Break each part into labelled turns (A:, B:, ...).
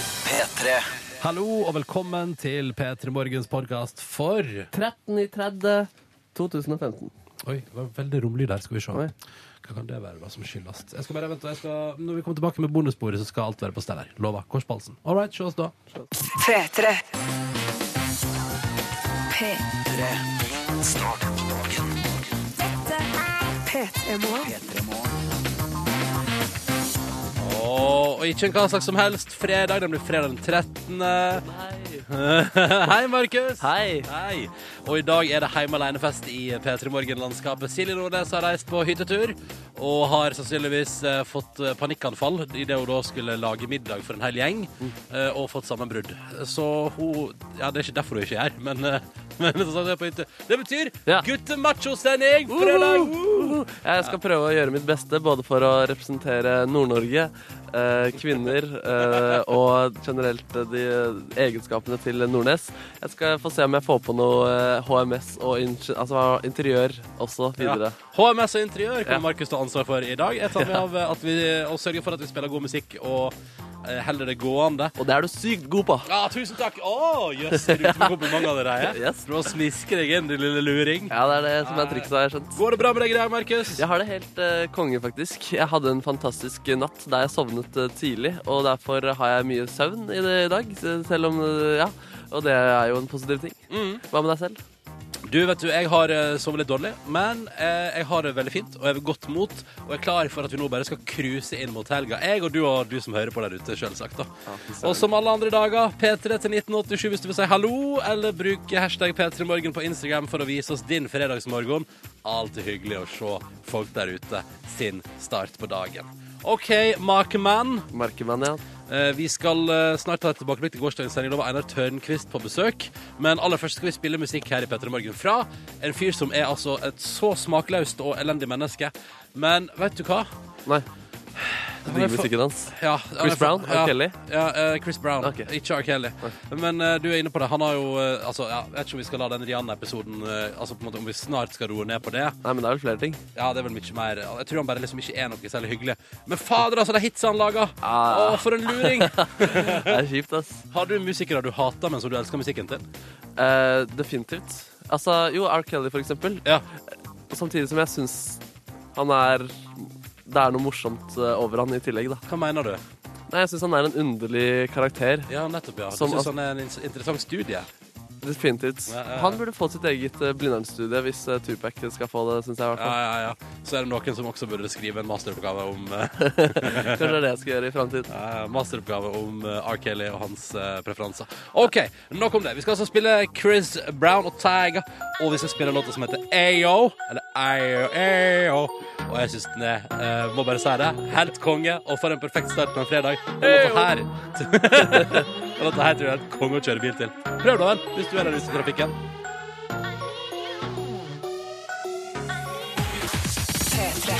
A: P3.
B: Hallo og velkommen til P3 Morgens podkast for
C: 13 i 30 2015.
B: Oi, det var veldig romlyd der. Skal vi se.
C: Oi.
B: Hva kan det være da som skyldes? Jeg skal bare vente, jeg skal, Når vi kommer tilbake med bonusbordet, så skal alt være på stell her. Lover. Korspalsen. All right, se oss da.
D: P3. P3.
A: Start dagen.
D: P3-morgen.
A: P3 morgen.
B: Åh, og ikke en hva slags som helst. Fredag, den blir fredag den 13. Hei, Markus.
C: Hei.
B: Hei. Og i dag er det hjemme alene-fest i P3 Morgen-landskapet. Silje Nordnes har reist på hyttetur og har sannsynligvis eh, fått eh, panikkanfall idet hun da skulle lage middag for en hel gjeng, eh, og fått sammenbrudd. Så hun Ja, det er ikke derfor hun ikke er her, men, eh, men sånn er det på hytte. Det betyr
C: Ja.
B: guttemachosending fredag!
C: Jeg skal prøve å gjøre mitt beste både for å representere Nord-Norge, eh, kvinner eh, og generelt eh, de egenskapene til Nordnes. Jeg skal få se om jeg får på noe eh, HMS og inter altså, interiør også videre.
B: Ja. HMS og interiør
C: Ja.
B: kommer Markus ta ansvar for i dag. Jeg tar med av at vi, og sørger for at vi spiller god musikk og eh, holder det gående.
C: Og det er du sykt god på!
B: Ja, tusen takk! Å, jøss, er du ute med komplimenter allerede?
C: Yes.
B: Du må smiske deg inn, din lille luring.
C: Ja, det er det som er trikset, har jeg skjønt.
B: Går det bra med deg i dag, Markus?
C: Jeg har det helt eh, konge, faktisk. Jeg hadde en fantastisk natt der jeg sovnet eh, tidlig, og derfor har jeg mye søvn i, det, i dag. s- Selv om eh, Ja. Og det er jo en positiv ting. Hva med deg selv?
B: Du, vet du, jeg har eh, sovet litt dårlig, men eh, jeg har det veldig fint, og jeg er ved godt mot, og er klar for at vi nå bare skal cruise inn mot helga. Jeg og du og du som hører på der ute, selvsagt da. Og som alle andre dager, P3 til 1987 hvis du vil si hallo, eller bruke hashtag P3morgen på Instagram for å vise oss din fredagsmorgen. Alltid hyggelig å se folk der ute sin start på dagen. OK, makemann.
C: Markemann, ja.
B: Eh, Vi skal eh, snart ta et tilbakeblikk til gårsdagens sending. Da var Einar Tørnquist på besøk. Men aller først skal vi spille musikk her i P3 Morgen fra en fyr som er altså et så smakløst og elendig menneske. Men vet du hva?
C: Nei. Jeg digger musikken hans.
B: Ja,
C: Chris Brown? R.
B: Ja,
C: Kelly?
B: Ja, eh, Chris Brown.
C: Ok.
B: Ikke R. Kelly. Men eh, du er inne på det. Han har jo eh, Altså, ja, jeg vet ikke om vi skal la den Rihanna-episoden eh, Altså på en måte om vi snart skal roe ned på det.
C: Nei, men det er vel flere ting.
B: Ja, det er vel mye mer Jeg tror han bare liksom ikke er noe særlig hyggelig. Men fader, altså, de hitsa han laga! Å,
C: Ah.
B: for en luring!
C: Det er kjipt, ass.
B: Har du musikere du hater, men som du elsker musikken til?
C: Eh, definitivt. Altså, jo, R. Kelly, for eksempel.
B: Ja.
C: Og Samtidig som jeg syns han er Det er noe morsomt eh, over han i tillegg, da.
B: Hva mener du?
C: Nei, jeg syns han er en underlig karakter.
B: Ja, nettopp, ja. Du
C: Som
B: syns
C: at-
B: han er en ins- interessant studie?
C: Definitivt.
B: Ja, ja, ja.
C: Han burde få sitt eget eh, Blindern-studie hvis eh, Tupac skal få det, syns jeg. i
B: Ja,
C: hvert fall.
B: ja, ja. Så er det noen som også burde skrive en masteroppgave om, eh,
C: Kanskje det er det jeg skal gjøre i framtiden.
B: eh, masteroppgave om eh, R. Kelly og hans eh, preferanser. OK, nok om det. Vi skal altså spille Chris Brown og Tiger, og vi skal spille låta som heter AO. Eller AO, AO. Og jeg syns den er eh, Må bare si det. Helt konge, og for en perfekt start på en fredag. Den låta her Den låta her tror jeg er helt konge å kjøre bil til. Prøv da vel, hvis du er der ute i trafikken.
D: P3.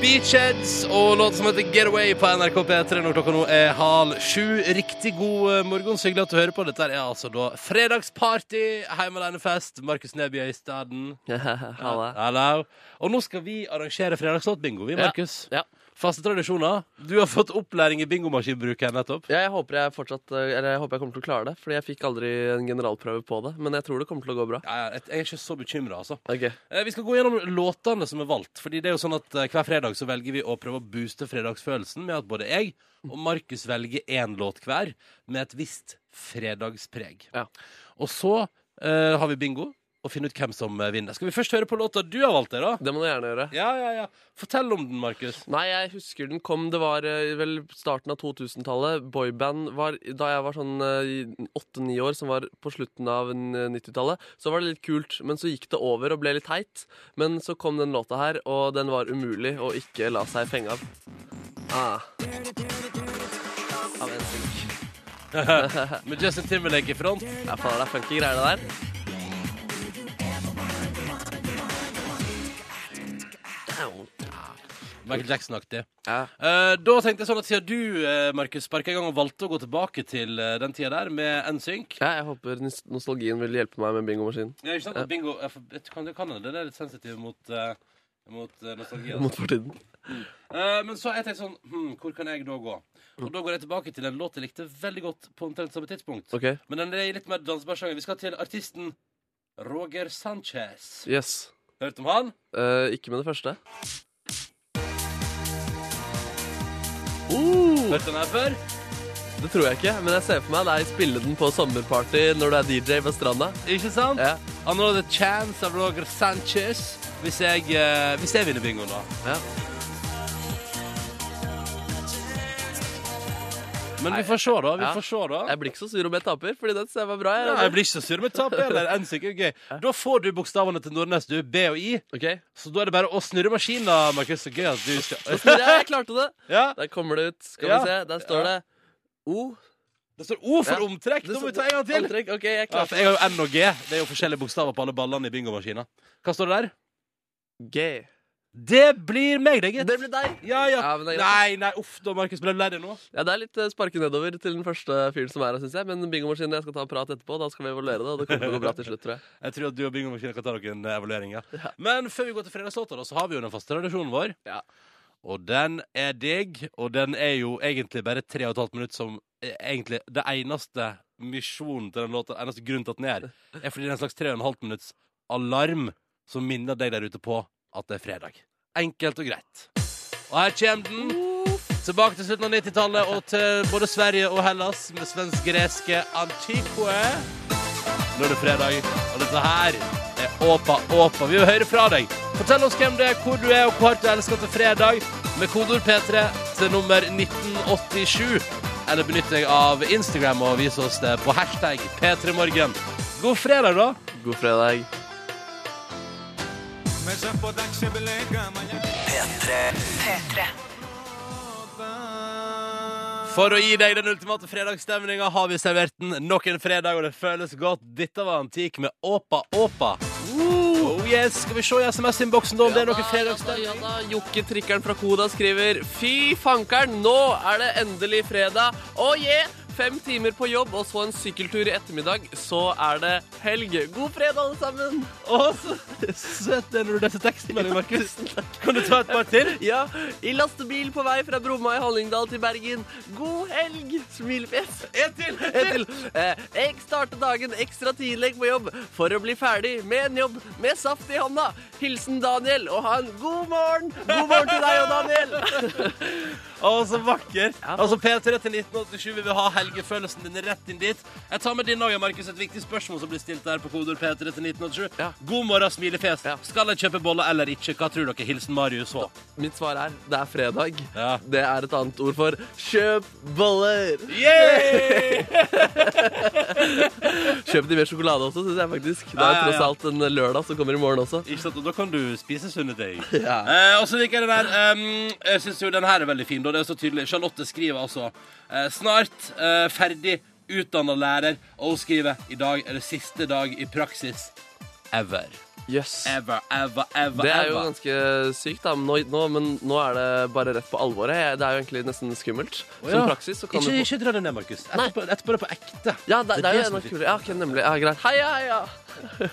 B: Beachheads og låt som heter Get Away på NRK P3 når klokka nå er halv sju. Riktig god eh, morgen, så hyggelig at du hører på. Dette er altså da fredagsparty, hjemme alene-fest. Markus Neby er i staden.
C: ha det.
B: Hallo. Og nå skal vi arrangere fredagslåtbingo, vi,
C: Ja.
B: Markus.
C: Ja.
B: Faste tradisjoner. Du har fått opplæring i bingomaskinbruk her nettopp.
C: Ja, jeg håper jeg fortsatt eh, Eller jeg håper jeg kommer til å klare det, Fordi jeg fikk aldri en generalprøve på det. Men jeg tror det kommer til å gå bra.
B: Ja, ja, jeg jeg er ikke så bekymra, altså.
C: Ok,
B: Eh, Vi skal gå gjennom låtene som er valgt. Fordi det er jo sånn at eh, Hver fredag så velger vi å prøve å booste fredagsfølelsen med at både jeg og Markus velger én låt hver med et visst fredagspreg.
C: Ja.
B: Og så eh, har vi bingo og finne ut hvem som eh, vinner. Skal vi først høre på låta du har valgt, deg, da?
C: Det må du gjerne gjøre.
B: Ja, ja, ja. Fortell om den, Markus.
C: Nei, jeg husker den kom Det var eh, vel starten av 2000-tallet. Boyband var da jeg var sånn åtte-ni år, som var på slutten av n- 90-tallet. Så var det litt kult, men så gikk det over og ble litt teit. Men så kom den låta her, og den var umulig å ikke la seg fenge av. Ah. Av en sink.
B: Med Justin Timberlake i front.
C: Ja, faen, det er funky greier, det der.
B: Michael Jackson-aktig.
C: Ja.
B: Eh, da tenkte jeg sånn at siden du, eh, Markus, sparka i gang og valgte å gå tilbake til eh, den tida der med NSYNC
C: ja, jeg håper nos- nostalgien vil hjelpe meg med bingomaskinen.
B: Ja, ikke sant? Og Bingo jeg for- jeg kan, det kan hende den er litt sensitiv mot, eh, mot eh, nostalgi. altså.
C: Mot fortiden.
B: Eh, men så jeg tenkte sånn hm, Hvor kan jeg da gå?
C: Mm.
B: Og da går jeg tilbake til en låt jeg likte veldig godt på omtrent samme tidspunkt.
C: OK.
B: Men den er i litt mer dansbar sjanger. Vi skal til artisten Roger Sanchez.
C: Yes.
B: Hørt om han?
C: Eh, ikke med det første.
B: Hørt om han før?
C: Det tror jeg ikke, men jeg ser for meg deg spille den på sommerparty når du er DJ ved stranda.
B: Ikke sant?
C: Ja,
B: Han har The Chance av Roger Sanchez. Hvis jeg, eh, hvis jeg vinner bingoen, da.
C: ja.
B: Men vi får se, da. Vi
C: Ja.
B: får se, da.
C: Jeg blir ikke så sur om jeg taper, fordi den ser jeg var bra.
B: Ja, jeg blir ikke så sur om jeg taper. Eller, enn så ikke, gøy. Da får du bokstavene til Nordnes, du. B og I.
C: Ok.
B: Så da er det bare å snurre maskinen, da, Markus. Så gøy at du skal
C: Men ja, jeg klarte det.
B: Ja,
C: Der kommer det ut. Skal
B: Ja.
C: vi se. Der står det O.
B: Det står O for
C: Ja.
B: omtrekk. Da må vi ta en gang til.
C: Antrekk. OK, jeg
B: Ja,
C: klarte
B: for jeg har jo N og G. Det er jo forskjellige bokstaver på alle ballene i bingomaskina. Hva står det der?
C: G.
B: Det blir meg, det, gitt.
C: Det ble deg.
B: Ja, ja.
C: Ja, men det er greit.
B: Nei, nei, uff da, Markus. Ble du lei deg nå?
C: Ja, Det er litt eh, sparke nedover til den første fyren som er her, syns jeg. Men bingomaskinen, jeg skal ta en prat etterpå. Da skal vi evaluere det. Og det kommer til å gå bra til slutt, tror jeg.
B: Jeg tror at du og bingomaskina kan ta noen eh, evalueringer. Men før vi går til fredagslåta, da, så har vi jo den faste tradisjonen vår.
C: Ja.
B: Og den er digg, og den er jo egentlig bare tre og et halvt minutt som eh, egentlig det eneste misjonen til den låta, eneste grunnen til at den er, er fordi det er en slags tre og en halvt minutts alarm som minner deg der ute på at det er fredag. Enkelt og greit. Og her kommer den. Tilbake til slutten av 90-tallet og til både Sverige og Hellas med svensk-greske Antiqua. Nå er det fredag, og dette her er Åpa Åpa. Vi vil høre fra deg. Fortell oss hvem du er, hvor du er, og hvor du elsker til fredag. Med kodeord P3 til nummer 1987. Eller benytt deg av Instagram og vis oss det på hashtag P3morgen. God fredag, da.
C: God fredag.
D: P3.
B: For å gi deg den ultimate fredagsstemninga har vi servert den nok en fredag, og det føles godt. Dette var Antik med Åpa Åpa. Oh yes, Skal vi se i SMS-innboksen da om det er noe fredagsstemning?
C: Ja da, Jokke Trikkeren fra Koda skriver Fy fankeren, nå er det endelig fredag. Oh yeah! Fem timer på jobb og så en sykkeltur i ettermiddag. Så er det helg. God fredag, alle sammen.
B: Å, så søt den rudete tekstmeldingen, Markus. Kan du ta et par til?
C: Ja, i lastebil på vei fra Bromma i Hallingdal til Bergen. God helg! Smilefjes.
B: En til!
C: En til. Eh, Jeg starter dagen ekstra tidlig på jobb for å bli ferdig med en jobb med saft i hånda. Hilsen Daniel, og ha en god morgen! God morgen til deg og Daniel.
B: Å, så vakker. Altså P3 til 1987 vil vi ha helgefølelsen din rett inn dit. Jeg tar med din òg, Markus. Et viktig spørsmål som blir stilt der på kodeord P3 til 1987.
C: Ja.
B: God morgen, smilefjes.
C: Ja.
B: Skal jeg kjøpe boller eller ikke? Hva tror dere? Hilsen Marius H.
C: Mitt svar er det er fredag.
B: Ja.
C: Det er et annet ord for kjøp boller.
B: Yeah!
C: Kjøp de mer sjokolade også, syns jeg faktisk. Det
B: Ja,
C: er
B: ja,
C: tross
B: ja.
C: alt en lørdag som kommer i morgen også.
B: Ikke sant? Og da kan du spise sunne ting.
C: Ja.
B: Eh, og så liker jeg den her. ehm, jeg syns jo den her er veldig fin. Da. Det er så tydelig. Charlotte skriver altså eh, snart eh, ferdig utdanna lærer, og hun skriver i dag er det siste dag i praksis ever.
C: Jøss.
B: Ever, ever, ever.
C: Det er jo
B: ever.
C: ganske sykt, da. Men nå, nå, men nå er det bare rett på alvoret. Jeg- Det er jo egentlig nesten skummelt. Som praksis så kan
B: ikke,
C: du få
B: ikke dra det ned, Markus. Etterpå, etterpå er det på ekte.
C: Ja, det, det er jo
B: som
C: enda
B: fint.
C: kulere. Ja, ok, nemlig. Ja, greit. Heia, heia!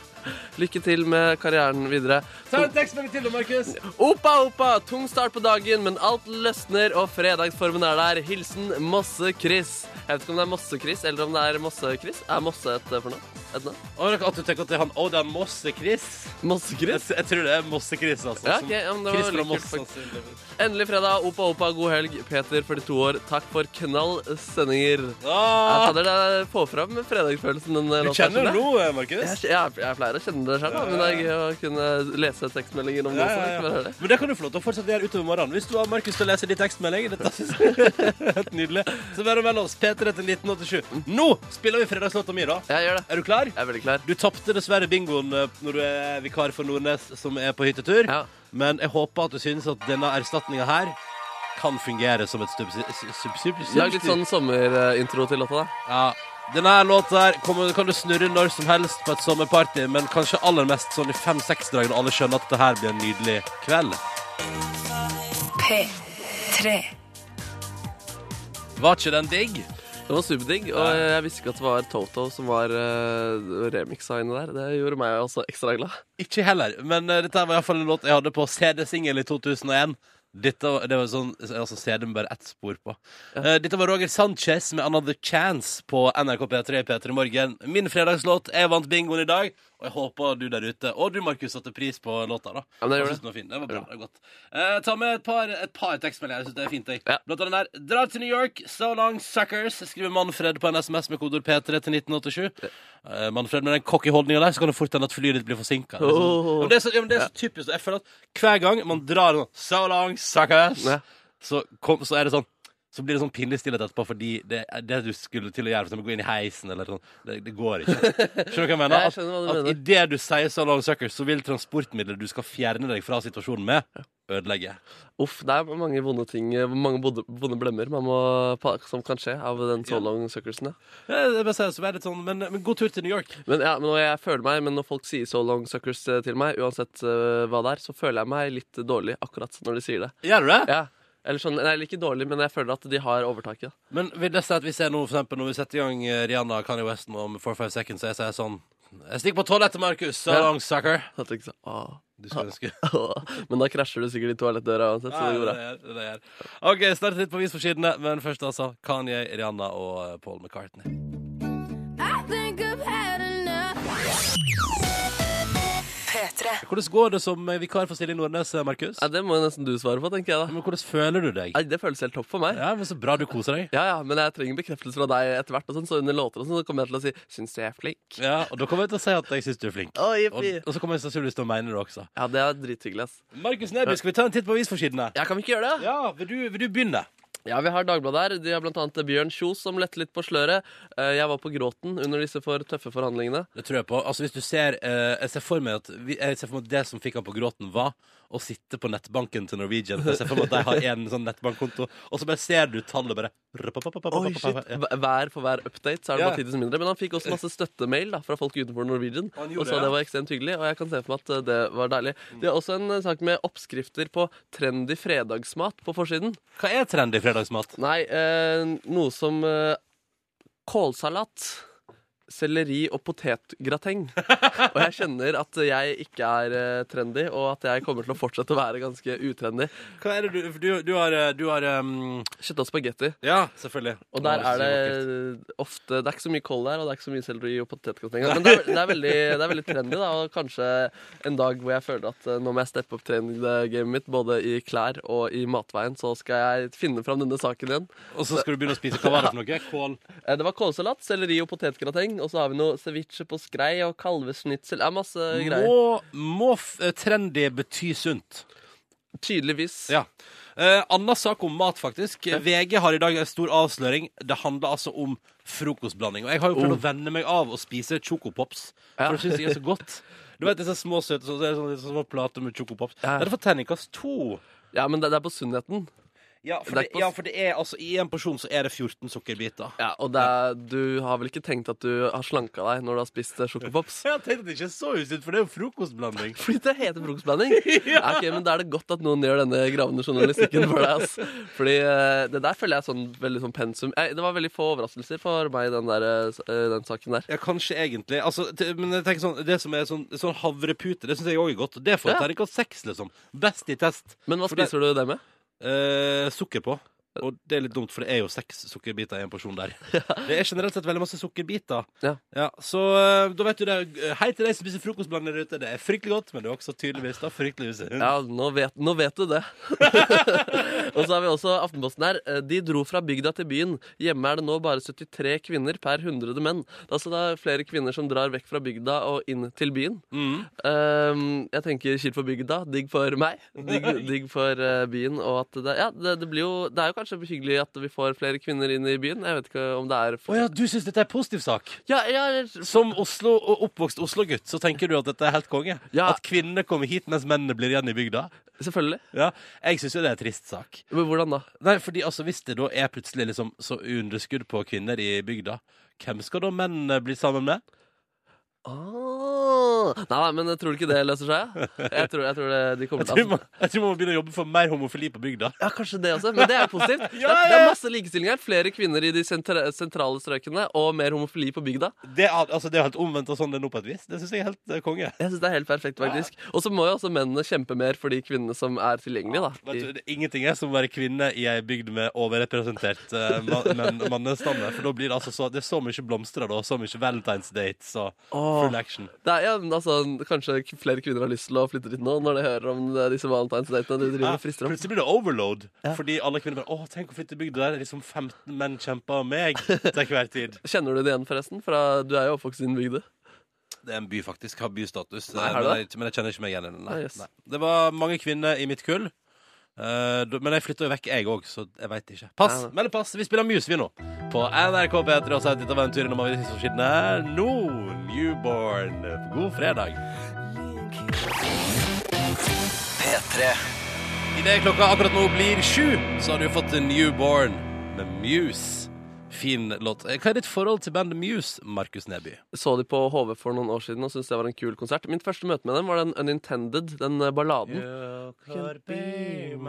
C: Lykke til med karrieren videre.
B: Ta en tekstmelding til, da, Markus.
C: Opa, opa! Tung start på dagen, men alt løsner, og fredagsformen er der. Hilsen Mosse-Chris. Jeg vet ikke om det er Mosse-Chris, eller om det er Mosse-Chris. Er Mosse et eh, fornavn? Et navn?
B: Og at du tenker at det er han Å, det er Mosse-Chris. Jeg,
C: Mosse-Chris?
B: jeg tror det er Mosse-Chris, altså.
C: Ja,
B: som-
C: ok, ja, men det var
B: Chris fra
C: litt kult,
B: Moss,
C: faktisk.
B: sannsynligvis.
C: Endelig fredag. Opa, opa, god helg. Peter, 42 år. Takk for knall sendinger. Jeg
B: Ah,
C: fader, det får fram fredagsfølelsen. Den eh,
B: du
C: låta
B: kjenner
C: her,
B: det
C: skjønner jeg.
B: nå, eh, Markus.
C: Jeg, jeg, jeg pleier å kjenne det selv, da, men det er gøy å kunne lese tekstmeldinger om det.
B: Ja,
C: også,
B: ja,
C: ikke bare
B: ja.
C: høre det.
B: Men det kan du få lov til å fortsette å gjøre utover morgenen. Hvis du har Markus til å lese din tekstmelding, dette synes jeg er helt nydelig, så vær og meld oss. P3 til 1987. Nå spiller vi fredagslåta mi, da.
C: Jeg gjør det.
B: Er du klar?
C: Jeg er veldig klar.
B: Du tapte dessverre bingoen eh, når du er vikar for Nordnes, som er på hyttetur.
C: Ja.
B: Men jeg håper at du synes at denne erstatninga her kan fungere som et substitutt.
C: Lag litt sånn sommerintro til låta, da.
B: Ja. Denne her låta her kommer, kan du snurre når som helst på et sommerparty, men kanskje aller mest sånn i fem-seks dager når alle skjønner at det her blir en nydelig kveld.
D: P3.
B: Var ikke den digg?
C: Den var superdigg, og jeg visste ikke at det var Toto som var uh, remiksa inni der. Det gjorde meg også ekstra glad.
B: Ikke heller, men eh, dette var i hvert fall en låt jeg hadde på CD-singel i 2001. Dette, var- det var sånn altså, CD med bare ett spor på. Eh, dette var Roger Sanchez med 'Another Chance' på NRK P3 i P3 Morgen. Min fredagslåt. Jeg vant bingoen i dag, og jeg håper du der ute og du, Markus, satte pris på låta. da
C: Ja, men jeg
B: Jeg
C: gjorde
B: synes den var fin. Det var bra. det var godt Eh, Ta med et par, et par tekstmeldinger. Jeg synes det er fint. Jeg.
C: Ja.
B: Blant annet den der 'Dra til New York, so long, suckers', skriver Manfred på en SMS med kodord P3 til 1987. Eh, Manfred, med den cocky holdninga der, så kan det fort hende at flyet ditt blir forsinka. Det er sånn-
C: Oh.
B: Ja, men det er så, ja, men det er så typisk. Jeg føler at hver gang man drar sånn So long, suckers!
C: Ja.
B: Så, kom, så er det sånn så blir det sånn pinlig stillhet etterpå, fordi det, det du skulle til å gjøre, for eksempel gå inn i heisen eller sånn, det, det går ikke. Skjønner du hva jeg mener?
C: Jeg skjønner hva du
B: at,
C: mener.
B: at idet du sier 'so long, suckers', så vil transportmiddelet du skal fjerne deg fra situasjonen med, ødelegge.
C: Uff, det er mange vonde ting, eh, mange vonde, vonde blemmer man må, pa- som kan skje av den so
B: Ja.
C: long suckersen. Ja.
B: Ja, det er bare å si det, så er det litt sånn, men, men god tur til New York.
C: Men, ja, men når jeg føler meg, men når folk sier so long suckers eh, til meg, uansett eh, hva det er, så føler jeg meg litt dårlig akkurat når de sier det.
B: Gjør du det?
C: Ja. Eller sånn, nei, ikke dårlig, men jeg føler at de har overtaket.
B: Men vil det si at vi ser nå, for eksempel, når vi setter i gang eh, Rihanna og Kanye West nå om 4-5 seconds, så jeg sier sånn Jeg stikker på toalettet, Markus. So
C: Ja.
B: long, sucker.
C: At det ikke så, sånn, åh,
B: Du skulle ønske
C: åh. Men da krasjer du sikkert i toalettdøra uansett, så det går bra.
B: Ja, det er- det er- OK, snart litt på vis for sidene, men først altså Kanye, Rihanna og eh, Paul McCartney.
E: I think I've had enough.
D: P3.
B: Hvordan går det som eh, vikar for Silje Nordnes, eh, Markus?
C: Nei, det må jo nesten du svare på, tenker jeg da.
B: Men hvordan føler du deg?
C: Nei, det føles helt topp for meg.
B: Ja, men Så bra du koser deg.
C: Ja, ja, men jeg trenger bekreftelse fra deg etter hvert, og sånn, så under låter og sånn, så kommer jeg til å si, synes jeg er flink.
B: Ja, Og da kommer jeg til å si at jeg syns du er flink.
C: Å,
B: Og,
C: jippi.
B: og så kommer jeg sannsynligvis til å mene det også.
C: Ja, det er drithyggelig, ass.
B: Markus Neby, skal vi ta en titt på avisforsidene?
C: Ja, kan vi ikke gjøre det?
B: Ja, vil du, vil du begynne?
C: Ja, vi har Dagbladet her. De har blant annet Bjørn Kjos som lette litt på sløret. Eh, Jeg var på gråten under disse for tøffe forhandlingene.
B: Det tror jeg på. Altså, hvis du ser, eh, jeg ser for meg at vi, jeg ser for meg at det som fikk han på gråten, var å sitte på nettbanken til Norwegian. For jeg ser for meg at de har en sånn nettbankkonto, og så bare ser du tallet bare
C: Oi, shit.
B: Ja.
C: Hver- Hver for hver update så er det
B: Ja.
C: bare tidligst mindre. Men han fikk også masse støttemail da, fra folk utenfor Norwegian.
B: Han gjorde
C: Og sa
B: det,
C: det
B: ja.
C: var ekstremt hyggelig, og jeg kan se for meg at eh, det var deilig. De har også en eh, sak med oppskrifter på trendy fredagsmat på forsiden.
B: Hva er trendy fredagsmat?
C: Nei, eh, noe som eh, kålsalat, selleri og potetgrateng. og jeg kjenner at jeg ikke er eh, trendy, og at jeg kommer til å fortsette å være ganske utrendy.
B: Hva er det du Du, du har, eh, du har um,
C: Kjøtt og spagetti.
B: Ja, selvfølgelig.
C: Og der er det ofte Det er ikke så mye kål der, og det er ikke så mye selleri og potetgrateng. Men det er, det, er veldig, det er veldig trendy, da, og kanskje en dag hvor jeg føler at eh, nå må jeg steppe opp gamet mitt, både i klær og i matveien, så skal jeg finne fram denne saken igjen.
B: Og så skal du begynne å spise Hva var det for noe? Kål?
C: Eh, Det var kålsalat, selleri og potetgrateng. Og så har vi noe ceviche på skrei og kalvesnitsel. Det er masse greier.
B: Må, må f eh, trendy bety sunt?
C: Tydeligvis.
B: Ja. Eh, Anna sak om mat, faktisk. VG har i dag en stor avsløring. Det handler altså om frokostblanding. Og jeg har jo prøvd å venne meg av å spise chocopops, for det syns jeg er så godt. Du vet disse små søte sånne, sånne, sånne sånn små plater med chocopops.
C: Ja.
B: Det er for terningkast to.
C: Ja, men det, det er på sunnheten.
B: Ja for,
C: Det er
B: det,
C: ikke på-
B: ja, for det er altså I en porsjon så er det 14 sukkerbiter.
C: Ja, og det er, du har vel ikke tenkt at du har slanka deg når du har spist eh, sjokopops?
B: Jeg har tenkt at det ikke så ut, for det er jo frokostblanding.
C: Fordi det heter frokostblanding. ja. ok, men Da er det godt at noen gjør denne gravende journalistikken for deg. ass. Fordi eh, det der føler jeg er sånn veldig sånn pensum. Eh, det var veldig få overraskelser for meg i den, der, eh, s- eh, den saken der.
B: Ja, kanskje egentlig. Altså, t- men jeg tenker sånn, det som er sånn, sånn havrepute, det syns jeg òg er godt. Det får
C: Ja.
B: terningkast seks, liksom. Best i test.
C: Men hva
B: For det-
C: spiser du det med?
B: Eh, sukker på. Og det er litt dumt, for det er jo seks sukkerbiter i en porsjon der. Det er generelt sett veldig masse sukkerbiter.
C: Ja.
B: så eh, da vet du det. Hei til deg som spiser frokostblanding der ute. Det er fryktelig godt, men det er også tydeligvis da fryktelig usunt.
C: Ja, nå vet, nå vet du det. og så har vi også Aftenposten her. Eh, De dro fra bygda til byen. Hjemme er det nå bare 73 kvinner per 100 menn. Det er altså da flere kvinner som drar vekk fra bygda og inn til byen.
B: Mm.
C: Ehm, jeg tenker kjipt for bygda, digg for meg, digg, digg for eh, byen. Og at det, ja, det, det blir jo Det er jo kanskje hyggelig at vi får flere kvinner inn i byen. Jeg vet ikke om det er
B: Å ja, du syns dette er en positiv sak?
C: ja, ja,
B: Som Oslo, og oppvokst Oslo-gutt, så tenker du at dette er helt konge?
C: Ja.
B: At kvinnene kommer hit mens mennene blir igjen i bygda?
C: selvfølgelig.
B: Ja, Jeg syns jo det er en trist sak.
C: Men hvordan da?
B: Nei, fordi altså, Hvis det da er plutselig liksom så underskudd på kvinner i bygda, hvem skal da mennene bli sammen med?
C: Ah. Nei, nei, men tror du ikke det løser seg? Jeg tror, jeg tror det, de kommer
B: Jeg
C: til
B: tror, man, jeg tror man må begynne å jobbe for mer homofili på bygda.
C: Ja, kanskje det også, men det er jo positivt. Det
B: Ja,
C: er-
B: ja,
C: Det er
B: ja.
C: masse likestilling her. Flere kvinner i de sentra sentrale strøkene og mer homofili på bygda.
B: Det er, altså, det er jo helt omvendt og sånn det er nå på et vis. Det syns jeg er helt eh, konge.
C: Jeg synes det er helt perfekt, faktisk. Og så må jo også mennene kjempe mer for de kvinnene som er tilgjengelige, da.
B: Vet du,
C: I,
B: Ah, det, ingenting er som å være kvinne i ei bygd med overrepresentert uh, man, mannestamme. For da blir det altså så Det er så mye blomster da, og så mye Valentine's dates og
C: Åh.
B: full action.
C: det er, ja, men altså, kanskje k- flere kvinner har lyst til å flytte dit nå, når de hører om eh, disse valentinsdatene du driver
B: Ja,
C: og frister om.
B: plutselig blir det overload. Fordi alle kvinner bare Å, tenk å flytte til bygda der. Liksom 15 menn kjemper om meg til hver tid.
C: Kjenner du det igjen, forresten? Fra, du er jo oppvokst i din bygde.
B: Det er en by, faktisk. Har bystatus.
C: Nei,
B: Eh,
C: har du
B: men,
C: det?
B: jeg, men jeg kjenner ikke meg igjen i den. Nei,
C: Ah, yes.
B: nei. Det var mange kvinner i mitt kull. Eh, da- men jeg flytta jo vekk, jeg òg, så jeg veit ikke. Pass!
C: Nei, nei.
B: Meld pass! Vi spiller Muse, vi nå. På NRK P3 og sier dette var en tur innom avisforsidene her. Nå, Newborn. God fredag.
A: P3
B: Idet klokka akkurat nå blir sju, så har du fått en Newborn med Muse. Fin låt. Eh, Hva er ditt forhold til bandet Muse, Markus Neby?
C: Så de på HV for noen år siden og syntes det var en kul konsert. Mitt første møte med dem var den Unintended, den eh, balladen. Den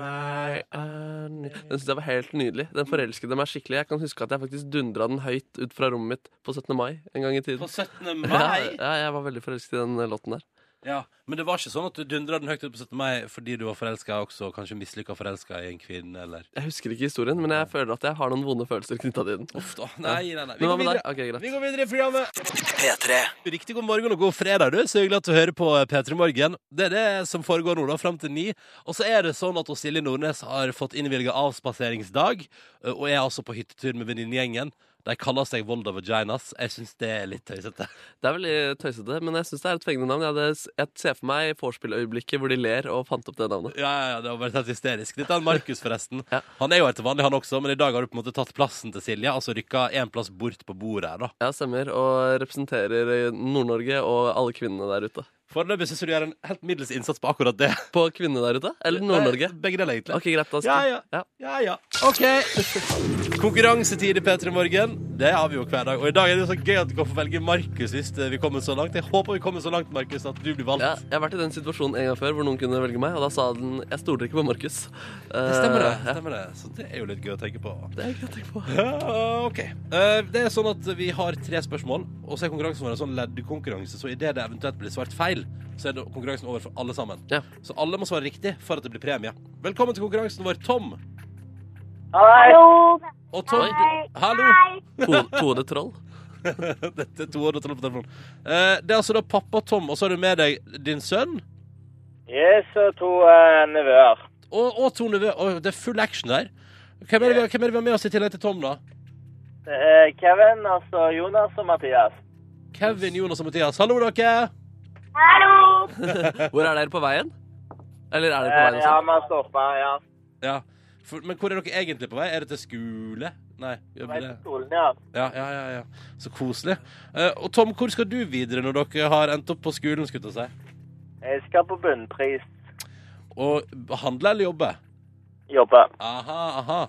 C: synes jeg var helt nydelig. Den
B: Mm.
C: forelskede meg skikkelig. Jeg kan huske at jeg faktisk dundra den høyt ut fra rommet mitt på 17. mai en gang i
B: På
C: tiden.
B: 17.
C: Ja,
B: mai?
C: ja, jeg var veldig forelsket i den eh, låten der.
B: Ja, Men det var ikke sånn at du dundra den høyt ut på 17. mai fordi du var forelska også, kanskje mislykka forelska i en kvinne, eller
C: Jeg husker ikke historien, men jeg føler at jeg har noen vonde følelser knytta til den.
B: Uff da. Nei, nei, nei. Vi
C: Men hva
B: går
C: med
B: videre.
C: deg? Ok, greit.
B: Vi går videre i programmet.
A: P3
B: Riktig god morgen og god fredag, du. Så hyggelig at du hører på eh, P3 Morgen. Det er det som foregår nå, da, fram til ni. Og så er det sånn at Silje Nordnes har fått innvilga avspaseringsdag, og er altså på hyttetur med venninnegjengen. De kaller seg Volda Vaginas. Jeg syns det er litt tøysete.
C: Det er veldig tøysete, men jeg syns det er et fengende navn. Jeg, hadde, s- jeg ser for meg vorspieløyeblikket hvor de ler og fant opp det navnet.
B: Ja, ja, ja, det har vært helt hysterisk. Dette er en Markus, forresten.
C: Ja.
B: Han er jo her til vanlig, han også, men i dag har du på en måte tatt plassen til Silje. Altså rykka én plass bort på bordet her, da.
C: Ja, stemmer. Og representerer Nord-Norge og alle kvinnene der ute.
B: Foreløpig syns jeg du gjør en helt middels innsats på akkurat det.
C: På kvinnene der ute? Eller Nord-Norge?
B: Nei, Begge deler, egentlig.
C: Ok, greit. Da
B: Ja,
C: skal
B: ja. Ja, ja. OK. Konkurransetid i P3 Morgen. Det har vi jo hver dag. Og i dag er det jo så gøy at du kan få velge Markus hvis eh, vi kommer så langt. Jeg håper vi kommer så langt, Markus, at du blir valgt.
C: Ja, jeg har vært i den situasjonen en gang før hvor noen kunne velge meg, og da sa den 'jeg stoler ikke på Markus'.
B: Det stemmer, det.
C: Eh, ja,
B: stemmer det. Så det er jo litt gøy å tenke på.
C: det er greit å tenke på.
B: Ja, OK. Eh, Det er sånn at vi har tre spørsmål, og så er konkurransen vår en sånn leddkonkurranse. Så idet det eventuelt blir svart feil, så er det konkurransen over for alle sammen.
C: Ja.
B: Så alle må svare riktig for at det blir premie. Velkommen til konkurransen vår, Tom.
F: Hallo.
B: Og Tom, du Hallo.
C: Tore, Tore Troll.
B: Dette er to år og tolv på telefonen. Eh, Det er altså da pappa Tom, og så har du med deg din sønn
F: Yes, og to eh, nevøer.
B: og, og to nevø. Og det er full action der. Hvem er, det, vi- hvem er det vi har med oss i tillegg til Tom, da?
F: Det er Kevin, altså Jonas og Mathias.
B: Kevin, Jonas og Mathias. Hallo, dere.
C: Hvor er dere på veien? Eller er dere på
F: Eh,
C: veien
F: ja,
C: også?
F: vi har stoppa, ja.
B: Ja. For, men hvor er dere egentlig på vei? Er det til skole? Nei. gjør vi
F: Vei
B: det?
F: til skolen, ja.
B: Ja, ja, ja, ja. Så koselig. Eh, og Tom, hvor skal du videre når dere har endt opp på skolen? skulle jeg til å si?
F: Jeg skal på bunnpris.
B: Og handle eller jobbe?
F: Jobbe.
B: Aha, aha.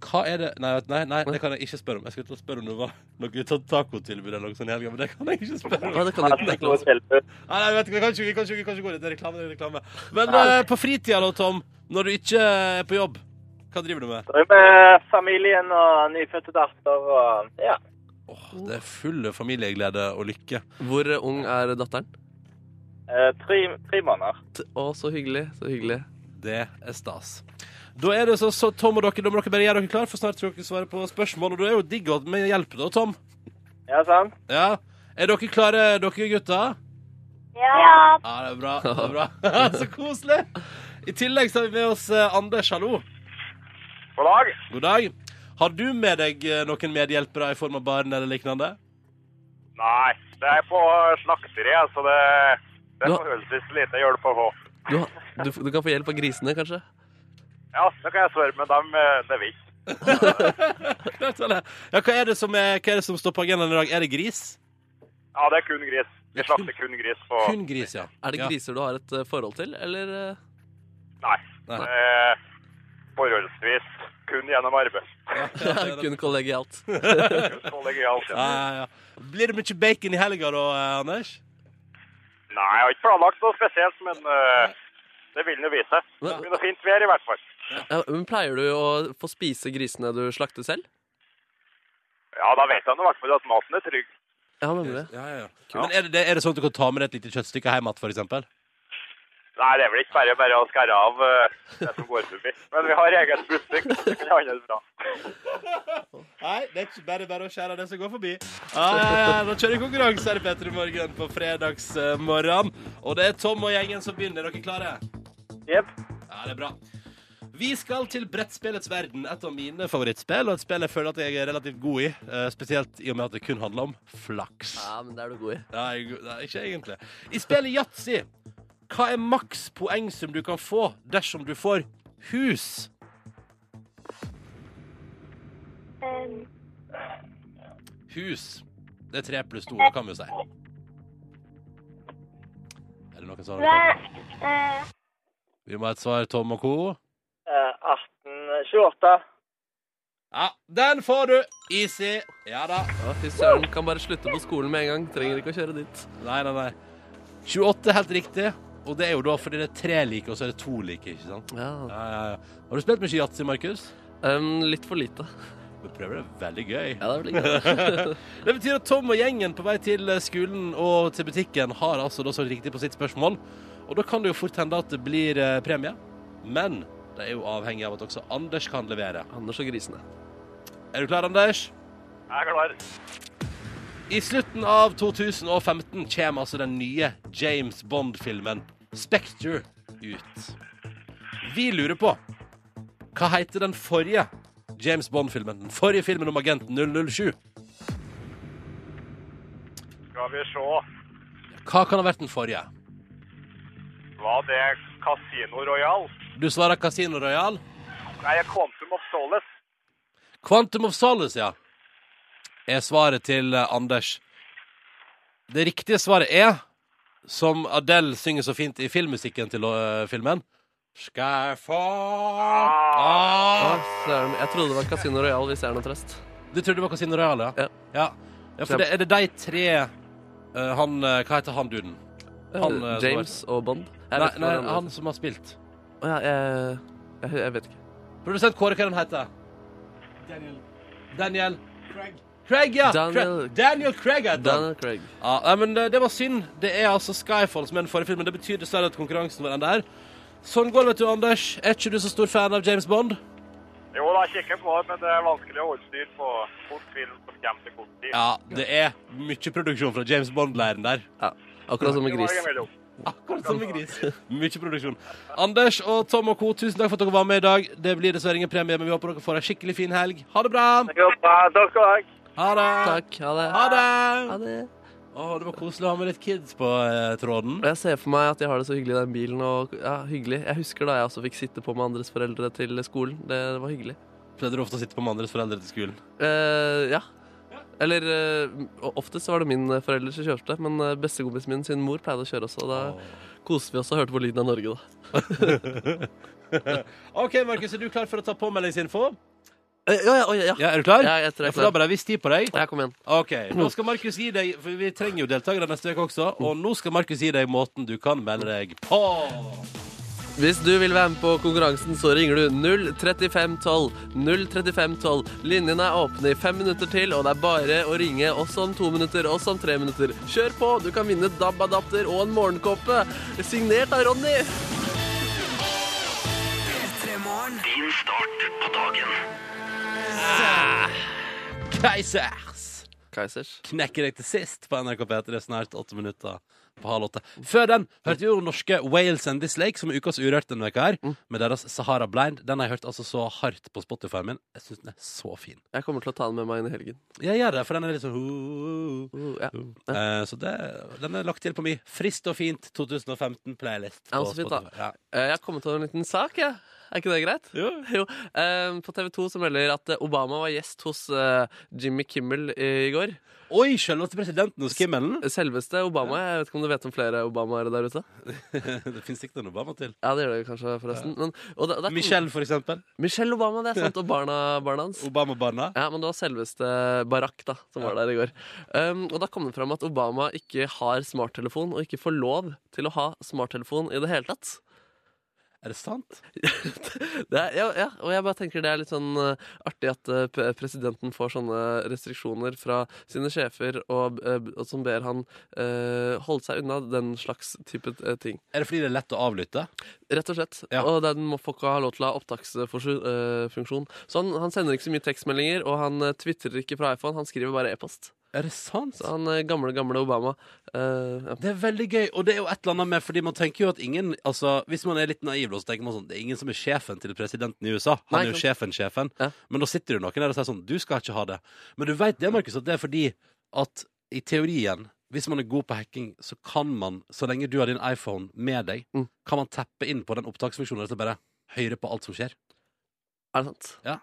B: Hva er det Nei, vet- nei, nei, det kan jeg ikke spørre om. Jeg skulle til å spørre om det var noe sånn tacotilbud eller noe sånt i helga, men det kan jeg ikke spørre
C: Ja,
B: om.
C: det kan du ikke
F: Masse
C: tenke
F: gode
C: oss.
F: tilbud.
B: Nei, nei, vet du, vi kan ikke, vi kan ikke, vi kan ikke gå dit. Det er reklame. det er reklame. Men eh, på fritida da, Tom, når du ikke er på jobb, hva driver du med?
F: Så er vi med familien og nyfødte datter og Ja.
B: Åh, det er full familieglede og lykke.
C: Hvor eh, ung er datteren?
F: Eh, tre, tre måneder.
C: T- Å, så hyggelig. Så hyggelig.
B: Det er stas. Da er det så, så Tom og dere, da må dere bare gjøre dere klar, for snart skal dere svare på spørsmål. Og du er jo digg at vi hjelper da, Tom.
F: Ja, sant?
B: Ja. Er dere klare, dere gutter?
F: Ja.
B: Ja, det er bra. det er bra. så koselig! I tillegg så har vi med oss eh, Anders. Hallo.
F: God dag.
B: God dag. Har du med deg eh, noen medhjelpere i form av barn eller lignende?
G: Nei, det er på slakteriet, så det, det
C: Du
G: er
C: har-
G: forholdsvis lite hjelp å få.
C: Du, har- du, f- du kan få hjelp av grisene, kanskje?
G: Ja, det kan jeg svare, men dem eh, lever ikke.
B: Ja, hva er det som, er, hva er det som står på agendaen i dag? Er det gris?
G: Ja, det er kun gris. Vi slakter kun gris på
B: Kun gris, ja.
C: Er det
B: Ja.
C: griser du har et eh, forhold til, eller eh?
G: Nei.
B: Nei.
G: Eh, forholdsvis kun gjennom arbeid.
C: Kun kollegialt.
G: Kollegialt.
B: Ja, ja, ja. Blir det mye bacon i helga da, eh, Anders?
G: Nei, jeg har ikke planlagt noe spesielt, men eh, det vil den jo vise. Det blir noe fint vær i hvert fall.
C: Ja, men pleier du å få spise grisene du slakter selv?
G: Ja, da vet han i hvert fall at maten er trygg.
C: Ja, nemlig.
B: Ja, ja, ja. Men er det, er det sånn at du kan ta med deg et lite kjøttstykke hjem igjen, for eksempel?
G: Nei, det er vel ikke bare bare å skære av eh, det som går forbi. Men vi har eget butikk, så det kan handles bra.
B: Nei, det er ikke bare bare å skjære av det som går forbi. Ja, ja, ja, Da kjører vi konkurranse her i Petter i morgen på fredagsmorgen. Og det er Tom og gjengen som begynner. Er dere klare?
F: Jepp.
B: Ja, det er bra. Vi skal til brettspillets verden, et av mine favorittspill, og et spill jeg føler at jeg er relativt god i, eh, spesielt i og med at det kun handler om flaks.
C: Ja, men det er du god i.
B: Nei, go- nei ikke egentlig. I spillet Yatzy, hva er maks poengsum du kan få dersom du får hus?
H: Em,
B: Hus. Det er tre pluss to, det kan vi jo si. Er det noen som har noe?
H: hva- eh,
B: Vi må ha et svar, Tom og co.
F: Eh, 18 28.
B: Ja, den får du! Easy. Ja da.
C: Ja, Fy søren, kan bare slutte på skolen med en gang. Trenger ikke å kjøre dit.
B: Nei, nei, nei. 28 er helt riktig. Og det er jo da fordi det er tre like, og så er det to like. ikke sant?
C: Ja.
B: Ja, ja, ja. Har du spilt mye yatzy, Markus?
C: Em, litt for lite.
B: Vi prøver det. Veldig gøy.
C: Ja, det er vel ikke det.
B: Det betyr at Tom og gjengen på vei til eh, skolen og til butikken har altså da så riktig på sitt spørsmål. Og da kan det jo fort hende at det blir eh, premie. Men det er jo avhengig av at også Anders kan levere.
C: Anders og grisene.
B: Er du klar, Anders?
G: Jeg er klar.
B: I slutten av 2015 kommer altså den nye James Bond-filmen Spectre ut. Vi lurer på hva heter den forrige James Bond-filmen? Den forrige filmen om agenten 007.
G: Skal vi se.
B: Hva kan ha vært den forrige?
G: Var det Casino Royal?
B: Du svarer Casino Royal.
G: Nei, Quantum of Solace.
B: Quantum of Solace, ja. Er svaret til eh, Anders. Det riktige svaret er, som Adele synger så fint i filmmusikken til eh, filmen Skal jeg få
C: Å,
B: ah!
C: søren. Jeg trodde det var Casino Royal, hvis det er noe trøst.
B: Du trodde det var Casino Royal, ja?
C: Ja.
B: ja. ja for det, er det de tre eh, Han eh, Hva heter han duden? Han, eh,
C: Eh, James og Bond. Jeg
B: Nei,
C: vet ikke
B: nei,
C: hva den
B: han som har spilt.
C: heter. Å, ja, jeg, jeg, jeg vet ikke.
B: Produsent Kåre, hva er den heter? Daniel. Craig, ja.
C: Daniel-
B: Craig. Daniel Craig heter han.
C: Daniel Craig.
B: Ja, nei, men det, det var synd. Det er altså Skyfall som er den forrige filmen. Det betyr dessverre at konkurransen var den der. Sånn går det, vet du, Anders. Er ikke du så stor fan av James Bond?
G: Jo da, kikker jeg på det, men det er vanskelig å holde styr på kort film som kommer til kort tid.
B: Ja, det er mye produksjon fra James Bond-leiren der.
C: Ja. Akkurat som
G: Det
C: med
G: var
C: gris.
G: jeg imellom.
B: Akkurat som med gris. Mye produksjon. Anders og Tom og co., tusen takk for at dere var med i dag. Det blir dessverre ingen premie, men vi håper dere får ei skikkelig fin helg. Ha det bra.
F: Jo, bra. Takk skal du ha.
B: Ha det.
C: Takk. Ha det.
B: Ha det.
C: Ha det.
B: Å, det var koselig å ha med litt kids på eh, tråden.
C: Og Jeg ser for meg at jeg har det så hyggelig i den bilen. Og, ja, hyggelig. Jeg husker da jeg også fikk sitte på med andres foreldre til skolen. Det var hyggelig.
B: Pleide du ofte å sitte på med andres foreldre til skolen?
C: Eh, ja. Eller eh, o- oftest så var det min eh, forelder som kjørte, men eh, bestekompisen min sin mor pleide å kjøre også. og Da koste vi oss og hørte på lyden av Norge, da.
B: OK, Markus, er du klar for å ta påmeldingsinfo?
C: Eh, ja, ja, oi, ja.
B: Ja, er du klar?
C: Ja, jeg tror jeg er
B: for da
C: klar.
B: bare har vi tid på deg.
C: Ja, kom igjen.
B: Ok, nå skal Markus gi deg For vi trenger jo deltakere neste uke også Og nå skal Markus gi deg måten du kan melde deg på
C: Hvis du vil være med på konkurransen, så ringer du 03512. 03512. Linjene er åpne i fem minutter til, og det er bare å ringe også om to minutter, også om tre minutter. Kjør på! Du kan vinne DAB-adapter og en morgenkåpe. Signert av Ronny.
B: Keisers
C: Kaisers.
B: Knekker deg til sist på NRK P3 Det er snart åtte minutter på halv åtte Før den hørte jo norske Wales and This Lake Som er ukas urørt denne veka her
C: Mm.
B: Med deres Sahara Blind Den har jeg hørt altså så hardt på Spotify min Jeg synes den er så fin
C: Jeg kommer til å ta den med meg inn i helgen.
B: Jeg gjør det, for den er litt sånn
C: Uh, ja.
B: Eh, Så det, den er lagt til på min Frist og fint 2015 playlist
C: Ja,
B: på
C: så fint da.
B: Spotify. Ja.
C: Eh, Jeg har kommet over en liten sak, jeg. Er ikke det greit? Jo. Eh, på TV 2 så melder at eh, Obama var gjest hos eh, Jimmy Kimmel i går.
B: Oi, selveste presidenten hos Kimmelen!
C: Selveste Obama. Jeg vet ikke om du vet om flere Obamaer der ute?
B: det fins ikke noen Obama til.
C: Ja, det gjør det kanskje, forresten. Men, og da, da kom-
B: Michelle, for eksempel.
C: Michelle Obama, det er sant. Og barna, barna hans.
B: Obama-barna.
C: Ja, men det var selveste Barack da, som var der i går. Um, og da kom det fram at Obama ikke har smarttelefon, og ikke får lov til å ha smarttelefon i det hele tatt.
B: Er det sant?
C: Det er, ja, ja, og jeg bare tenker det er litt sånn eh, artig at eh, p- presidenten får sånne restriksjoner fra sine sjefer, og, eh, b- og som ber han eh, holde seg unna den slags type eh, ting.
B: Er det fordi det er lett å avlytte?
C: Rett og slett.
B: Ja.
C: Og den må folk ha lov til å ha opptaksfunksjon. Så han, han sender ikke så mye tekstmeldinger, og han uh, tvitrer ikke fra iPhone, han skriver bare e-post.
B: Er det sant?
C: Så han eh, gamle, gamle Obama eh, ja.
B: Det er veldig gøy, og det er jo et eller annet med Fordi man tenker jo at ingen Altså, hvis man er litt naiv, da, så tenker man sånn Det er ingen som er sjefen til presidenten i USA. Han
C: Nei,
B: er jo
C: ikke
B: sjefen, sjefen.
C: Ja.
B: Men da sitter det jo noen der og sier sånn Du skal ikke ha det. Men du veit det, Markus, at det er fordi at i teorien hvis man er god på hacking, så kan man, så lenge du har din iPhone med deg,
C: Mm.
B: kan man tappe inn på den opptaksfunksjonen og bare høre på alt som skjer.
C: Er det sant?
B: Ja.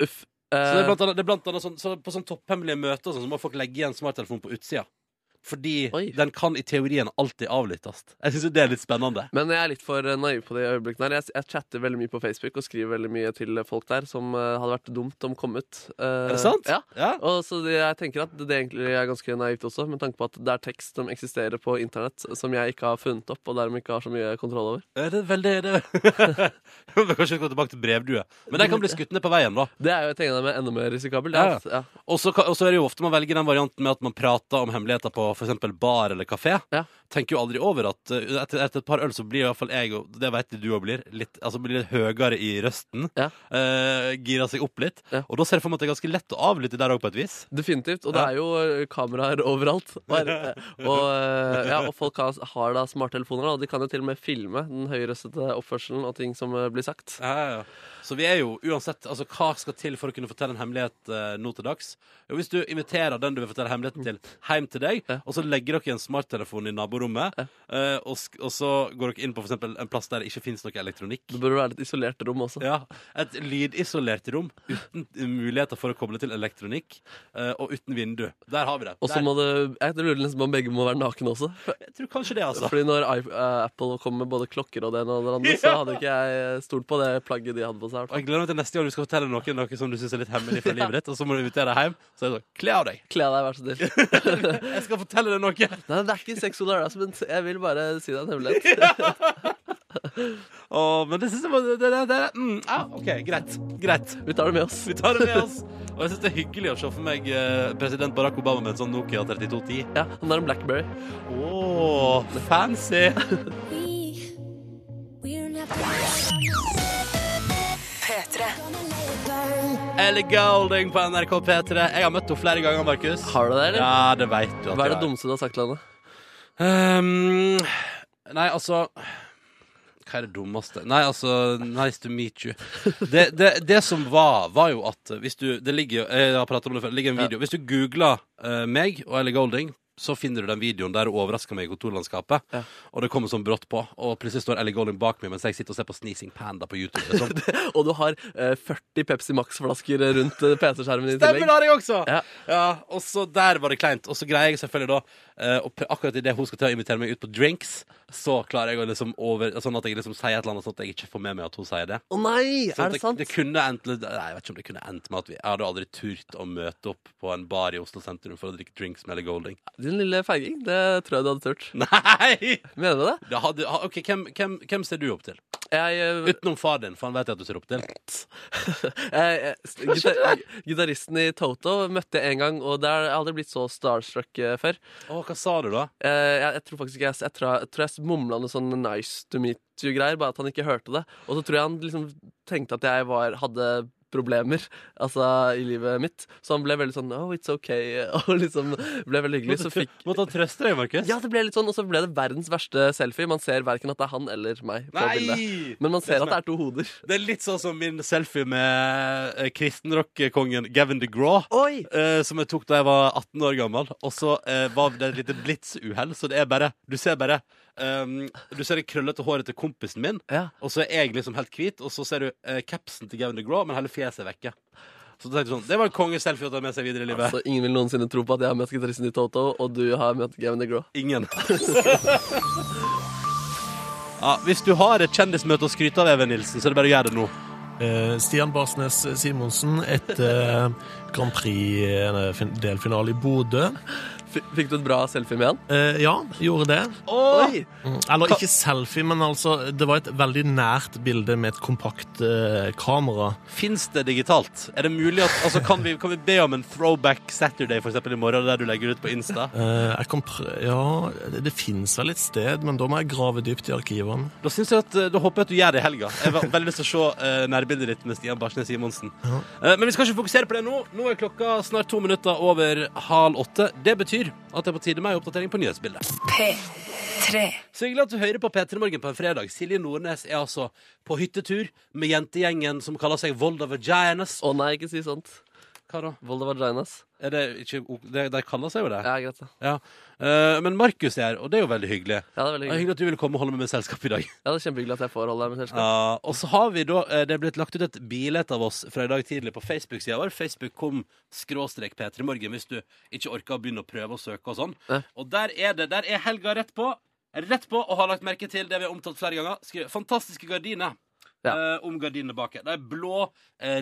C: Uff.
B: Så det er
C: Eh,
B: blant annet, det er blant annet sånn, så på sånn topphemmelige møter og sånn, så må folk legge igjen smarttelefonen på utsida. Fordi
C: Oi.
B: den kan i teorien alltid avlyttes. Jeg syns jo det er litt spennende.
C: men jeg er litt for eh, naiv på det i øyeblikkene. her. Jeg, jeg chatter veldig mye på Facebook og skriver veldig mye til folk der som eh, hadde vært dumt om kom ut. Eh,
B: Er det sant?
C: Ja.
B: Ja.
C: Og så det- jeg tenker at det egentlig er ganske naivt også, med tanke på at det er tekst som eksisterer på internett som jeg ikke har funnet opp, og dermed ikke har så mye kontroll over.
B: Ja, Det er veldig det er... Vi må Kanskje gå tilbake til brevdue. Men de kan bli skutt ned på veien, da.
C: Det er jo jeg tenker meg enda mer risikabelt.
B: Ja.
C: det er at- ja.
B: Og så kan- og så er det jo ofte man velger den varianten med at man prater om hemmeligheter på for eksempel bar eller kafé.
C: Ja.
B: Tenker jo aldri over at eh, etter, etter et par øl så blir i hvert fall jeg, og det vet du òg blir, litt, altså blir litt høyere i røsten.
C: Ja.
B: Eh, girer seg opp litt.
C: Ja.
B: Og da ser jeg for meg at det er ganske lett å avlytte der òg, på et vis.
C: Definitivt. Og det
B: Ja.
C: er jo eh, kameraer overalt. Bare, og, eh, ja, og folk har, har da smarttelefoner, da, og de kan jo til og med filme den høyrøstete oppførselen og ting som eh, blir sagt.
B: Ja, ja, ja. Så vi er jo uansett altså, Hva skal til for å kunne fortelle en hemmelighet eh, nå til dags? Jo, hvis du inviterer den du vil fortelle hemmeligheten til, hjem til deg,
C: Ja.
B: og så legger dere en smarttelefon i naborommet, eh, og, sk- og så går dere inn på for eksempel en plass der det ikke fins noe elektronikk.
C: Det burde være et isolert rom også.
B: Ja, Et lydisolert rom uten muligheter for å koble til elektronikk, eh, og uten vindu. Der har vi det.
C: Og så
B: Der.
C: må det Jeg lurer nesten på om begge må være nakne også.
B: Jeg tror kanskje det, altså.
C: Fordi når I- eh, Apple kom med både klokker og det ene og det andre, så hadde ikke jeg eh, stolt på det plagget de hadde på seg. i hvert
B: Og
C: fall.
B: jeg gleder meg til neste gang du skal fortelle noen noe som du syns er litt hemmelig fra livet ditt, og så må du invitere deg hjem. Så er det sånn Kle av deg!
C: Kle av deg, vær så snill.
B: Jeg skal fortelle deg noe!
C: Nei, det er ikke sexual harassment. Jeg vil bare si deg en hemmelighet.
B: Åh, men det synes jeg var det, det, det, det. Mm, ja, OK, greit. Greit.
C: Vi tar det med oss.
B: Vi tar det med oss. Og jeg syns det er hyggelig å se for meg eh, president Barack Obama med en sånn Nokia 3210.
C: Ja, Han har en Blackberry.
B: Åh, fancy!
E: We, we don't have to worry
D: P3.
E: about gonna let it burn.
B: Ellie Golding på NRK P3. Jeg har møtt henne flere ganger, Markus.
C: Har du det, eller?
B: Ja, det vet du at
C: Hva er det
B: jeg har.
C: dummeste du har sagt til henne?
B: Ehm, nei, altså Hva er det dummeste? Nei, altså Nice to meet you. Det, det, det som var, var jo at hvis du Det ligger jo- Jeg har pratet om det før. Det ligger en video. Hvis du googler eh, meg og Ellie Golding, så finner du den videoen der hun overrasker meg i kontorlandskapet.
C: Ja.
B: Og det kommer sånn brått på. Og plutselig står Ellie Golding bak meg mens jeg sitter og ser på Sneezing Panda på YouTube. Liksom.
C: Og du har eh, 40 Pepsi Max-flasker rundt eh, PC-skjermen din i
B: Stemmer,
C: tillegg.
B: det har jeg også! Ja.
C: Ja.
B: og så der var det kleint. Og så greier jeg selvfølgelig da eh, og pr- Akkurat idet hun skal til å invitere meg ut på drinks, så klarer jeg å liksom over Sånn at jeg liksom sier et eller annet sånn at jeg ikke får med meg at hun sier det.
C: Å nei,
B: Så
C: er det sant?
B: Det, det kunne endt litt- Nei, jeg vet ikke om det kunne endt med at vi Jeg hadde aldri turt å møte opp på en bar i Oslo sentrum for å drikke drinks med Ellie Golding.
C: Din lille feiging, det tror jeg du hadde turt.
B: Nei!
C: Mener du det?
B: Det hadde, ha- ok, hvem, hvem, hvem ser du opp til?
C: Jeg, eh,
B: Utenom far din, for han vet jeg at du ser opp til.
C: jeg, jeg, gitar, eh, gitaristen i Toto møtte jeg en gang, og der har jeg aldri blitt så starstruck eh, før.
B: Å, hva sa du da?
C: Eh, Jeg, jeg tror faktisk ikke jeg, jeg, tror, jeg tror jeg mumla noe sånn 'nice to meet you'-greier, bare at han ikke hørte det. Og så tror jeg han liksom tenkte at jeg var, hadde problemer altså, i livet mitt, så han ble veldig sånn 'oh, it's ok', og liksom ble veldig hyggelig. Så fikk
B: Måtte han trøste deg, Markus?
C: Ja, det ble litt sånn, og så ble det verdens verste selfie. Man ser verken at det er han eller meg på bildet.
B: Nei!
C: Men man ser at det er sånn to hoder.
B: Det er litt sånn som min selfie med eh, kristenrock-kongen Gavin DeGraw.
C: Oi!
B: eh, som jeg tok da jeg var 18 år gammel. Og så eh, var det et lite blitsuhell, så det er bare Du ser bare ehm, Du ser det krøllete håret til kompisen min,
C: Ja.
B: og så er jeg liksom helt hvit, og så ser du eh, capsen til Gavin the Grå, men hele fjeset er vekke. Så da tenkte jeg sånn, Det var en kongeselfie å ta med seg videre i livet.
C: Så ingen vil noensinne tro på at jeg har møtt gitaristen i Toto, og du har møtt Gavin DeGraw.
B: Ingen. ja, hvis du har et kjendismøte å skryte av, Even Nilsen, så er det bare å gjøre det nå.
I: Eh, Stian Barsnes Simonsen etter Grand Prix-delfinale i Bodø.
C: F- Fikk du et bra selfie med han?
I: Eh, ja, gjorde det.
C: Oi!
I: Mm, Eller ikke selfie, men altså det var et veldig nært bilde med et kompakt eh, kamera.
B: Fins det digitalt? Er det mulig at, altså, kan, vi, kan vi be om en throwback Saturday for eksempel, i morgen, der du legger ut på Insta?
I: Eh, jeg kan prø ja, det, det fins vel et sted, men da må jeg grave dypt i arkivene.
B: Da, synes jeg at, eh, da håper jeg at du gjør det i helga. Jeg har veldig lyst til å se eh, nærbildet ditt med Stian Barsnes Simonsen. Eh, men vi skal ikke fokusere på det nå. Nå er klokka snart to minutter over halv åtte. Det betyr at det er på tide med en oppdatering på nyhetsbildet.
D: P3.
B: Så hyggelig at du hører på P3 Morgen på en fredag. Silje Nordnes er altså på hyttetur med jentegjengen som kaller seg Volda Vaginas.
C: Å nei, ikke si sånt.
B: Hva da?
C: Volda vaginas.
B: Er det ikke, de, de kaller seg jo det.
C: Ja, greit. da.
B: Ja. Eh, men Markus er her, og det er jo veldig hyggelig.
C: Ja, det er veldig
B: Det er
C: hyggelig.
B: hyggelig at du ville komme og holde meg med selskap i dag.
C: Ja, det er Kjempehyggelig at jeg får holde deg med selskap.
B: Ja, og så har vi da eh, Det er blitt lagt ut et bilett av oss fra i dag tidlig på Facebook-sida vår. Facebook kom skråstrek P3 Morgen hvis du ikke orker å begynne å prøve å søke og sånn.
C: Ja.
B: Og der er det. Der er helga rett på. Rett på og har lagt merke til det vi har omtalt flere ganger. Skriver, fantastiske gardiner.
C: Ja.
B: Eh, om gardinene bak her. De blå eh,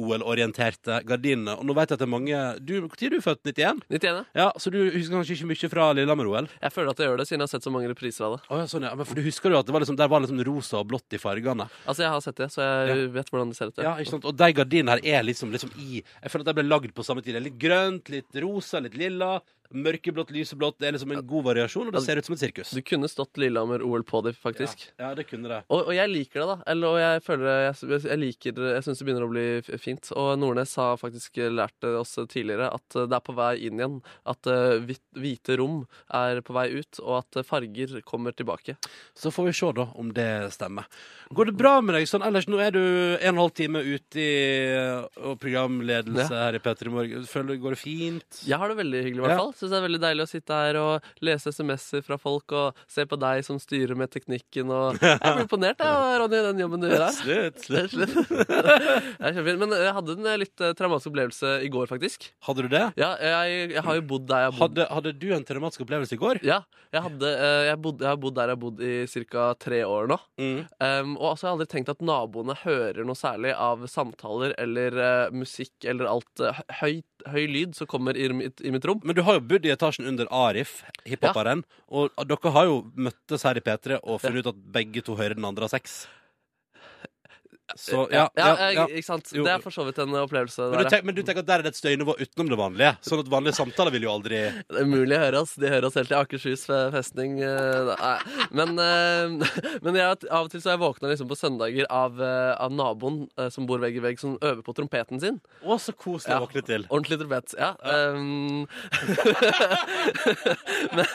B: Lillehammer-OL-orienterte gardinene. Og nå vet jeg at det er mange du, Når er du født? 91?
C: 91. ja.
B: Ja, Så du husker kanskje ikke mye fra Lillehammer-OL?
C: Jeg føler at jeg gjør det, siden jeg har sett så mange repriser av det.
B: Å ja, sånn, ja. Men for du husker jo at det var liksom, der var liksom rosa og blått i fargene.
C: Altså, jeg har sett det, så jeg vet hvordan det ser ut.
B: Ja, ikke sant? Og de gardinene her er liksom, liksom i Jeg føler at de ble lagd på samme tid. Det er Litt grønt, litt rosa, litt lilla. Mørkeblått, lyseblått. Det er liksom en god variasjon, og det ser ut som et sirkus.
C: Du kunne stått Lillehammer-OL på det,
B: Ja,
C: faktisk.
B: ja, det kunne det.
C: Og, og jeg liker det, da. Eller, og jeg føler det- jeg, jeg liker det. Jeg syns det begynner å bli f- fint. Og Nordnes har faktisk lært eh, oss tidligere at eh, det er på vei inn igjen. At eh, hvit, hvite rom er på vei ut, og at eh, farger kommer tilbake.
B: Så får vi se, da, om det stemmer. Går det bra med deg sånn ellers? Nå er du en og en halv time ute i eh, og programledelse her i P3 Morgen. Føler du går det fint?
C: Jeg har det veldig hyggelig, i hvert
B: Ja.
C: fall. Syns det er veldig deilig å sitte her og lese SMS-er fra folk, og se på deg som styrer med teknikken, og Jeg blir imponert, jeg, Ronny, den jobben du gjør her.
B: Slutt,
C: Det
B: slutt.
C: er kjempefint. Men jeg hadde en eh, litt eh, traumatisk opplevelse i går, faktisk.
B: Hadde du det?
C: Ja, jeg, jeg har jo bodd der jeg har bodd.
B: Hadde, hadde du en traumatisk opplevelse i går?
C: Ja, jeg, hadde, eh, jeg, bodde, jeg har bodd der jeg har bodd i ca. tre år nå.
B: Mm.
C: Em, og altså, jeg har aldri tenkt at naboene hører noe særlig av samtaler eller eh, musikk eller alt eh, høy, høy lyd som kommer i mitt, i mitt rom.
B: Men du har jo bodd i etasjen under Arif, hiphoperen, og dere har jo møttes her i P3 og funnet ut at begge to hører den andre ha sex. Så ja, ja,
C: jeg-
B: ja.
C: Ikke sant?
B: Jo,
C: Det
B: jo.
C: er for så vidt en opplevelse.
B: Men, du
C: Der, ja.
B: tenk, men du tenker at der er det et støynivå utenom det vanlige? Sånn at vanlige samtaler vil jo aldri
C: Det er umulig å høre oss. De hører oss helt til Akershus eh, festning. eh, nei. Men, eh, men jeg, av og til så er jeg våkna liksom på søndager av, eh, av naboen eh, som bor vegg i vegg, som øver på trompeten sin.
B: Å, så koselig å våkne til.
C: Ordentlig trompet, ja. Ehm, men,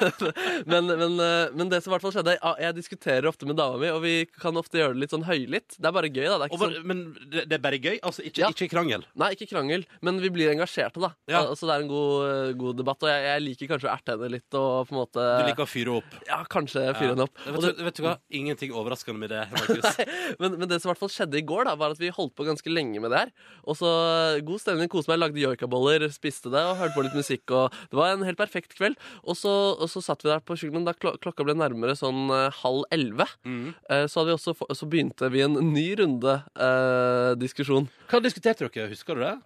C: men, men, eh, men det som i hvert fall skjedde Jeg jeg diskuterer ofte med dama mi, og vi kan ofte gjøre det litt sånn høylytt. Det er bare gøy, da. Det er
B: Og
C: ikke
B: bare,
C: sånn,
B: men det, det er bare gøy? Altså ikke,
C: Ja.
B: ikke krangel?
C: nei, ikke krangel, men vi blir engasjerte, da.
B: Ja.
C: Al- Altså, det er en god, eh, god debatt, og jeg, jeg liker kanskje å erte henne litt og på en måte
B: Du liker å fyre opp?
C: Ja, kanskje fyre henne opp. Og
B: Vet,
C: det,
B: du- vet du hva? Ingenting overraskende med det, Markus.
C: men, men det som i hvert fall skjedde i går, da var at vi holdt på ganske lenge med det her. Og så eh, god stemning, koste meg, lagde joikaboller, spiste det og hørte på litt musikk. Og det var en helt perfekt kveld. Og så, og så satt vi der på kjøkkenet, da klo- klokka ble nærmere sånn eh, halv elleve.
B: Mm.
C: Eh, så, hadde vi også, få- så begynte vi en ny runde eh, diskusjon.
B: Hva diskuterte dere? Husker du det?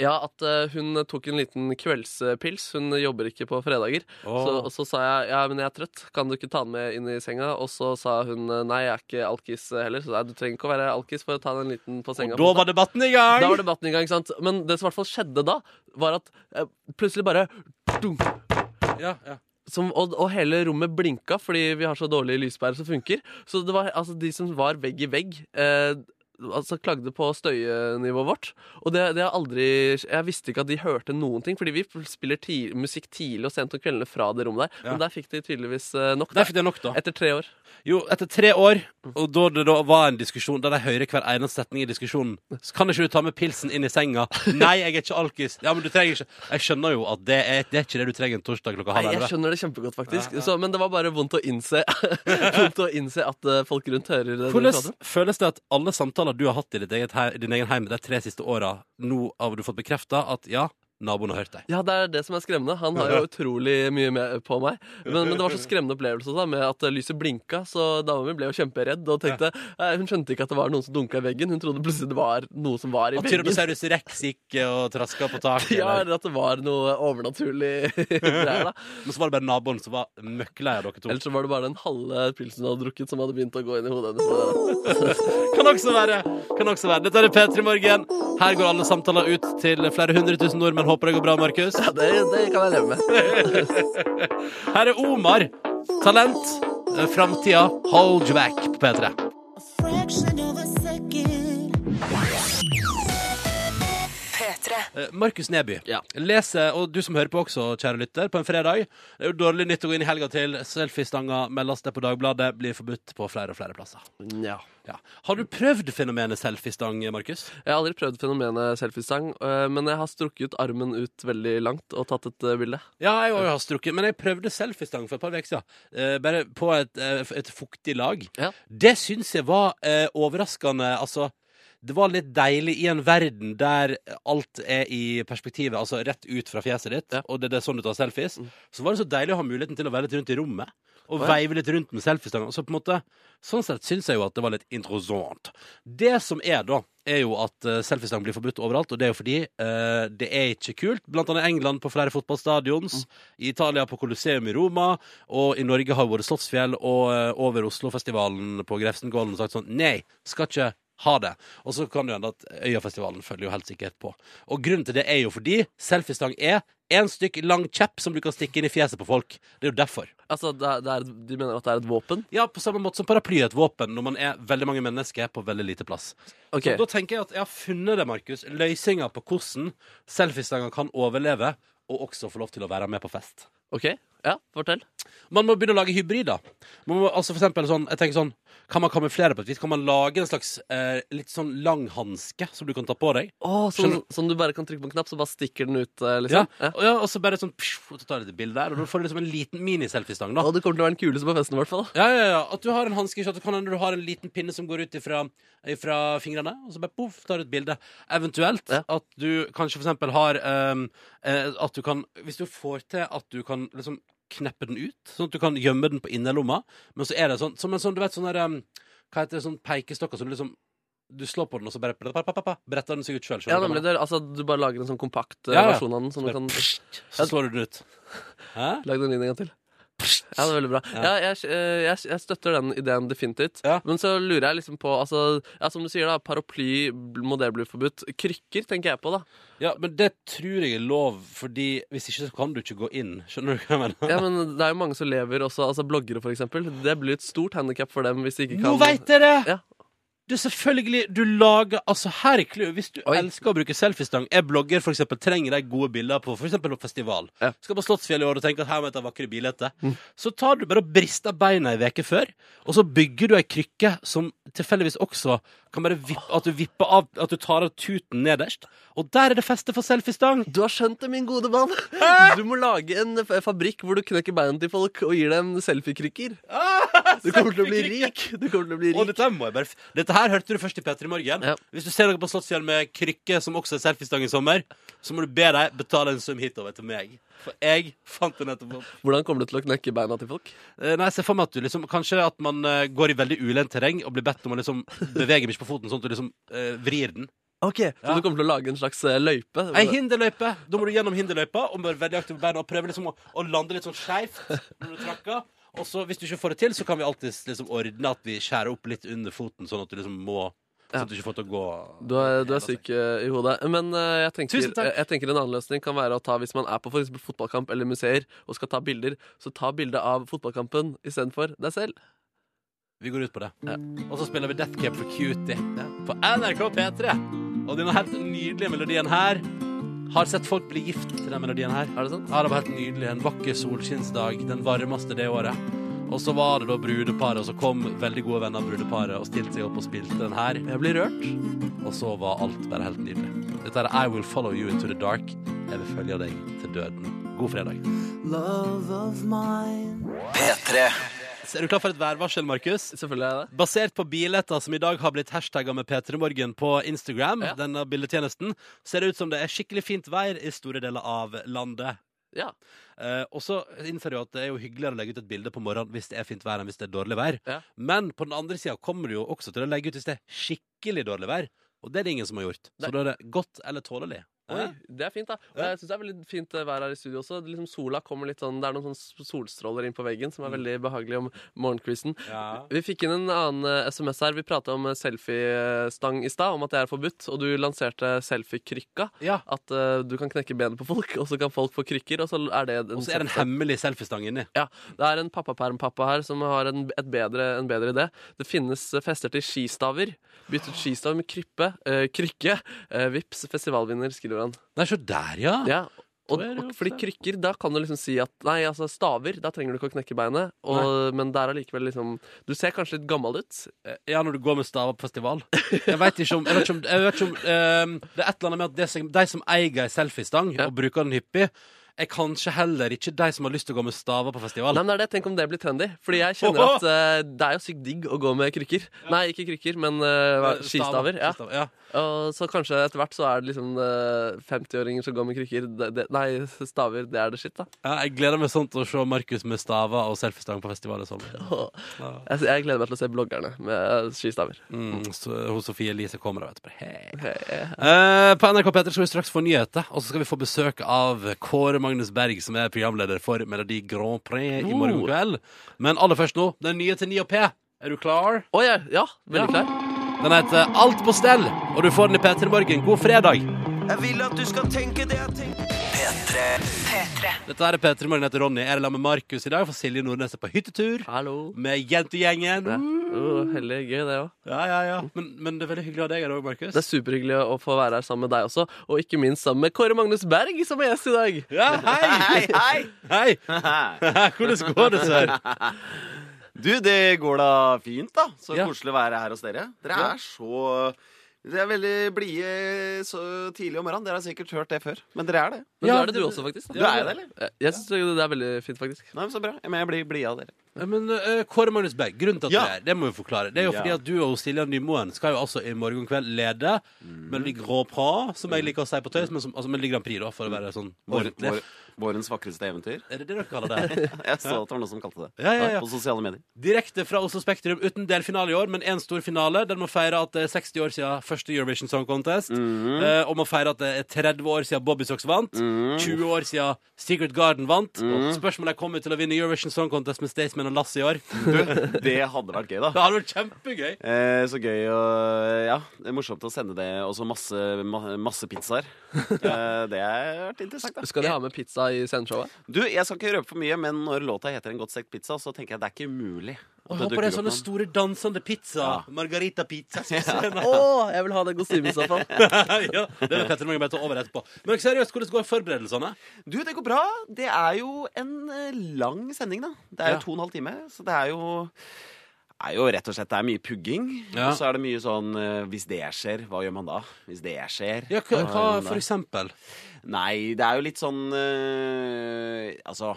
C: Ja, at eh, hun tok en liten kveldspils. Hun jobber ikke på fredager.
B: Åh.
C: Så, og så sa jeg ja, men jeg er trøtt, kan du ikke ta den med inn i senga? Og så sa hun eh, nei, jeg er ikke alkis eh, heller, så nei, du trenger ikke å være alkis for å ta den liten på senga.
B: Da var debatten i gang!
C: Da var debatten i gang, ikke sant? Men det som i hvert fall skjedde da, var at eh, plutselig bare dunk,
B: Ja, ja.
C: som, og, og hele rommet blinka fordi vi har så dårlige lyspærer som funker. Så det var altså de som var vegg i vegg eh, altså, klagde på støyenivået vårt. Og det, det har aldri Jeg visste ikke at de hørte noen ting, fordi vi spiller ti, musikk tidlig og sent om kveldene fra det rommet der.
B: Ja.
C: Men der fikk de tydeligvis eh, nok.
B: Der fikk det nok, da.
C: Etter tre år.
B: Jo, etter tre år,
C: Mm.
B: og da det da var en diskusjon der de hører hver eneste setning i diskusjonen så Kan ikke du ta med pilsen inn i senga? Nei, jeg er ikke alkis. Ja, men du trenger ikke Jeg skjønner jo at det er, det er ikke det du trenger en torsdag klokka
C: Nei,
B: halv
C: jeg
B: elleve.
C: skjønner det kjempegodt, faktisk. Så, men det var bare vondt å innse, vondt å innse at eh, folk rundt hører det. du prater
B: Hvordan
C: om.
B: føles det at alle samtaler du har hatt i ditt eget hei- din egen heim de tre siste åra, nå har du fått bekrefta at ja, naboen har hørt deg?
C: Ja, det er det som er skremmende. Han har jo utrolig mye med på meg. Men, men det var så skremmende opplevelse da, med at eh, lyset blinka, så dama mi ble jo kjemperedd. Og tenkte, eh, Hun skjønte ikke at det var noen som dunka i veggen. Hun trodde plutselig det var noe som var i
B: At
C: veggen.
B: Tyrannosaurus rex gikk og traska på taket?
C: Ja,
B: eller-
C: eller at det var noe overnaturlig greier, da.
B: Men så var det bare naboen som var møkklei av dere to.
C: Eller så var det bare den halve pilsen hun hadde drukket, som hadde begynt å gå inn i hodet hennes.
B: Kan også være. Kan også være. Dette er P3 Morgen. Her går alle samtaler ut til flere hundre tusen nordmenn. Håper det går bra, Markus.
C: Ja, det, det kan jeg leve med.
B: Her er Omar. Talent. eh, Framtida. Hold you back på P3.
D: P3.
B: Eh, Markus Neby.
C: Ja.
B: Leser, og du som hører på også, kjære lytter, på en fredag. Det er jo dårlig nytt å gå inn i helga til. Selfiestanga meldes det på Dagbladet. Blir forbudt på flere og flere plasser.
C: Ja.
B: Ja. Har du prøvd fenomenet selfiestang, Markus?
C: Jeg har aldri prøvd fenomenet selfiestang, øh, men jeg har strukket armen ut veldig langt og tatt et øh, bilde.
B: Ja, jeg har strukket, men jeg prøvde selfiestang for et par uker siden. Eh, bare på et, eh, et fuktig lag.
C: Ja.
B: Det syns jeg var eh, overraskende. Altså, det var litt deilig i en verden der alt er i perspektivet, altså rett ut fra fjeset ditt,
C: Ja. Mm.
B: og det, det er sånn du tar selfies. Så var det så deilig å ha muligheten til å være litt rundt i rommet. Og
C: Å, ja.
B: veive litt rundt med selfiestanga. Så på en måte, sånn sett syns jeg jo at det var litt interessant. Det som er, da, er jo at eh, selfiestang blir forbudt overalt, og det er jo fordi eh, det er ikke kult. Blant annet England på flere fotballstadions, i Italia på Colosseum i Roma, og i Norge har jo både Slottsfjell og eh, over Oslofestivalen på Grefsengollen sagt sånn Nei, skal ikke ha det. Og så kan det jo hende at Øyafestivalen følger jo helt sikkert på. Og grunnen til det er jo fordi selfiestang er en stykk lang kjepp som du kan stikke inn i fjeset på folk. Det er jo derfor.
C: Altså, det er, det er, De mener at det er et våpen?
B: Ja, på samme måte som paraply er et våpen når man er veldig mange mennesker på veldig lite plass.
C: Ok,
B: Da tenker jeg at jeg har funnet det, Markus. Løsninga på hvordan selfiestanger kan overleve og også få lov til å være med på fest.
C: ok, ja, fortell.
B: Man må begynne å lage hybrider. Man må, altså for eksempel sånn, jeg tenker sånn, Kan man kamuflere på et vis? Kan man lage en slags eh, litt sånn lang hanske som du kan ta på deg?
C: Oh, sånn,
B: Skjønner.
C: sånn du bare kan trykke på en knapp, så bare stikker den ut? øh,
B: Ja,
C: liksom ja.
B: og, ja, og så bare sånn psj, og så tar jeg et bilde der, og da får du liksom en liten mini-selfiestang. da
C: Og du kommer til å være den kuleste på festen, i hvert fall.
B: Ja, ja, ja. At du har en hanske, ikke at det kan hende du har en liten pinne som går ut ifra, ifra fingrene, og så bare poff, tar du et bilde. Eventuelt
C: Ja.
B: at du kanskje for eksempel har ehm, eh, At du kan Hvis du får til at du kan liksom kneppe den ut, sånn at du kan gjemme den på innerlomma, men så er det sånn som en sånn, du vet, sånn der ehm, Hva heter det, sånn pekestokker som du liksom du slår på den, og så bare pa, pa, pa, pa, pa, bretter den seg ut sjøl.
C: Ja, nemlig, det, er- altså, Du bare lager en sånn kompakt øh,
B: Ja, ja.
C: versjon av den. Som du kan
B: Så slår du den ut. Hæ?
C: Lag den inn en gang til. Ja, det er veldig bra. Ja, jeg, øh, jeg, jeg støtter den ideen definitivt.
B: Ja.
C: Men så lurer jeg liksom på altså, ja, Som du sier, da, paraply må det bli forbudt. Krykker tenker jeg på, da.
B: Ja, men det tror jeg er lov, fordi hvis ikke så kan du ikke gå inn. Skjønner du hva jeg mener?
C: Ja, men Det er jo mange som lever også, altså bloggere for eksempel. Det blir et stort handikap for dem hvis de ikke kan
B: Nå veit dere!
C: Ja.
B: Du selvfølgelig, du lager Altså her er clouet. Hvis du
C: Oi.
B: elsker å bruke selfiestang, er blogger for eksempel, trenger de gode bilder på for eksempel på festival.
C: Ja. Mm.
B: Skal på Slottsfjell i år og tenker at her må jeg ta vakre bilder etter. Så tar du bare og brister beina ei uke før, og så bygger du ei krykke som tilfeldigvis også kan bare vippe At du vipper av At du tar av tuten nederst, og der er det feste for selfiestang!
C: Du har skjønt det, min gode mann! Du må lage en f- fabrikk hvor du knekker beina til folk og gir dem selfiekrykker.
B: Ah,
C: Du kommer til å bli rik! Du kommer til å bli
B: Og
C: rik.
B: dette, må jeg bare f dette her hørte du først i P3 Morgen.
C: Ja.
B: Hvis du ser noe på Slottsfjell med krykke, som også er selfiestang i sommer, så må du be dem betale en sum hitover til meg. For jeg fant den etterpå.
C: Hvordan kommer du til å knekke beina til folk?
B: Eh, Nei, se for meg at du liksom Kanskje at man eh, går i veldig ulendt terreng og blir bedt om å liksom bevege meg ikke på foten, sånn at du liksom eh, vrir den.
C: Ok, Så
B: Ja.
C: du kommer til å lage en slags eh, løype?
B: Ei hinderløype! Da må du gjennom hinderløypa og være veldig aktiv på beina og prøve liksom å, å lande litt sånn skeivt når du trakker. Og så, hvis du ikke får det til, så kan vi alltids liksom ordne at vi skjærer opp litt under foten, sånn at du liksom må Sånn at du ikke får til å gå
C: Du er, du er syk eh, i hodet. Men eh, jeg tenker,
B: Tusen takk.
C: jeg tenker en annen løsning kan være å ta hvis man er på for eksempel fotballkamp eller museer og skal ta bilder, så ta bilde av fotballkampen istedenfor deg selv.
B: Vi går ut på det. Og så spiller vi Death Cab for Cutie på NRK P3. Og denne helt nydelige melodien her har sett folk bli gift til den melodien her.
C: Er det sant?
B: Ja, det var helt nydelig. En vakker solskinnsdag. Den varmeste det året. Og så var det da brudeparet, og så kom veldig gode venner av brudeparet og stilte seg opp og spilte den her.
C: Jeg blir rørt.
B: Og så var alt bare helt nydelig. Dette er I Will Follow You Into The Dark. Jeg vil følge deg til døden. God fredag.
A: P3.
B: Er du klar for et værvarsel, Markus?
C: Selvfølgelig er jeg det.
B: Basert på billetter som i dag har blitt hashtagga med P3morgen på Instagram,
C: Ja.
B: denne bildetjenesten, ser det ut som det er skikkelig fint vær i store deler av landet.
C: Ja.
B: Eh, og så innser du at det er jo hyggeligere å legge ut et bilde på morgenen hvis det er fint vær enn hvis det er dårlig vær.
C: Ja.
B: Men på den andre sida kommer du jo også til å legge ut hvis det er skikkelig dårlig vær. Og det er det ingen som har gjort.
C: Nei.
B: Så da er det godt eller tålelig.
C: Oi,
B: Eh?
C: det er fint, da. Og jeg synes det er veldig fint eh, vær her i studio også. Det er Liksom sola kommer litt sånn, Det er noen sånn solstråler inn på veggen som er veldig
B: Mm.
C: behagelig om morgenkvisten.
B: Ja.
C: Vi fikk inn en annen eh, SMS her. Vi prata om eh, selfiestang i stad, om at det er forbudt. Og du lanserte selfiekrykka.
B: ja.
C: At eh, du kan knekke benet på folk, og så kan folk få krykker. Og så er det en
B: Og så er det en
C: selfie-
B: hemmelig selfiestang inni.
C: Ja, Det er en pappapermpappa her som har en, et bedre, en bedre idé. Det finnes eh, fester til skistaver. Bytt ut skistav med kryppe, eh, krykke. Eh, Vips, festivalvinner, skriver han.
B: Nei, se der, ja.
C: Ja, og,
B: Da er det jo
C: og fordi
B: ikke-
C: krykker, da kan du liksom si at Nei, altså staver, da trenger du ikke å knekke beinet. Og, men der er likevel liksom Du ser kanskje litt gammel ut.
B: Eh, Ja, når du går med staver på festival. Jeg vet ikke om, jeg vet ikke om, jeg vet ikke om ehm, Det er et eller annet med at det som, de som eier ei selfiestang
C: Ja.
B: og bruker den hyppig, er kanskje heller ikke de som har lyst til å gå med staver på festival.
C: Nei, men det er det, Tenk om det blir trendy. Fordi jeg kjenner at eh, det er jo sykt digg å gå med krykker. Nei, ikke krykker, men eh, hva-
B: Eh,
C: skistaver. Ja.
B: skistaver, ja.
C: Og så kanskje etter hvert så er det liksom eh, 50-åringer som går med krykker. Det, det, nei, staver, det er det shit, da.
B: Ja, jeg gleder meg sånn til å se Markus med staver og selfiestang på festival. i sommer.
C: Og Jeg, jeg gleder meg til å se bloggerne med eh, skistaver.
B: Mm, så, hos Sofie Elise kommer og etterpå. Hei.
C: Eh,
B: Eh, på NRK P3 skal vi straks få nyheter, og så skal vi få besøk av Kåre Magnus Berg, som er programleder for Melodi Grand Prix i morgen
C: Oh.
B: kveld. Men aller først nå, den nye til 9 og P. Er du klar?
C: Å ja, ja,
B: Ja.
C: veldig klar.
B: Den heter Alt på stell, og du får den i P3 Morgen. God fredag!
A: Jeg vil at du skal tenke det jeg tenker. P3.
B: Dette er P3 Morgen, jeg heter Ronny. Jeg er sammen med Markus i dag, for Silje Nordnes er på hyttetur
C: Hallo.
B: med jentegjengen.
C: Ja. Oh, heldig gøy, det òg.
B: Ja, ja, ja. Men, men det er veldig hyggelig å ha deg her òg, Markus.
C: Det er superhyggelig å få være her sammen med deg også, og ikke minst sammen med Kåre Magnus Berg, som er gjest i dag.
B: Ja, hei!
J: hei!
B: Hei! Hvordan går det, sør?
J: Du, det går da fint, da. Så
B: Ja.
J: koselig å være her hos dere. Dere
B: Ja.
J: er så Dere er veldig blide så tidlig om morgenen. Dere har sikkert hørt det før. Men dere er det.
C: Men
B: Ja,
C: du er det du
B: det-
C: også, faktisk.
J: Du
C: Da.
J: er det, eller?
C: Jeg- Jeg syns det er veldig fint, faktisk.
J: Nei, men Så bra. Men jeg blir blid av dere.
B: Ja, Men eh, Kåre Magnus Berg, grunnen til at
J: Ja.
B: du er her, det må vi forklare. Det er jo
J: Ja.
B: fordi at du og Silja Nymoen skal jo altså i morgen kveld lede Melodi Grand Prix, som jeg liker å si på tøys, men som, altså Melodi Grand Prix, da, for å være sånn
J: Mm. Vår,
B: ordentlig.
J: vår, vårens vakreste eventyr.
B: Er det det dere kaller det?
J: Jeg så at det var noen som kalte det
B: Ja, ja, ja.
J: på sosiale medier.
B: Direkte fra Oslo Spektrum, uten delfinale i år, men én stor finale. Den må feire at det er 60 år siden første Eurovision Song Contest.
J: Mhm.
B: eh, og må feire at det er 30 år siden Bobby Socks vant. 20 år siden Secret Garden vant.
J: Mhm.
B: Og spørsmålet er kommer vi til å vinne Eurovision Song Contest med Staysman og Lasse i år.
J: Du, det hadde vært gøy, da.
B: Det hadde vært kjempegøy.
J: Eh, så gøy å Ja, det er morsomt å sende det. Og så masse, ma- masse pizzaer. Eh, det har vært interessant, da.
C: Skal de ha med pizza i sceneshowet?
J: Du, jeg skal ikke røpe for mye, men når låta heter En godt stekt pizza, så tenker jeg det er ikke umulig.
B: Og jeg håper det er sånne store dansende pizza.
J: Ja.
B: Margarita pizza. skal vi se.
C: Å, jeg vil ha den kostymen i så fall.
B: ja, det vil Petter Mange bare ta over etterpå. Men seriøst, hvordan går forberedelsene?
J: Du, det går bra. Det er jo en eh, lang sending, da. Det er
B: Ja.
J: jo to og en halv time, så det er jo er jo rett og slett, Det er mye pugging.
B: Ja.
J: Og så er det mye sånn eh, Hvis det skjer, hva gjør man da? Hvis det skjer Eh,
B: Ja, hva, hva
J: gjør man da?
B: for eksempel?
J: Nei, det er jo litt sånn øh, Altså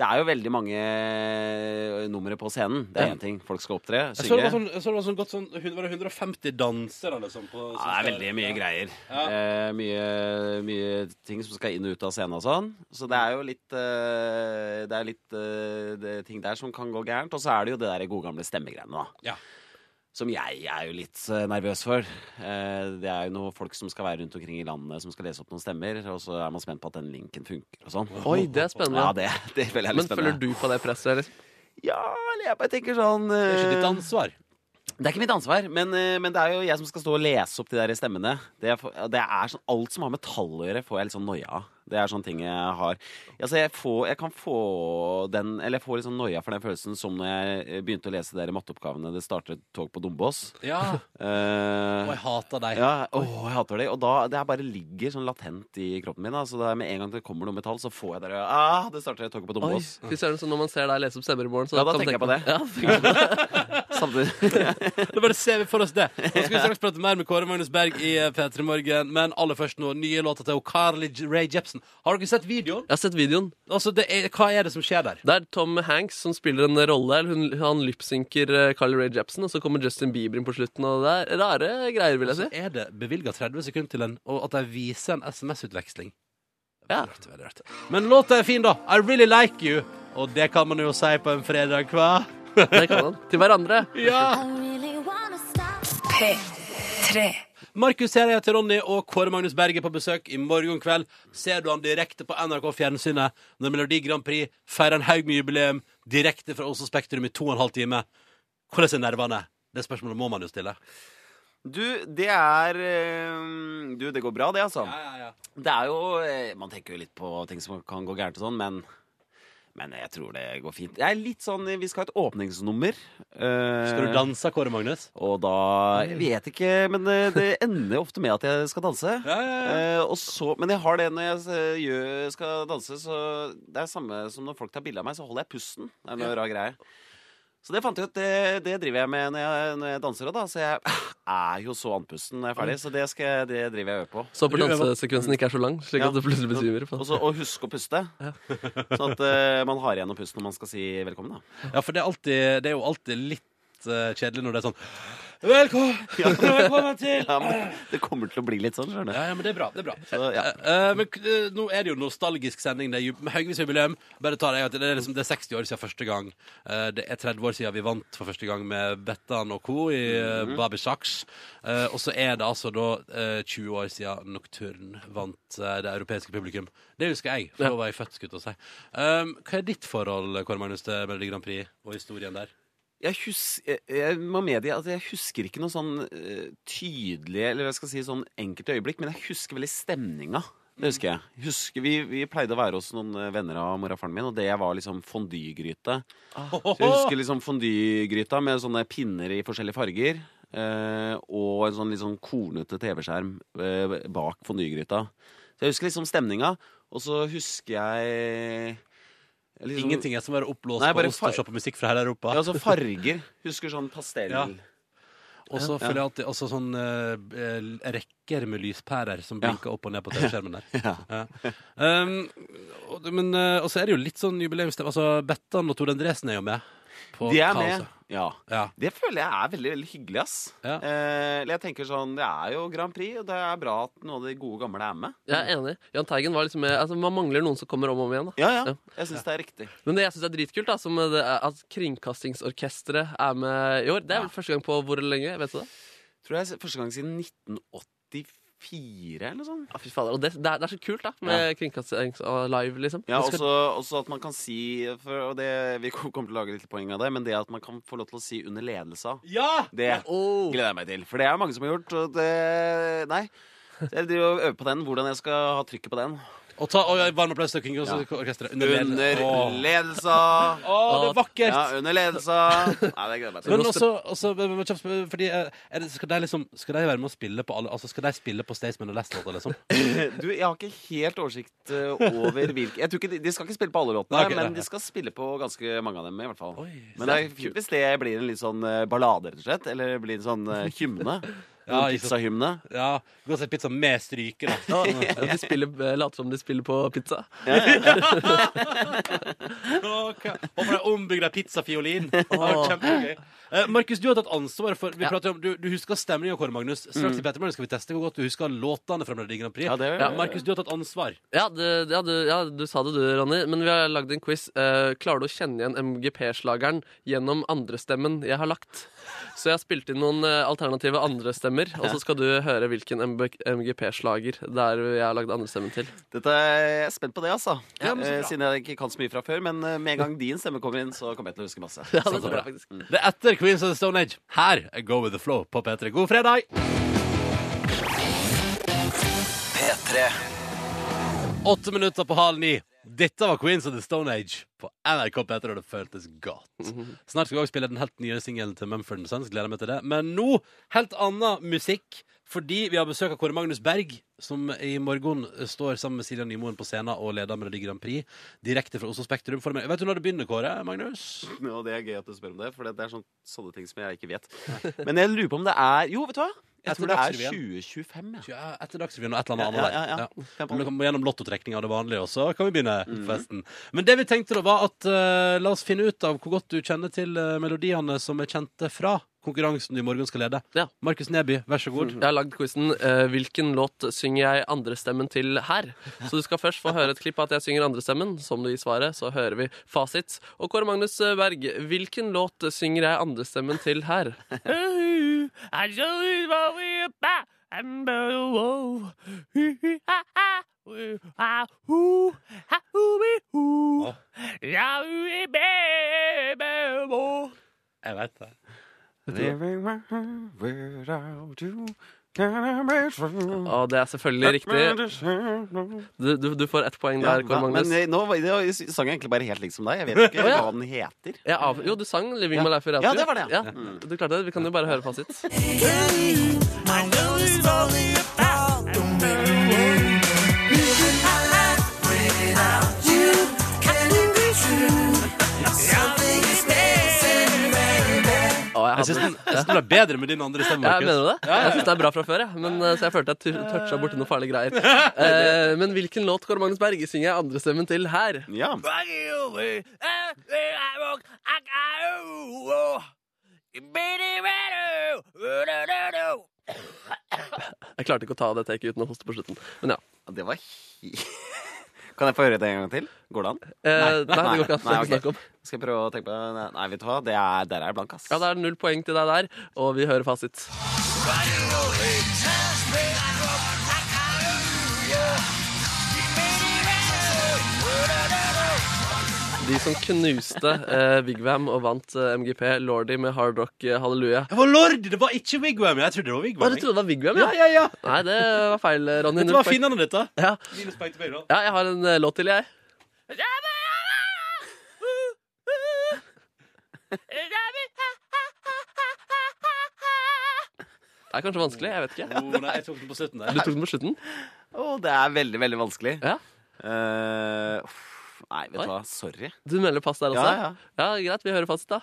J: det er jo veldig mange øh, numre på scenen. Det er én ting. Folk skal opptre,
B: Jeg så det
J: synge.
B: var sånn, jeg så det var sånn godt sånn hun- Var det 150 dansere, liksom? På,
J: Ja, det er veldig mye greier.
B: Ja.
J: Eh, mye, mye ting som skal inn og ut av scenen og sånn. Så det er jo litt øh, Det er litt øh, det, ting der som kan gå gærent. Og så er det jo det der gode gamle stemmegreiene, da.
B: Ja.
J: Som jeg er jo litt øh, nervøs for. Eh, det er jo noen folk som skal være rundt omkring i landet som skal lese opp noen stemmer, og så er man spent på at den linken funker og sånn.
C: Oi, det er spennende.
J: Ja, det, det er veldig
C: Men
J: spennende.
C: føler du på det presset? Eller?
J: Ja, eller jeg bare tenker sånn
B: Det er ikke ditt
J: eh,
B: ansvar.
J: Det er ikke mitt ansvar, men, eh, men det er jo jeg som skal stå og lese opp de der stemmene. Det er, for- det er sånn, alt som har med tall å gjøre, får jeg litt sånn noia av. Det er sånne ting jeg har. Altså, jeg, får, jeg kan få den Eller jeg får litt sånn noia for den følelsen som når jeg eh, begynte å lese de der matteoppgavene 'Det starter et tog på Dombås'.
B: Ja.
J: Eh,
B: Og jeg hater deg.
J: ja, åh, jeg hater det. Og da, det er bare ligger sånn latent i kroppen min. da. Så da med en gang det kommer noe metall, så får jeg det der, ah, Det starter et tog på
C: Oi,
J: Dombås.
C: fy søren, så når man ser deg lese opp stemmer i morgen så
J: Ja, da
C: kan du
J: tenker jeg på det.
C: Ja, tenker på det.
J: Samtidig
B: Da bare ser vi for oss det. Nå skal vi straks prate mer med Kåre Magnus Berg i eh, P3 Morgen, men aller først nå nye låter til Carly Ray Jepsen. Har dere sett videoen?
C: Jeg har sett videoen.
B: Altså, det er, Hva er det som skjer der?
C: Det er Tom Hanks som spiller en rolle. eller Hun, han lypsynker eh, Carly Rae Jepsen, og så kommer Justin Bieber inn på slutten. Og det er rare greier, vil jeg si.
B: Er det bevilga 30 sekunder til en, og at de viser en SMS-utveksling?
C: Ja.
B: Veldig rart, veldig rart. Men låta er fin, da. I really like you. Og det kan man jo si på en fredag, hva?
J: Altså,
C: Det kan han. Til hverandre.
B: Ja!
E: I really wanna stop.
D: P3.
B: Markus her heter Ronny, og Kåre Magnus Berg er på besøk i morgen kveld. Ser du han direkte på NRK Fjernsynet når Melodi Grand Prix feirer en haug med jubileum direkte fra Oslo Spektrum i to og en halv time. Hvordan er nervene? Det spørsmålet må man jo stille.
J: Du, det er eh, Du, det går bra, det, altså. Det er jo eh, Man tenker jo litt på ting som kan gå gærent og sånn, men men jeg tror det går fint. Jeg er litt sånn, Vi skal ha et åpningsnummer. eh,
B: Skal du danse, Kåre Magnus?
J: Og da Jeg vet ikke, men eh, det ender ofte med at jeg skal danse.
B: Ja, ja,
J: Eh, og så, men jeg har det når jeg eh, gjør, skal danse, så det er samme som når folk tar bilde av meg, så holder jeg pusten. Det er noe rar greie. Så det fant jeg ut, det, det driver jeg med når jeg, når jeg danser òg, da. Så jeg er jo så andpusten når jeg er
B: Mm.
J: ferdig, så det, skal, jeg- det driver jeg og øver på.
C: Så håper
B: Du øver.
C: dansesekvensen ikke er så lang, slik
J: Ja.
C: at du plutselig besvimer. på
J: Og
C: den.
J: så å huske å puste. Sånn at eh, man har igjen å puste når man skal si velkommen, da.
B: Ja, for det er, alltid, det er jo alltid litt eh, kjedelig når det er sånn Velkommen! Velkommen til
J: Ja, men det kommer til å bli litt sånn, skjønner du.
B: Ja, ja, men det er bra. det er bra
J: Så, ja.
B: Eh, eh, Men k- eh, nå er det jo nostalgisk sending. Det er ju- med Haugvis jubileum. Bare ta det, i at det, er liksom, det er 60 år siden første gang. Eh, det er 30 år siden vi vant for første gang med Bettan og co. i eh,
J: Mhm.
B: Babi Sachs. Eh, og så er det altså da eh, 20 år siden Nocturne vant eh, det europeiske publikum. Det husker jeg, for da var jeg født, skulle jeg til å si. Um, hva er ditt forhold, Kåre Magnus, til Melodi Grand Prix og historien der?
J: jeg, hus jeg, jeg må medgi at jeg husker ikke noe sånn eh, tydelig Eller hva skal jeg si, sånn enkelte øyeblikk, men jeg husker veldig stemninga. Det husker jeg.
B: Mm.
J: Jeg Husker, vi, vi pleide å være hos noen eh, venner av mora og faren min, og det var liksom fondygryte.
B: Ah.
J: Så jeg husker liksom fondygryta med sånne pinner i forskjellige farger. eh, og en sånn litt sånn kornete TV-skjerm eh, bak fondygryta. Så jeg husker liksom stemninga, og så husker jeg liksom-
B: Ingenting er som å være oppblåst
J: Nei,
B: på
J: bare
B: ost og
J: fa-
B: se på musikk fra hele Europa.
J: Ja, altså farger. Husker sånn pastell.
B: Ja. Og så føler jeg alltid også sånn eh, eh, rekker med lyspærer som blinker opp og ned på TV-skjermen der. Ja. Um, og, men, eh, og så er det jo litt sånn jubileumsstemning. Altså, Bettan og Tor Endresen er jo med. På
J: De er
B: kaoset.
J: med. Ja.
B: Ja.
J: Det føler jeg er veldig veldig hyggelig. ass
B: Ja.
J: eh, eller jeg tenker sånn, Det er jo Grand Prix, og det er bra at noen av de gode gamle er med.
C: Jeg er enig. Jahn Teigen var liksom med, altså Man mangler noen som kommer om og om igjen. da
J: Ja, ja, Jeg syns det er riktig.
C: Men det jeg syns er dritkult, da som det er at Kringkastingsorkesteret er med i år. Det er vel første gang på hvor lenge? Vet du det?
J: Tror jeg s- første gang siden 1984 eller noe sånt.
C: Ja, fy fader, og det, det, er, det er så kult, da, med kringkastings og live, liksom.
J: Ja,
C: Det skal-
J: også, også at man kan si for, og det, Vi kom- kommer til å lage litt poeng av det, men det at man kan få lov til å si 'under ledelse av',
B: Ja!
J: det
C: Åh.
J: gleder jeg meg til. For det er mange som har gjort. Og det, nei. Så Jeg driver og øver på den, hvordan jeg skal ha trykket på den.
B: Og ta og varm applaus til Kringkastingsorkesteret. Under,
J: Under
B: Åh.
J: ledelse av
B: Åh, det er vakkert!
J: Ja, under ledelse av Nei, det gleder jeg meg til.
B: Men også, også men- men kjapt spør- fordi, eh, er det, skal, de liksom, skal de være med å spille på alle Altså Skal de spille på Staysman og Last-låta, liksom?
J: Du, jeg har ikke helt oversikt eh, over hvilke Jeg tror ikke de, de skal ikke spille på alle låtene,
B: Nei, ok, nei,
J: men
B: nei.
J: de skal spille på ganske mange av dem, i hvert fall.
B: Oi,
J: men det er fint hvis det blir en litt sånn eh, ballade, rett og slett. Eller blir en sånn eh, hymne.
B: Ja,
J: En
B: ikke sant.
J: Pizzahymne.
B: Ja. Gå og se pizza med stryke, da.
C: Ja, de spiller, eh, later som de spiller på pizza.
B: Okay. Og for ei ombygd pizzafiolin. Det var
C: Åh.
B: Kjempegøy. Eh, Markus, du har tatt ansvar for vi prater om, du, du husker stemninga, Kåre Magnus. Straks i Petermorgen skal vi teste hvor godt du husker låtene fra Melodi Grand Prix.
J: Mm. Ja, det gjør jeg.
B: Markus, du har tatt ansvar.
C: Ja, det, ja, du, ja, du sa det du, Ronny, men vi har lagd en quiz. Eh, klarer du å kjenne igjen MGP-slageren gjennom andrestemmen jeg har lagt? Så jeg har spilt inn noen eh, alternative andrestemmer, og så skal du høre hvilken MGP-slager det er jeg har lagd andrestemmen til.
J: Dette jeg er spent på det, altså.
B: Ja, men så
J: Eh,
B: bra.
J: Siden jeg ikke kan så mye fra før. Men eh, med en gang din stemme kommer inn, så kommer jeg til å huske masse.
C: Ja, det tror jeg faktisk.
B: Mm. Det er etter Queens of the Stone Age. Her er Go With The Flow på P3. God fredag!
A: P3.
B: Åtte minutter på halv ni. Dette var Queens of the Stone Age på NRK P3, og det føltes godt. Snart skal vi også spille den helt nye singelen til Mumford Sons. Gleder meg til det. Men nå helt annen musikk, fordi vi har besøk av Kåre Magnus Berg, som i morgen står sammen med Silja Nymoen på scenen og leder Melodi Grand Prix direkte fra Oslo Spektrum. For meg. Vet du når det begynner, Kåre Magnus?
J: Og det er gøy at du spør om det, for det det er sånn, sånne ting som jeg ikke vet. Men jeg lurer på om det er Jo, vet du hva? Jeg
B: Etter
J: tror det er
B: Dagsrevyen.
J: 2025. Ja.
B: Ja, etter Dagsrevyen og et eller annet
J: Ja,
B: annet.
J: ja, ja, ja.
B: Om det kommer Gjennom lottotrekninga og det vanlige også kan vi begynne festen. Men det vi tenkte da, var at eh, la oss finne ut av hvor godt du kjenner til eh, melodiene som er kjente fra konkurransen du i morgen skal lede.
C: Ja.
B: Markus Neby, vær så god.
C: Jeg har lagd quizen eh, 'Hvilken låt synger jeg andrestemmen til her?' Så du skal først få høre et klipp av at jeg synger andrestemmen. Som du gir svaret, så hører vi fasit. Og Kåre Magnus Berg, hvilken låt synger jeg andrestemmen til her?
B: Jeg vet det.
C: Og det er selvfølgelig riktig. Du, du, du får ett poeng der, Kåre
J: men
C: Magnus.
J: eh, nå var- det var- sang jeg egentlig bare helt lik som deg. Jeg vet ikke
C: ja.
J: hva den heter.
C: Jeg av... Jo, du sang 'Living
J: Ja.
C: My Life Forever'.
J: Ja, det var det, Mm. ja.
C: Du klarte det. Vi kan jo bare høre fasit. Å, jeg
B: Jeg syns
C: hadde...
B: den, jeg synes den ble bedre med din andre stemme,
C: Jeg
B: Markus.
C: mener det. Jeg syns det er bra fra før, jeg. Men, eh, så jeg følte jeg tur- toucha borti noen farlige greier. Eh, men hvilken låt Kåre Magnus Berg synger jeg andrestemmen til her?
J: Ja.
C: Jeg klarte ikke å ta det taket uten å hoste på slutten. Men ja.
J: Det var he... Kan jeg få høre det en gang til? Går det an?
C: Eh, nei, det går ikke an. Det er ikke
J: ok.
C: snakk om.
J: Skal jeg prøve å tenke på Nei, nei vet du hva? Det er, der er jeg blank, ass.
C: Ja, det er null poeng til deg der, og vi hører fasit. De som knuste eh, Vigvam og vant eh, MGP, Lordi med Hard Rock eh, Halleluja.
B: Det var lord! Det var ikke Wigwam. Jeg trodde det var
C: Å,
B: Wigwam.
C: du trodde det var Vigvam,
B: Ja, ja, ja.
C: Nei, det var feil, Ronny.
B: Dette
C: Null
B: var
C: poeng.
B: finnene, dette.
C: Ja.
B: Minuspoeng til meg, da.
C: ja, jeg har en eh, låt til, jeg. Det er kanskje vanskelig, jeg vet ikke.
B: Oh, nei, jeg tok den på slutten
C: Du
B: der.
C: tok den på slutten?
J: Å, det er veldig, veldig vanskelig.
C: Ja.
J: Eh, uff, nei, vet
C: Oi.
J: du hva. Sorry.
C: Du melder pass der også?
J: Ja, ja.
C: Greit, vi hører fasit, da.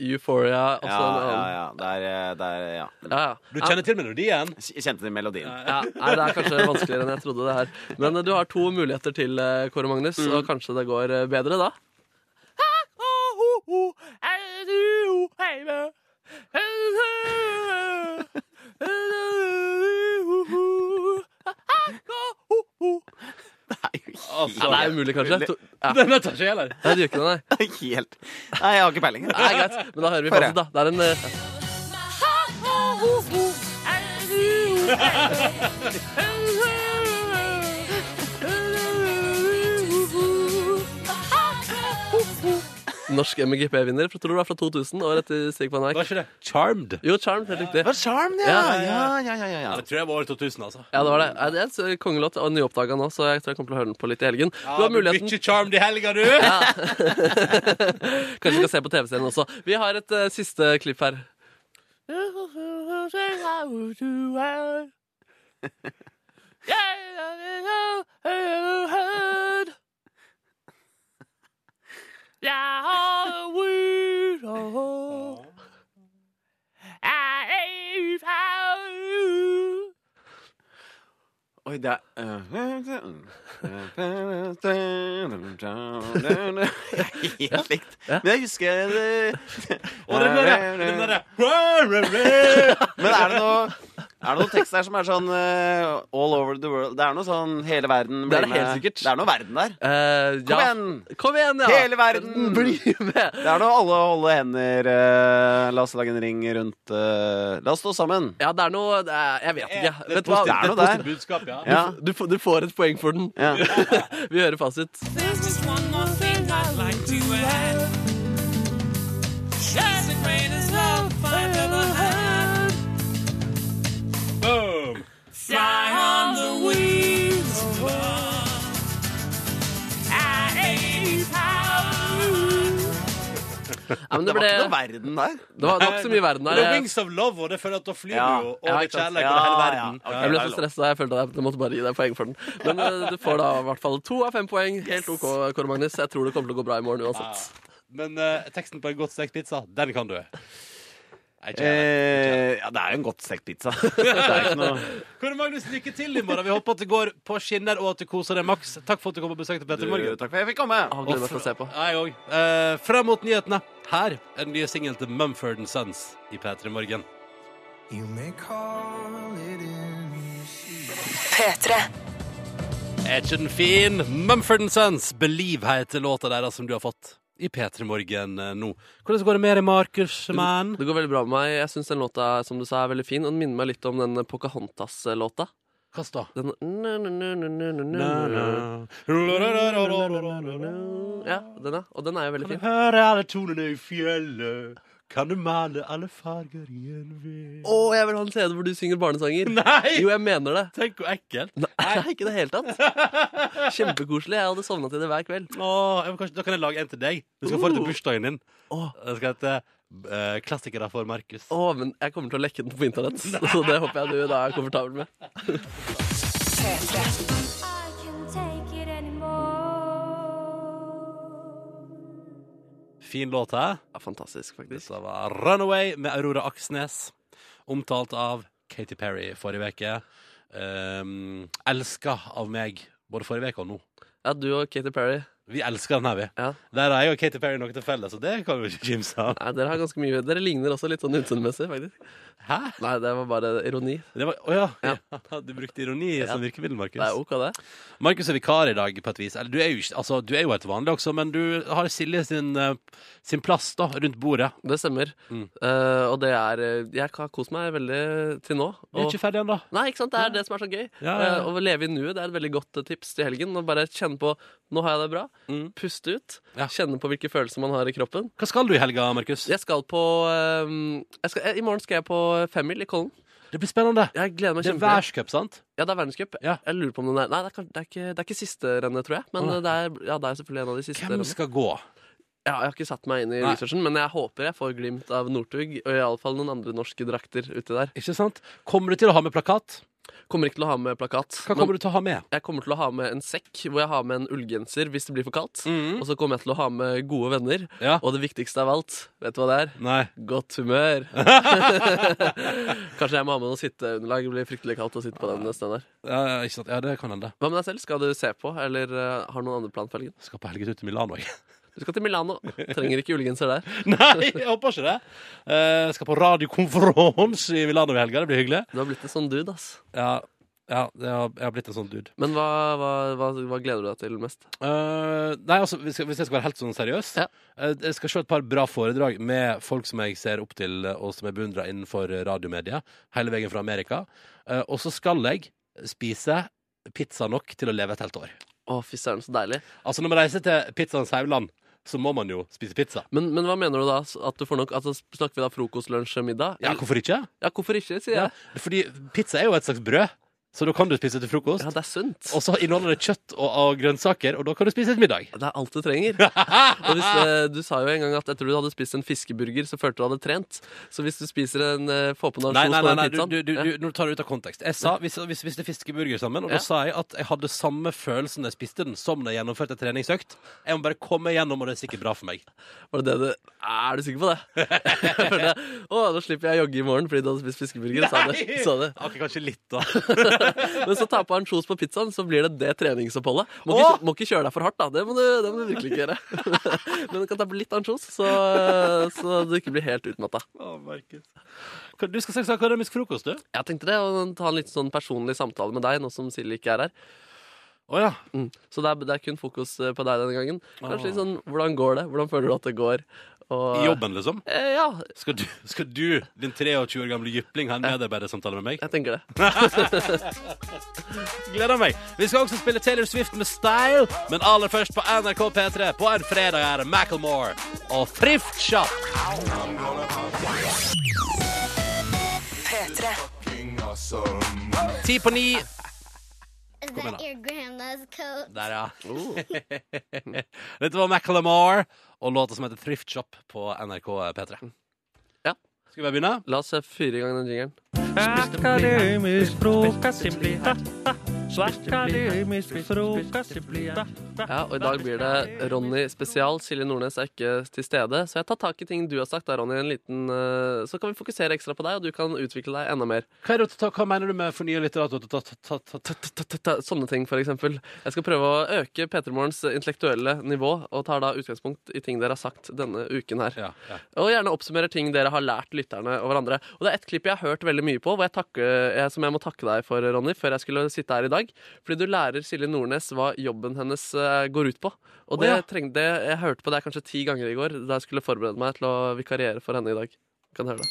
C: Euphoria. Også
J: Ja,
C: en
J: ja,
C: annen.
J: ja. Det er, eh, det er Ja.
C: ja, ja.
B: Du kjenner til melodien?
J: Jeg kjente den melodien.
C: Ja, nei, Det er kanskje vanskeligere enn jeg trodde. det her Men eh, du har to muligheter til, eh, Kåre Magnus, og kanskje det går eh, bedre da? Ja,
B: Altså,
C: det er umulig, kanskje. To, ja.
B: Den tar ikke jeg heller.
C: Nei, det gjør ikke det, nei.
J: Helt Nei, jeg har ikke peiling.
C: Nei, greit, men da hører vi
J: Bare.
C: fasit, da. Det er en eh, norsk MGP-vinner, tror du det var fra 2000, året etter Stig van
B: Var
C: Eyck.
B: ikke det Charmed?
C: Jo, Charmed, helt riktig.
J: Det var Charm, ja.
C: Ja,
J: Ja, ja, ja, ja,
B: Ja,
J: ja.
B: det tror jeg var år 2000, altså.
C: Ja, det var det. Nei, Det er en eh, kongelåt og nyoppdaga nå, så jeg tror jeg kommer til å høre den på litt i helgen. Du har muligheten.
B: Mye Charmed i helga, du!
C: Kanskje vi skal se på TV-serien også. Vi har et eh, siste klipp her. Eh,
J: Oi, det er Helt likt. Men jeg husker eh, det.
B: Og den derre den derre-
J: Men er det noe er det noen tekst der som er sånn eh, all over the world? Det er noe sånn hele verden
C: Det
J: blir
C: er det helt
J: med-
C: sikkert.
J: Det er noe verden der.
C: Eh,
J: Kom
C: ja.
J: igjen!
C: Kom igjen, ja!
J: Hele verden.
C: Bli med!
J: Det er noe alle holde hender eh, La oss lage en ring rundt eh, La oss stå sammen.
C: Ja, det er noe det er, Jeg vet ikke.
B: Det er
C: Vet du hva?
J: positivt.
B: et
J: Det er noe der.
B: positivt budskap, ja.
J: Ja.
C: Du, får- du får et poeng for den.
J: ja.
C: Vi hører fasit.
A: Shine the greatest love.
C: Ja, men
J: Det
C: det,
J: var
C: ble,
J: ikke noe verden der.
C: det var nok så mye verden der.
B: Det er
C: Jeg,
B: Wings of Love, og det føler jeg at da flyr
J: Ja.
B: du jo
C: Ja,
B: over
C: ikke sant.
B: kjærlighet over
J: Ja,
B: hele
J: ja.
B: verden.
J: Ok,
C: jeg ble
J: det
C: så
J: er lov.
C: stressa. Jeg følte at jeg måtte bare gi deg poeng for den. Men eh, du får da i hvert fall to av fem poeng. Helt OK, Kåre Magnus. Jeg tror det kommer til å gå bra i morgen uansett.
B: Men eh, teksten på en godt stekt pizza, den kan du. Nei, ikke jeg.
J: Eh, ja, det er jo en godt stekt pizza. Det er ikke noe
B: Kåre Magnus, lykke til i morgen. Vi håper at det går på skinner, og at du koser deg maks. Takk for at du kom på besøk til Petter i
J: du,
B: Morgen.
J: Takk for at jeg fikk komme.
C: Jeg gleder meg til å se på.
B: Jeg òg. Fram mot nyhetene. Her er den nye singelen til Mumford Sons i P3 Morgen.
D: P3.
B: Er ikke den fin? Mumford Sons, Believe heter låta deres som du har fått i P3 Morgen eh, nå. Hvordan går det med deg, Markus? Man?
C: Det går veldig bra med meg. Jeg syns den låta som du sa, er veldig fin. Og den minner meg litt om den Pocahontas-låta.
B: Kast da.
C: Den Ja, den, ja. Og den er jo veldig fin.
B: Høre alle tonene i fjellet. Kan du male alle farger i en ved?
C: Å, jeg vil ha en CD hvor du synger barnesanger.
B: Nei!
C: Jo, jeg mener det.
B: Tenk hvor ekkelt.
C: Nei, ikke i det hele tatt. Kjempekoselig. Jeg hadde sovna til det hver kveld.
B: Åh, jeg må kanskje, da kan jeg lage en til deg. Du skal få den til bursdagen din.
C: Åh.
B: Den skal hete eh, 'Klassikere for Markus'.
C: Å, men jeg kommer til å lekke den på internett, så det håper jeg du da er komfortabel med.
E: I can take it anymore.
B: Fin låt, hæ?
C: Ja, fantastisk, faktisk.
B: Dette var 'Runaway' med Aurora Aksnes. Omtalt av Katy Perry forrige uke. Um, elska av meg både forrige uke og nå.
C: Ja, du og Katy Perry.
B: Vi elsker den her, vi.
C: Ja.
B: Der er jeg og Katy Perry noe til felles, og det kan vi ikke kimse av.
C: Nei, dere har ganske mye Dere ligner også litt sånn utseendemessig, faktisk.
B: Hæ?
C: Nei, det var bare ironi.
B: Det var, å ja. Du brukte ironi som virkemiddel,
C: Det er
B: Markus.
C: OK, det.
B: Markus er vikar i dag, på et vis. Eller, du, er jo, ikke- altså, du er jo helt vanlig også, men du har Silje sin, eh, sin plass da, rundt bordet.
C: Det stemmer.
B: Mm.
C: Eh, og det er eh, Jeg har kost meg veldig til nå.
B: Vi er
C: Og,
B: ikke ferdig ennå.
C: nei, ikke sant? Det er det som er så gøy.
B: Ja, ja, ja.
C: Eh, å leve i nuet det er et veldig godt eh, tips til helgen. Å bare kjenne på Nå har jeg det bra.
B: Mm.
C: Puste ut.
B: Ja.
C: Kjenne på hvilke følelser man har i kroppen.
B: Hva skal du i helga, Markus?
C: Jeg skal på eh, jeg skal, eh, I morgen skal jeg på femmil i Kollen.
B: Det blir spennende.
C: Jeg gleder meg
B: Det er
C: kjempemye.
B: verdenscup, sant?
C: Ja, det er verdenscup.
B: Ja.
C: Jeg lurer på om den er Nei, det er, kan- det er ikke, det er ikke siste rennet, tror jeg. Men
B: Å,
C: eh, det er, ja, det er selvfølgelig en av de siste.
B: Hvem
C: rennene.
B: skal gå?
C: Ja, jeg har ikke satt meg inn i
B: Nei.
C: researchen, men jeg håper jeg får glimt av Northug. Og iallfall noen andre norske drakter uti der.
B: Ikke sant? Kommer du til å ha med plakat?
C: Kommer ikke til å ha med plakat.
B: Hva
C: Men
B: kommer du til å ha med?
C: jeg kommer til å ha med en sekk hvor jeg har med en ullgenser hvis det blir for kaldt.
B: Mhm.
C: Og så kommer jeg til å ha med gode venner.
B: Ja.
C: Og det viktigste av alt, vet du hva det er?
B: Nei.
C: Godt humør. Kanskje jeg må ha med noe sitteunderlag. Det blir fryktelig kaldt å sitte på den stedet der.
B: Ja, ikke sant? ja, det kan hende.
C: Hva med deg selv? Skal du se på, eller eh, har noen andre plan for helgen?
B: Skal på helgetur til Milano, jeg.
C: Du skal til Milano. Trenger ikke ullgenser der.
B: Nei, jeg håper ikke det. Eh, skal på radiokonferanse i Milano i helga. Det blir hyggelig.
C: Du har blitt en sånn dude, ass.
B: Ja, ja jeg har- jeg har blitt en sånn dude.
C: Men hva, hva, hva, hva gleder du deg til mest?
B: Eh, nei, altså, hvis, hvis jeg skal være helt sånn seriøs
C: Ja.
B: eh, Jeg skal se et par bra foredrag med folk som jeg ser opp til, eh, og som jeg beundrer innenfor eh, radiomediet, hele veien fra Amerika. Eh, og så skal jeg spise pizza nok til å leve et helt år.
C: Å, fy søren, så deilig.
B: Altså, når man reiser til pizzaens haugland, så må man jo spise pizza.
C: Men, men hva mener du da? s- At du får nok, altså, snakker vi da frokost, lunsj, middag?
B: Ja, hvorfor ikke?
C: ja, hvorfor ikke, sier
B: Ja.
C: jeg.
B: Fordi pizza er jo et slags brød, så da kan du spise til frokost.
C: Ja, det er sunt.
B: Og så inneholder det kjøtt og, og grønnsaker, og da kan du spise til middag.
C: Det er alt du trenger. Og hvis, eh, du sa jo en gang at etter du hadde spist en fiskeburger, så følte du hadde trent. Så hvis du spiser en eh, Får på noe
B: Nei, nei,
C: på
B: nei,
C: den
B: nei du,
C: pizzaen
B: du, du,
C: ja.
B: du, nå tar du ut av kontekst. Jeg sa, vi, vi spiste fiskeburger sammen, og
C: Ja.
B: da sa jeg at jeg hadde samme følelsen da jeg spiste den, som da jeg gjennomførte en treningsøkt. Jeg må bare komme igjennom, og det er sikkert bra for meg.
C: Var det det du Er du sikker på det? Jeg følte, Å, da slipper jeg å jogge i morgen fordi du hadde spist fiskeburger. Sa det.
B: Nei!
C: Sa det.
B: Ok, kanskje litt, da.
C: Men så ta på ansjos på pizzaen, så blir det det treningsoppholdet. Må,
B: Åh!
C: ikke, må ikke kjøre deg for hardt, da. Det må du, det må du virkelig ikke gjøre. Men du kan ta på litt ansjos, så, så du ikke blir helt utmatta.
B: Hva- Du skal snakke om akademisk frokost, du.
C: Jeg tenkte det, å ta en litt sånn personlig samtale med deg nå som Silje ikke er her.
B: Å ja.
C: Mm. Så det er, det er kun fokus eh, på deg denne gangen.
B: Åh.
C: Kanskje litt sånn hvordan går det? Hvordan føler du at det går? Og-
B: I jobben, liksom?
C: Eh, ja,
B: Skal du, skal du din 23 år gamle jypling, ha en medarbeidersamtale med meg?
C: jeg tenker det.
B: Gleder meg. Vi skal også spille Taylor Swift med Style, men aller først på NRK P3 på en fredag er det Macklemore og Thriftshop.
D: P3.
B: Ti på ni.
E: Is
B: that
E: your grandma's coat?
B: Der, ja. Dette var Macklemore og låta som heter Thrift Shop på NRK P3.
C: Ja.
B: Skal vi bare begynne?
C: La oss eh, fyre i gang den jingeren. Ja, og i dag blir det Ronny spesial. Silje Nordnes er ikke til stede, så jeg tar tak i ting du har sagt der, Ronny. En liten, eh, så kan vi fokusere ekstra på deg, og du kan utvikle deg enda mer.
B: Hva, er det, du tar- hva mener du med fornya litteratur? Ta- ta- ta- ta- ta-
C: Ta- Sånne ting, for eksempel. Jeg skal prøve å øke P3 Morgens intellektuelle nivå, og tar da utgangspunkt i ting dere har sagt denne uken her.
B: Ja, ja.
C: Og gjerne oppsummerer ting dere har lært lytterne og hverandre. Og det er et klipp jeg har hørt veldig mye på, hvor jeg takker, jeg, som jeg må takke deg for, Ronny, før jeg skulle sitte her i dag. Fordi du lærer Silje Nordnes hva jobben hennes eh, går ut på. Og det
B: Å, ja.
C: trengte det, jeg hørte på det kanskje ti ganger i går da jeg skulle forberede meg til å vikariere for henne i dag. Du Kan høre det.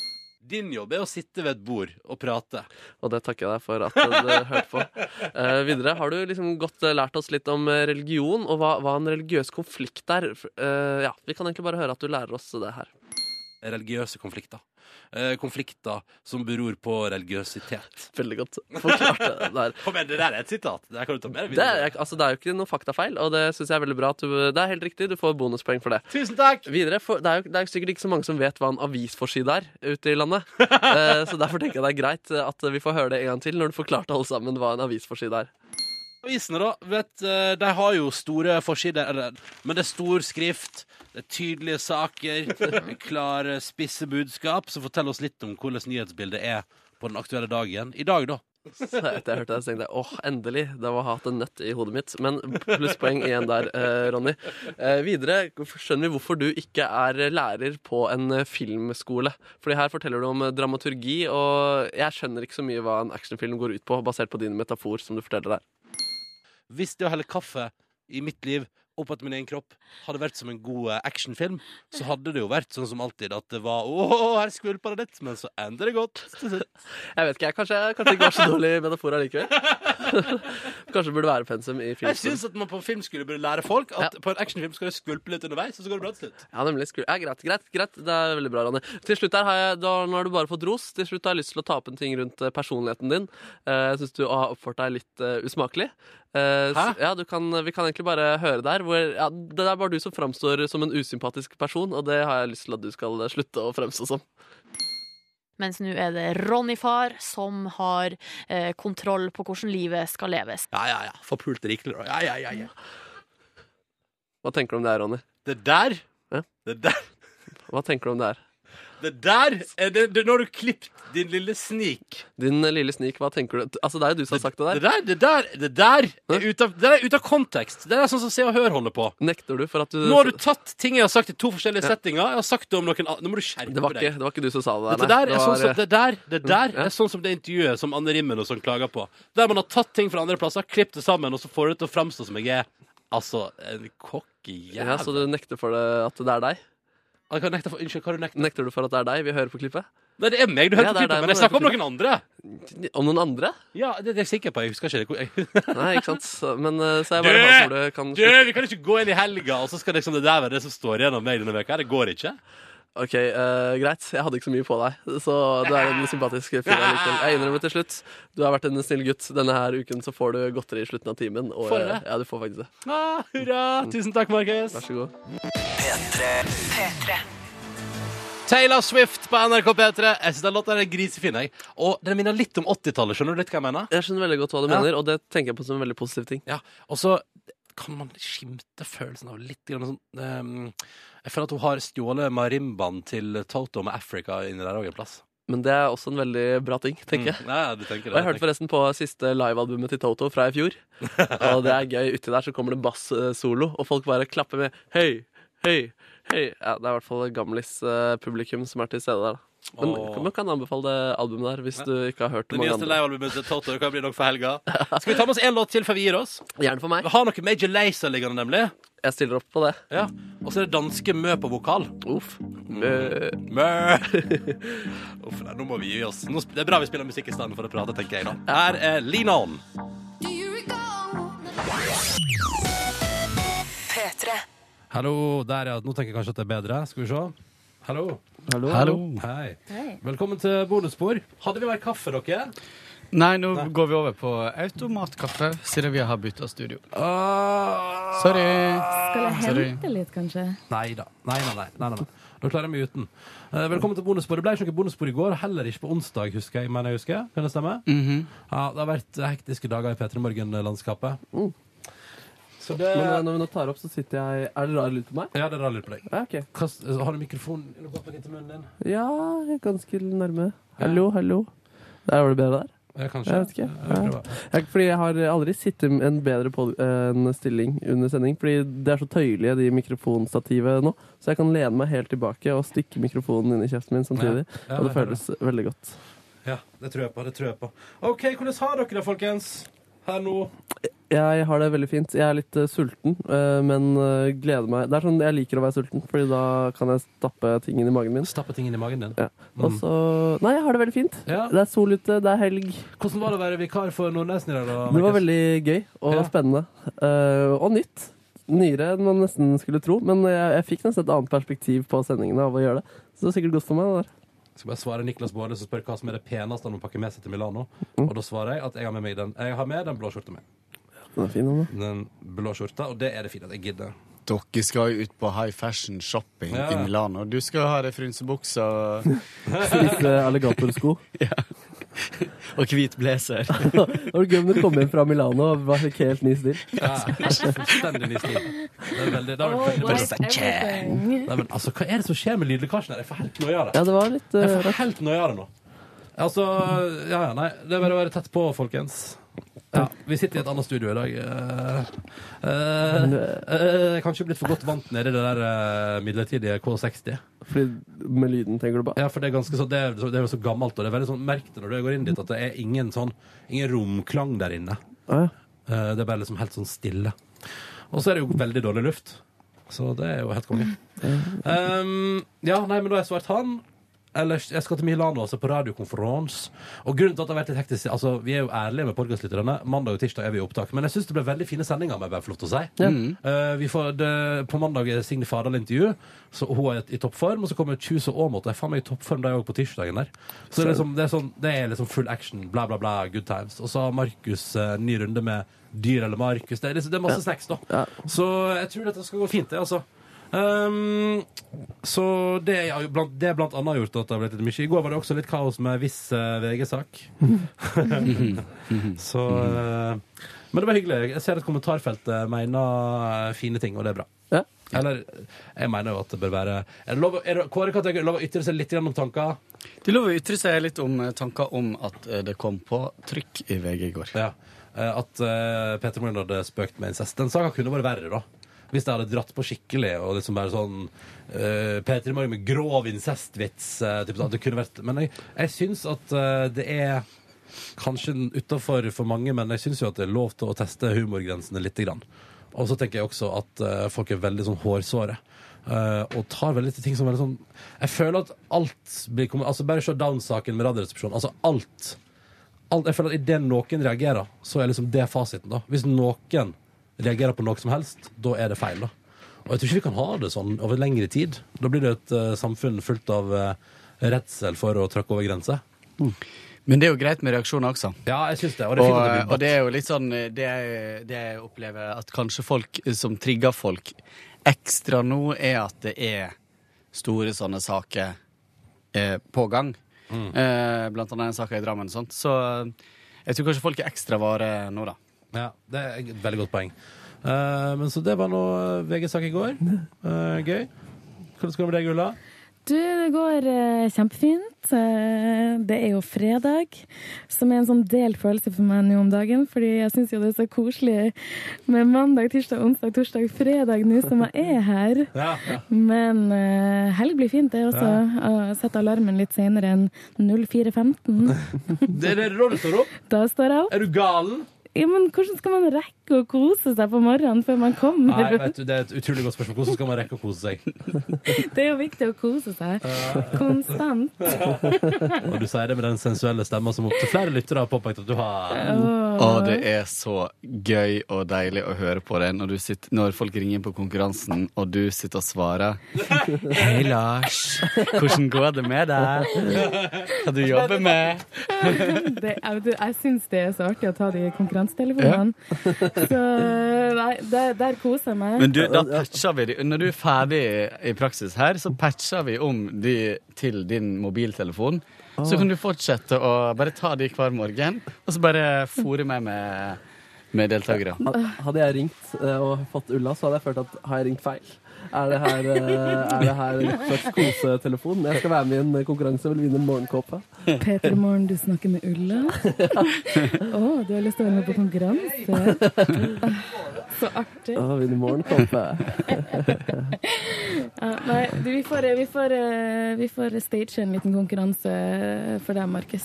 B: Din jobb er å sitte ved et bord og prate.
C: Og det takker jeg deg for at du hørte på. Eh, videre, har du liksom godt eh, lært oss litt om eh, religion, og hva, hva en religiøs konflikt er? F- eh, ja, vi kan egentlig bare høre at du lærer oss det her.
B: Religiøse konflikter. Eh, konflikter som beror på religiøsitet.
C: Veldig godt forklart det der.
B: Kom igjen, det der er et sitat. Det der kan du ta med deg
C: Det er,
B: videre.
C: jeg- altså, det er jo ikke noe faktafeil, og det syns jeg er veldig bra. At du, det er helt riktig, du får bonuspoeng for det.
B: Tusen takk!
C: Videre, for, det, er jo, det er jo sikkert ikke så mange som vet hva en avisforside er ute i landet. Eh, så derfor tenker jeg det er greit eh, at vi får høre det en gang til, når du forklarte alle sammen hva en avisforside er.
B: Avisene, da. Vet, eh, de har jo store forsider, eller, men det er stor skrift. Det er tydelige saker, klare, spisse budskap som forteller oss litt om hvordan nyhetsbildet er på den aktuelle dagen. I dag, da.
C: Så etter jeg hørte det, så tenkte jeg åh, endelig. Det var hatt en nøtt i hodet mitt. Men plusspoeng igjen der, eh, Ronny. Eh, videre skjønner vi hvorfor du ikke er lærer på en eh, filmskole. Fordi her forteller du om eh, dramaturgi, og jeg skjønner ikke så mye hva en actionfilm går ut på, basert på din metafor som du forteller der.
B: Hvis det å helle kaffe i mitt liv opp etter min egen kropp hadde vært som en god eh, actionfilm, så hadde det jo vært sånn som alltid at det var Å, her skvulpa det litt, men så ender det godt. til slutt.
C: Jeg vet ikke, jeg kanskje, kanskje det ikke var så dårlig metafor allikevel. kanskje det burde være pensum i
B: Jeg
C: filmskolen.
B: syns at man på en filmskole burde lære folk at på en actionfilm skal du skvulpe litt underveis, og så går det bra til slutt.
C: Ja, nemlig. Skru. Ja, greit, greit, greit. Det er veldig bra, Ronny. Til slutt her har jeg, da, Nå har du bare fått ros. Til slutt har jeg lyst til å ta opp en ting rundt eh, personligheten din. Eh, Jeg syns du har oppført deg litt eh, usmakelig. Eh,
B: Hæ?
C: s- Ja, du kan, vi kan egentlig bare høre der. Hvor, ja, det er bare du som framstår som en usympatisk person, og det har jeg lyst til at du skal eh, slutte å fremstå som.
K: Mens nå er det Ronny-far som har eh, kontroll på hvordan livet skal leves.
B: Ja, ja, ja. Forpult rikelig, da. Ja, ja, ja, ja.
C: Hva tenker du om det her, Ronny?
B: Det der
C: Hæ?
B: Det der,
C: Hva tenker du om det her?
B: det der er det, det, Nå har du klippet din lille snik.
C: Din eh, lille snik, hva tenker du? Altså, det er jo du som har sagt det
B: Det
C: der.
B: der, det der, det der er ute av, det der er ute av kontekst. Det der er sånn som Se og Hør holder på.
C: Nekter du for at du
B: Nå har du tatt ting jeg har sagt i to forskjellige settinger. Jeg har sagt det om noen an- Nå må du skjerpe
C: det var, ikke,
B: deg.
C: det var ikke du som sa det der.
B: Dette
C: nei.
B: der er
C: var,
B: sånn som
C: eh,
B: det der, det der
C: ja.
B: er sånn som det intervjuet som Anne Rimmen og sånn klager på. Der man har tatt ting fra andre plasser, klippet det sammen, og så får det til å framstå som jeg er altså en kokkejævel.
C: ja, så du nekter for det, at det er deg?
B: Jeg kan nekte for- Unnskyld, hva har du nekta?
C: Nekter du for at det er deg? Vi hører på klippet.
B: Nei, det er meg du hører
C: Ja,
B: på
C: det
B: klippet,
C: er deg
B: men jeg
C: man hører
B: snakker om
C: på
B: noen andre.
C: Om noen andre?
B: Ja, det, det er jeg sikker på. Jeg husker ikke det. hvor- Jeg,
C: Nei, ikke sant? Så- Men eh, så jeg
B: Dø!
C: bare håper du kan
B: du, vi kan ikke gå inn i helga, og så skal liksom det der være det som står igjen av meg denne veka. Det går ikke.
C: Ok, eh, greit. Jeg hadde ikke så mye på deg, så du er en sympatisk fyr allikevel. Jeg innrømmer til slutt. Du har vært en snill gutt. Denne her uken så får du godteri i slutten av timen. Og,
B: Får jeg
C: eh,
B: det?
C: ja, du får faktisk det.
B: Ah, hurra! Tusen takk, Markus.
C: Vær så god.
B: Taylor Swift på NRK P3. Jeg synes den låta er grisefin. Jeg. Og den minner litt om 80-tallet. Skjønner du litt hva jeg mener?
C: Jeg skjønner veldig godt hva du
B: Ja.
C: mener, og det tenker jeg på som en veldig positiv ting.
B: Ja, og så kan man skimte følelsen av litt grann sånn ehm, Jeg føler at hun har stjålet marimbaen til Toto med Africa inni der òg en plass.
C: Men det er også en veldig bra ting, tenker jeg.
B: Mm. Ja, ja, du tenker det.
C: Og jeg hørte
B: tenker.
C: forresten på siste livealbumet til Toto fra i fjor. Og det er gøy. Uti der så kommer det bass-solo, og folk bare klapper med høy, høy, høy. Ja, det er i hvert fall gamlis-publikum som er til stede der. da. Men
B: Åh.
C: man kan anbefale det albumet der hvis du ikke har hørt
B: det
C: mange
B: nyeste
C: andre.
B: livealbumet til Toto det kan bli nok for helga. Skal vi ta med oss én låt til før vi gir oss?
C: Gjerne for meg.
B: Vi har noe Major Lazer liggende, nemlig.
C: Jeg stiller opp på det.
B: Ja. Og så er det danske Mø på vokal.
C: Uff.
B: Mm.
C: Eh,
B: Mø. Uff, nei, nå må vi gi oss. Nå, sp- det er bra vi spiller musikk i stedet for å prate, tenker jeg da. Her er Lean On. Hallo, der ja. Nå tenker jeg kanskje at det er bedre. Skal vi se. Hallo. Hei. Velkommen til bonusspor. Hadde vi mer kaffe, dere?
L: Nei, nå går vi over på automatkaffe, siden vi har bytta studio. Sorry.
M: Skal jeg
L: Sorry.
M: hente litt, kanskje?
B: Nei da. Nei, nei, nei. nei, nei, nei. Da klarer jeg meg uten. Eh, velkommen til bonusbord. Det ble ikke noe bonusbord i går, heller ikke på onsdag, husker jeg. Men jeg husker. Kan det stemme?
C: Mhm.
B: Ja, Det har vært hektiske dager i P3 Morgen-landskapet. Så det
C: Men eh, når vi nå tar opp, så sitter jeg Er det rar lyd på meg?
B: Ja, det er rar lyd på deg.
C: Ja, ok.
B: Kast- eh, Har du mikrofonen eller koppen inntil munnen din?
C: Ja, ganske nærme. Hallo, hallo. Der var det bedre der.
B: Ja, kanskje.
C: Jeg vet ikke.
B: Ja, jeg prøver.
C: Jeg, fordi jeg har aldri sittet med en bedre pod en stilling under sending, fordi det er så tøyelige, de mikrofonstativet nå, så jeg kan lene meg helt tilbake og stikke mikrofonen inn i kjeften min samtidig,
B: Ja. Ja,
C: og det
B: jeg hører
C: føles veldig godt.
B: Ja, det tror jeg på. Det tror jeg på. OK, hvordan har dere det, folkens? Her nå.
C: Jeg har det veldig fint. Jeg er litt eh, sulten, eh, men eh, gleder meg. Det er sånn jeg liker å være sulten, fordi da kan jeg stappe ting inn i magen min.
B: Stappe ting inn i magen din?
C: Ja. Og så Nei, jeg har det veldig fint. Det er sol ute, det er helg.
B: Hvordan var det å være vikar for Nordnesen i dag? da,
C: Det var
B: Markus?
C: veldig gøy og spennende. Eh, og nytt. Nyere enn man nesten skulle tro, men jeg, jeg fikk nesten et annet perspektiv på sendingene av å gjøre det. Så det var sikkert godt for meg. det der.
B: Jeg skal bare svare Niklas Baarli, som spør hva som er det peneste han må pakke med seg til Milano.
C: Mm.
B: Og da svarer jeg at jeg har med meg den Jeg har med den blå skjorta mi.
C: Den er fin, den, da.
B: Den blå skjorta, og det er det fint at jeg gidder.
L: Dere skal jo ut på high fashion shopping
B: Ja.
L: i Milano. Du skal jo ha deg frynsebukse og
C: Spise alligatorsko.
L: Og hvit blazer.
C: det var gøy om du kom hjem fra Milano og var ikke helt ny stil.
B: Ja, fullstendig ny stil. Det er veldig, det er veldig,
C: Oh, boys,
B: veldig-
C: everything.
B: Nei, men altså, hva er det som skjer med lydlekkasjen her? Jeg får helt noia av det.
C: Ja, det var litt eh,
B: Jeg får helt noia av det nå. Altså, ja, ja, nei. Det er bare å være tett på, folkens. Ja, Vi sitter i et annet studio i dag. Eh, eh, eh, kanskje blitt for godt vant nede i det der eh, midlertidige K60.
C: Fordi med lyden, tenker du på?
B: Ja, for det er ganske sånn, det er, det er jo så gammelt, og det er veldig sånn, merk det når du går inn dit, at det er ingen sånn, ingen romklang der inne.
C: Ah,
B: Eh, det er bare liksom helt sånn stille. Og så er det jo veldig dårlig luft, så det er jo helt konge. Um, ja, nei, men da har jeg svart han. Ellers, jeg skal til Milano altså på radiokonferans. Og grunnen til at det har vært litt hektisk altså, Vi er jo ærlige med podkastlytterne. Mandag og tirsdag er vi i opptak. Men jeg syns det ble veldig fine sendinger. Med, flott å si.
C: Ja.
B: Eh, vi får det, på mandag er Signe Fardal intervju, så hun er i toppform. Og så kommer Kjus og Aamodt. De er faen meg i toppform de òg på tirsdagen der. Så det er, liksom, det, er sånn, det er liksom full action. Bla, bla, bla. Good times. Og så har Markus eh, ny runde med Dyr eller Markus. Det er, liksom, det er masse snacks, da. Så jeg tror dette skal gå fint, det, altså. Ehm, så det er, jo blant, det er blant annet gjort at det har blitt litt mye. I går var det også litt kaos med viss eh, VG-sak. så eh, Men det var hyggelig. Jeg ser at kommentarfeltet mener eh, fine ting, og det er bra. Eller jeg mener jo at det bør være er det lov, å- er det, Kåre, kan jeg lov å ytre seg litt grann om tanker?
L: Det er lov å ytre seg litt om eh, tanker om at eh, det kom på trykk i VG i går.
B: Ja. Eh, At eh, Peter Moren hadde spøkt med incest. Den saka kunne vært verre, da. Hvis det hadde dratt på skikkelig og liksom bare sånn uh, Peter Morgen med grov incestvits. eh, typ, sånn. det kunne vært, men jeg, jeg syns at eh, det er kanskje utafor for mange, men jeg syns jo at det er lov til å teste humorgrensene lite grann. Og så tenker jeg også at eh, folk er veldig sånn hårsåre. eh, og tar veldig til ting som er veldig sånn Jeg føler at alt blir kommet Altså Bare se Down-saken med Radioresepsjonen. Altså alt alt, jeg føler at Idet noen reagerer, så er liksom det fasiten. da Hvis noen reagerer på noe som helst, da er det feil. da Og jeg tror ikke vi kan ha det sånn over lengre tid. Da blir det et eh, samfunn fullt av eh, redsel for å tråkke over grenser.
L: Men det er jo greit med reaksjoner også.
B: Ja, jeg syns det.
L: Og,
B: Og det er fint at det blir
L: og det er jo litt sånn eh, det, er- det jeg opplever at kanskje folk eh, som trigger folk ekstra nå, er at det er store sånne saker eh, på gang.
B: Mm.
L: Eh, blant annet en sak i Drammen. Sant? Så eh, jeg tror kanskje folk er ekstra vare nå, da.
B: Ja, det er et veldig godt poeng. Eh, men så det var nå eh, VG-sak i går. Eh, gøy. Hvordan skal det med deg, Ulla?
M: Du, det går eh, kjempefint. Eh, det er jo fredag, som er en sånn delt følelse for meg nå om dagen. Fordi jeg syns jo det er så koselig med mandag, tirsdag, onsdag, torsdag, fredag nå som jeg er her. Men eh, helg blir fint, det også. Ja. Sette alarmen litt senere enn 04.15.
B: Det er det rollen står opp.
M: Da står jeg opp.
B: Er du galen?
M: Ja, men hvordan skal man rekke rekke å kose seg på morgenen før man kommer.
B: Nei, vet du, Det er et utrolig godt spørsmål. Hvordan skal man rekke å kose seg?
M: Det er jo viktig å kose seg konstant.
B: Og du sier det med den sensuelle stemma som opptil flere lyttere har påpekt at du har.
M: Åh.
N: Og det er så gøy og deilig å høre på det når, du sitter, når folk ringer inn på konkurransen, og du sitter og svarer. Hei, Lars. Hvordan går det med deg? Hva du jobber med?
M: Det, jeg vet du, jeg syns det er så artig å ta de konkurransetelefonene. Så eh, nei, der, der koser jeg meg.
N: Men du, da patcher vi de. Når du er ferdig i praksis her, så patcher vi om de til din mobiltelefon. Så
M: Ah.
N: kan du fortsette å bare ta de hver morgen, og så bare fôre meg med, med deltakere.
C: Ha- Hadde jeg ringt eh, og fått Ulla, så hadde jeg følt at har jeg ringt feil? Er det her, eh, er det her en slags kosetelefon? Jeg skal være med i en eh, konkurranse og vil vinne en morgenkåpe.
M: Peter Morn, du snakker med Ulla. Å, du har lyst til å være med på konkurranse? Så artig.
C: Ja, vinne morgenkåpe.
M: Ja, nei, du, vi får, vi får, Eh, vi får stage en liten konkurranse for deg, Markus.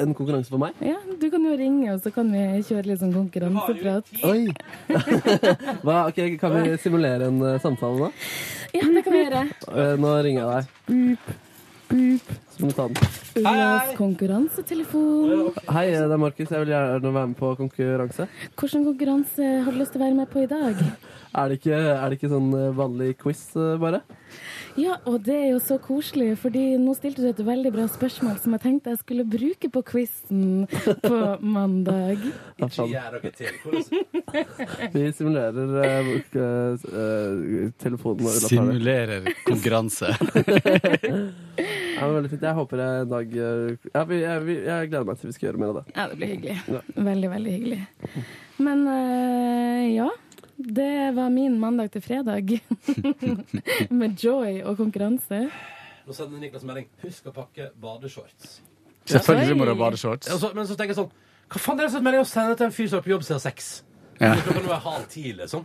C: En konkurranse for meg?
M: Ja, du kan jo ringe, og så kan vi kjøre litt sånn konkurranseprat.
C: Oi! Hva, ok, Kan vi simulere en eh, samtale nå?
M: Ja, det kan vi gjøre.
C: Eh, Nå ringer jeg deg. Så må du ta den.
M: Ullas konkurransetelefon.
C: Hei, eh, det er Markus. Jeg vil gjerne være med på konkurranse.
M: Hvilken konkurranse har du lyst til å være med på i dag?
C: Er det ikke, er det ikke sånn eh, vanlig quiz, eh, bare?
M: Ja, og det er jo så koselig, fordi nå stilte du et veldig bra spørsmål som jeg tenkte jeg skulle bruke på quizen på mandag.
C: Ikke
B: gjør dere til.
C: Vi simulerer eh, eh, eh, telefonen når Ulla tar det.
N: Simulerer konkurranse.
C: Ja, men veldig fint. Jeg håper jeg en dag eh, ja, vi, jeg, vi, jeg gleder meg til vi skal gjøre mer av det.
M: Ja, det blir hyggelig.
C: Ja.
M: Veldig, veldig hyggelig. Men eh, ja. Det var min mandag til fredag. Med joy og konkurranse.
B: Nå sender Niklas melding. Husk å pakke badeshorts.
N: Selvfølgelig må du ha badeshorts.
B: Ja, så, men så tenker jeg sånn Hva faen er det som er melding å sende til en fyr som er på jobb siden seks?
N: Ja.
B: Klokka nå er halv ti, liksom.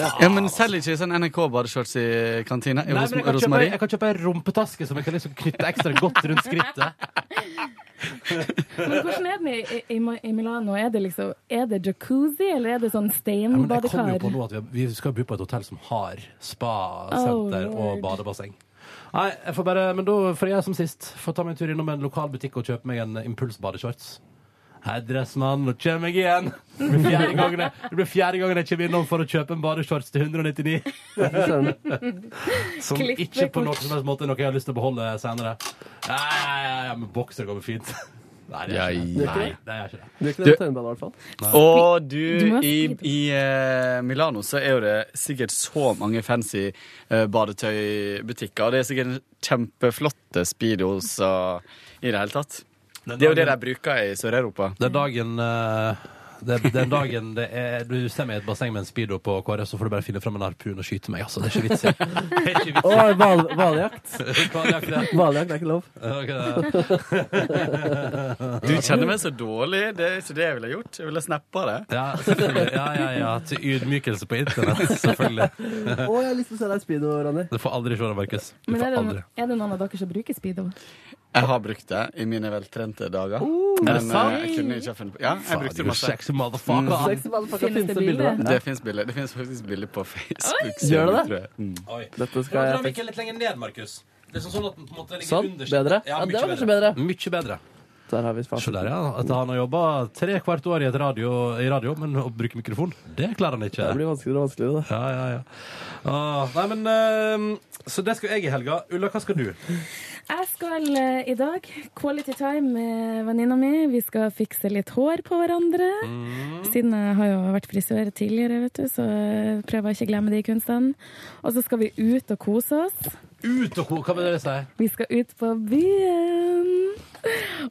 N: Ja, men selger ikke sånn NRK-badeshorts i kantina?
B: Nei, men jeg kan, kjøpe, jeg kan kjøpe en rumpetaske som jeg kan liksom knytte ekstra godt rundt skrittet.
M: Men hvordan er den i, i, i Milano? Er det liksom Er det jacuzzi, eller er det sånn
B: jeg kom jo
M: steinbadekar?
B: på nå at vi, vi skal bo på et hotell som har spa-senter
M: Oh,
B: og
M: Lord.
B: badebasseng. Nei, jeg får bare, men da får jeg som sist få ta meg en tur innom en lokal butikk og kjøpe meg en impulsbadeshorts. Hei, dressmann, nå kommer jeg igjen! Det blir fjerde gangen jeg, det blir fjerde gangen jeg kommer innom for å kjøpe en badeshorts til 199. Som ikke på noen som helst måte er noe jeg har lyst til å beholde senere. Nei, ja, ja, ja, men bokser går vel fint. Nei, det gjør ikke det.
N: Ja,
B: Nei,
N: ja.
B: det gjør ikke det.
C: Du er ikke det på Tøyenbadet, i hvert fall.
N: Og du,
C: må
N: i, i eh, Milano så er jo det sikkert så mange fancy eh, badetøybutikker. Og det er sikkert kjempeflotte speedos og i det hele tatt. Det er jo det de bruker i Sør-Europa.
B: Den dagen eh, det, Den dagen det er, du ser meg i et basseng med en speedo på KrF, så får du bare finne fram en harpun og skyte meg. Altså, det er ikke vits i.
C: Å, hval- hvaljakt.
B: Hvaljakt, ja.
C: Hvaljakt er ikke lov.
B: Ok, da.
N: Du kjenner meg så dårlig. Det er ikke det jeg ville gjort. Jeg ville snappa det.
B: Ja, selvfølgelig. ja, ja, ja. Til ydmykelse på internett, selvfølgelig.
C: Å, jeg har lyst til å se deg i speedo, Ronny.
B: Du får aldri se det, Markus. Du
M: Men
B: får
M: er
B: aldri.
M: det, er det noen av dere som bruker speedo?
N: Jeg har brukt det i mine veltrente dager.
B: Oh, Er det
N: men eh,
B: sant?
N: jeg kunne ikke ha funnet på Ja, jeg
B: Faen,
N: brukte
B: du
N: det masse.
B: sexy motherfucker.
C: Sexy motherfucker,
N: Finnes
C: finnes det bilder av?
N: Det fins bilder. Det fins faktisk bilder på Facebook.
C: Gjør det det?
N: tror jeg. Mm.
B: Oi.
C: Dette
B: Nå
C: skal
B: drar
C: jeg
B: vi ikke litt lenger ned, Markus. Det er sånn, sånn at den på en måte ligger
C: Sånn?
B: underst.
C: Bedre?
B: Ja,
C: Ja,
B: mye
C: det var kanskje
B: bedre.
C: bedre.
B: Mye bedre.
C: Der har vi fasiten.
B: Der, ja. At han har jobba tre hvert år i, et radio, i radio, men å bruke mikrofon, det klarer han ikke.
C: Det blir vanskeligere og vanskeligere.
B: Ja, ja, ja. Ah, nei, men ehm, Så det skal jeg i helga. Ulla, hva skal du?
M: Jeg skal eh, i dag quality time med venninna mi. Vi skal fikse litt hår på hverandre.
B: Mm.
M: Siden jeg har jo vært frisør tidligere, vet du, så eh, prøver jeg ikke å glemme de kunstene. Og så skal vi ut og kose oss.
B: Ut og ko... Hva vil dere si?
M: Vi skal ut på byen.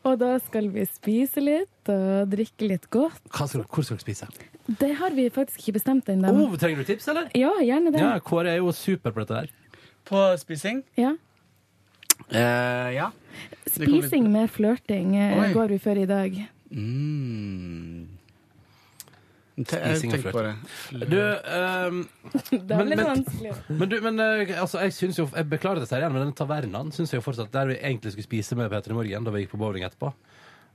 M: Og da skal vi spise litt og drikke litt godt.
B: Hva skal, hvor skal dere spise?
M: Det har vi faktisk ikke bestemt ennå.
B: Oh, trenger du tips, eller?
M: Ehm. Ja, gjerne det.
B: Ja, Kåre er jo super på dette der.
N: På spising?
M: Ja.
N: Eh, ja.
M: Spising med flørting eh,
N: Oi.
M: går vi for i dag.
N: Mm.
B: Spising og
N: Tenk på det.
B: Du, ehm,
M: Da
B: men-
M: blir det
B: men-
M: vanskelig.
B: Men du, men eh, altså, jeg syns jo Jeg beklager dette her igjen, men den tavernaen syns jeg jo fortsatt Der vi egentlig skulle spise med Peter i morgen, da vi gikk på bowling etterpå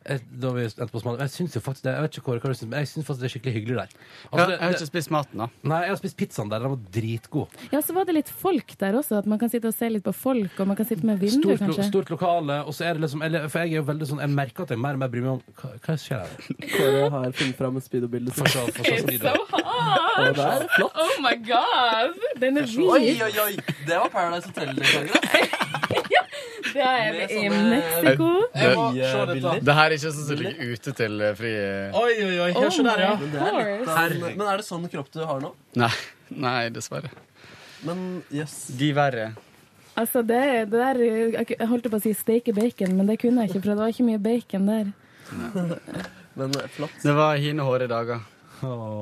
B: eh, da vi endte på smaken. Jeg syns jo faktisk det Jeg vet ikke Kåre, hva du syns, men jeg syns faktisk det er skikkelig hyggelig der.
L: Ja, jeg har ikke
B: spist maten, da. Nei, jeg har spist pizzaen der. Den var dritgod.
M: Ja, så var det litt folk der også, at man kan sitte og se litt på folk, og man kan sitte med vinduer,
B: Stort, lo,
M: kanskje.
B: stort lokale, og så er det liksom eller, For jeg er jo veldig sånn Jeg merker at jeg mer og mer bryr meg om Hva, hva skjer her?
O: Kåre har funnet fram et speedo-bilde.
B: Få se- få se speedo.
O: Og det er flott.
P: Oh my god! Den er
C: Oi, oi, oi! Det var Paradise Hotel-deltakere.
P: Det er
C: Med
P: vi i
C: sånne-
P: Mexico.
C: Jeg må se dette.
N: Det her er ikke sånn som ligger ute til eh, fri
C: Oi, oi, oi.
N: Hør så der, ja.
C: Men det, er litt av,
N: Herregud.
C: men er det sånn kropp du har nå?
N: Nei, nei, dessverre.
C: Men jøss.
N: De verre.
M: Altså, det, det der Jeg holdt på å si steike bacon, men det kunne jeg ikke, for det var ikke mye bacon der.
C: Men flott.
N: Det var hine hårde dager.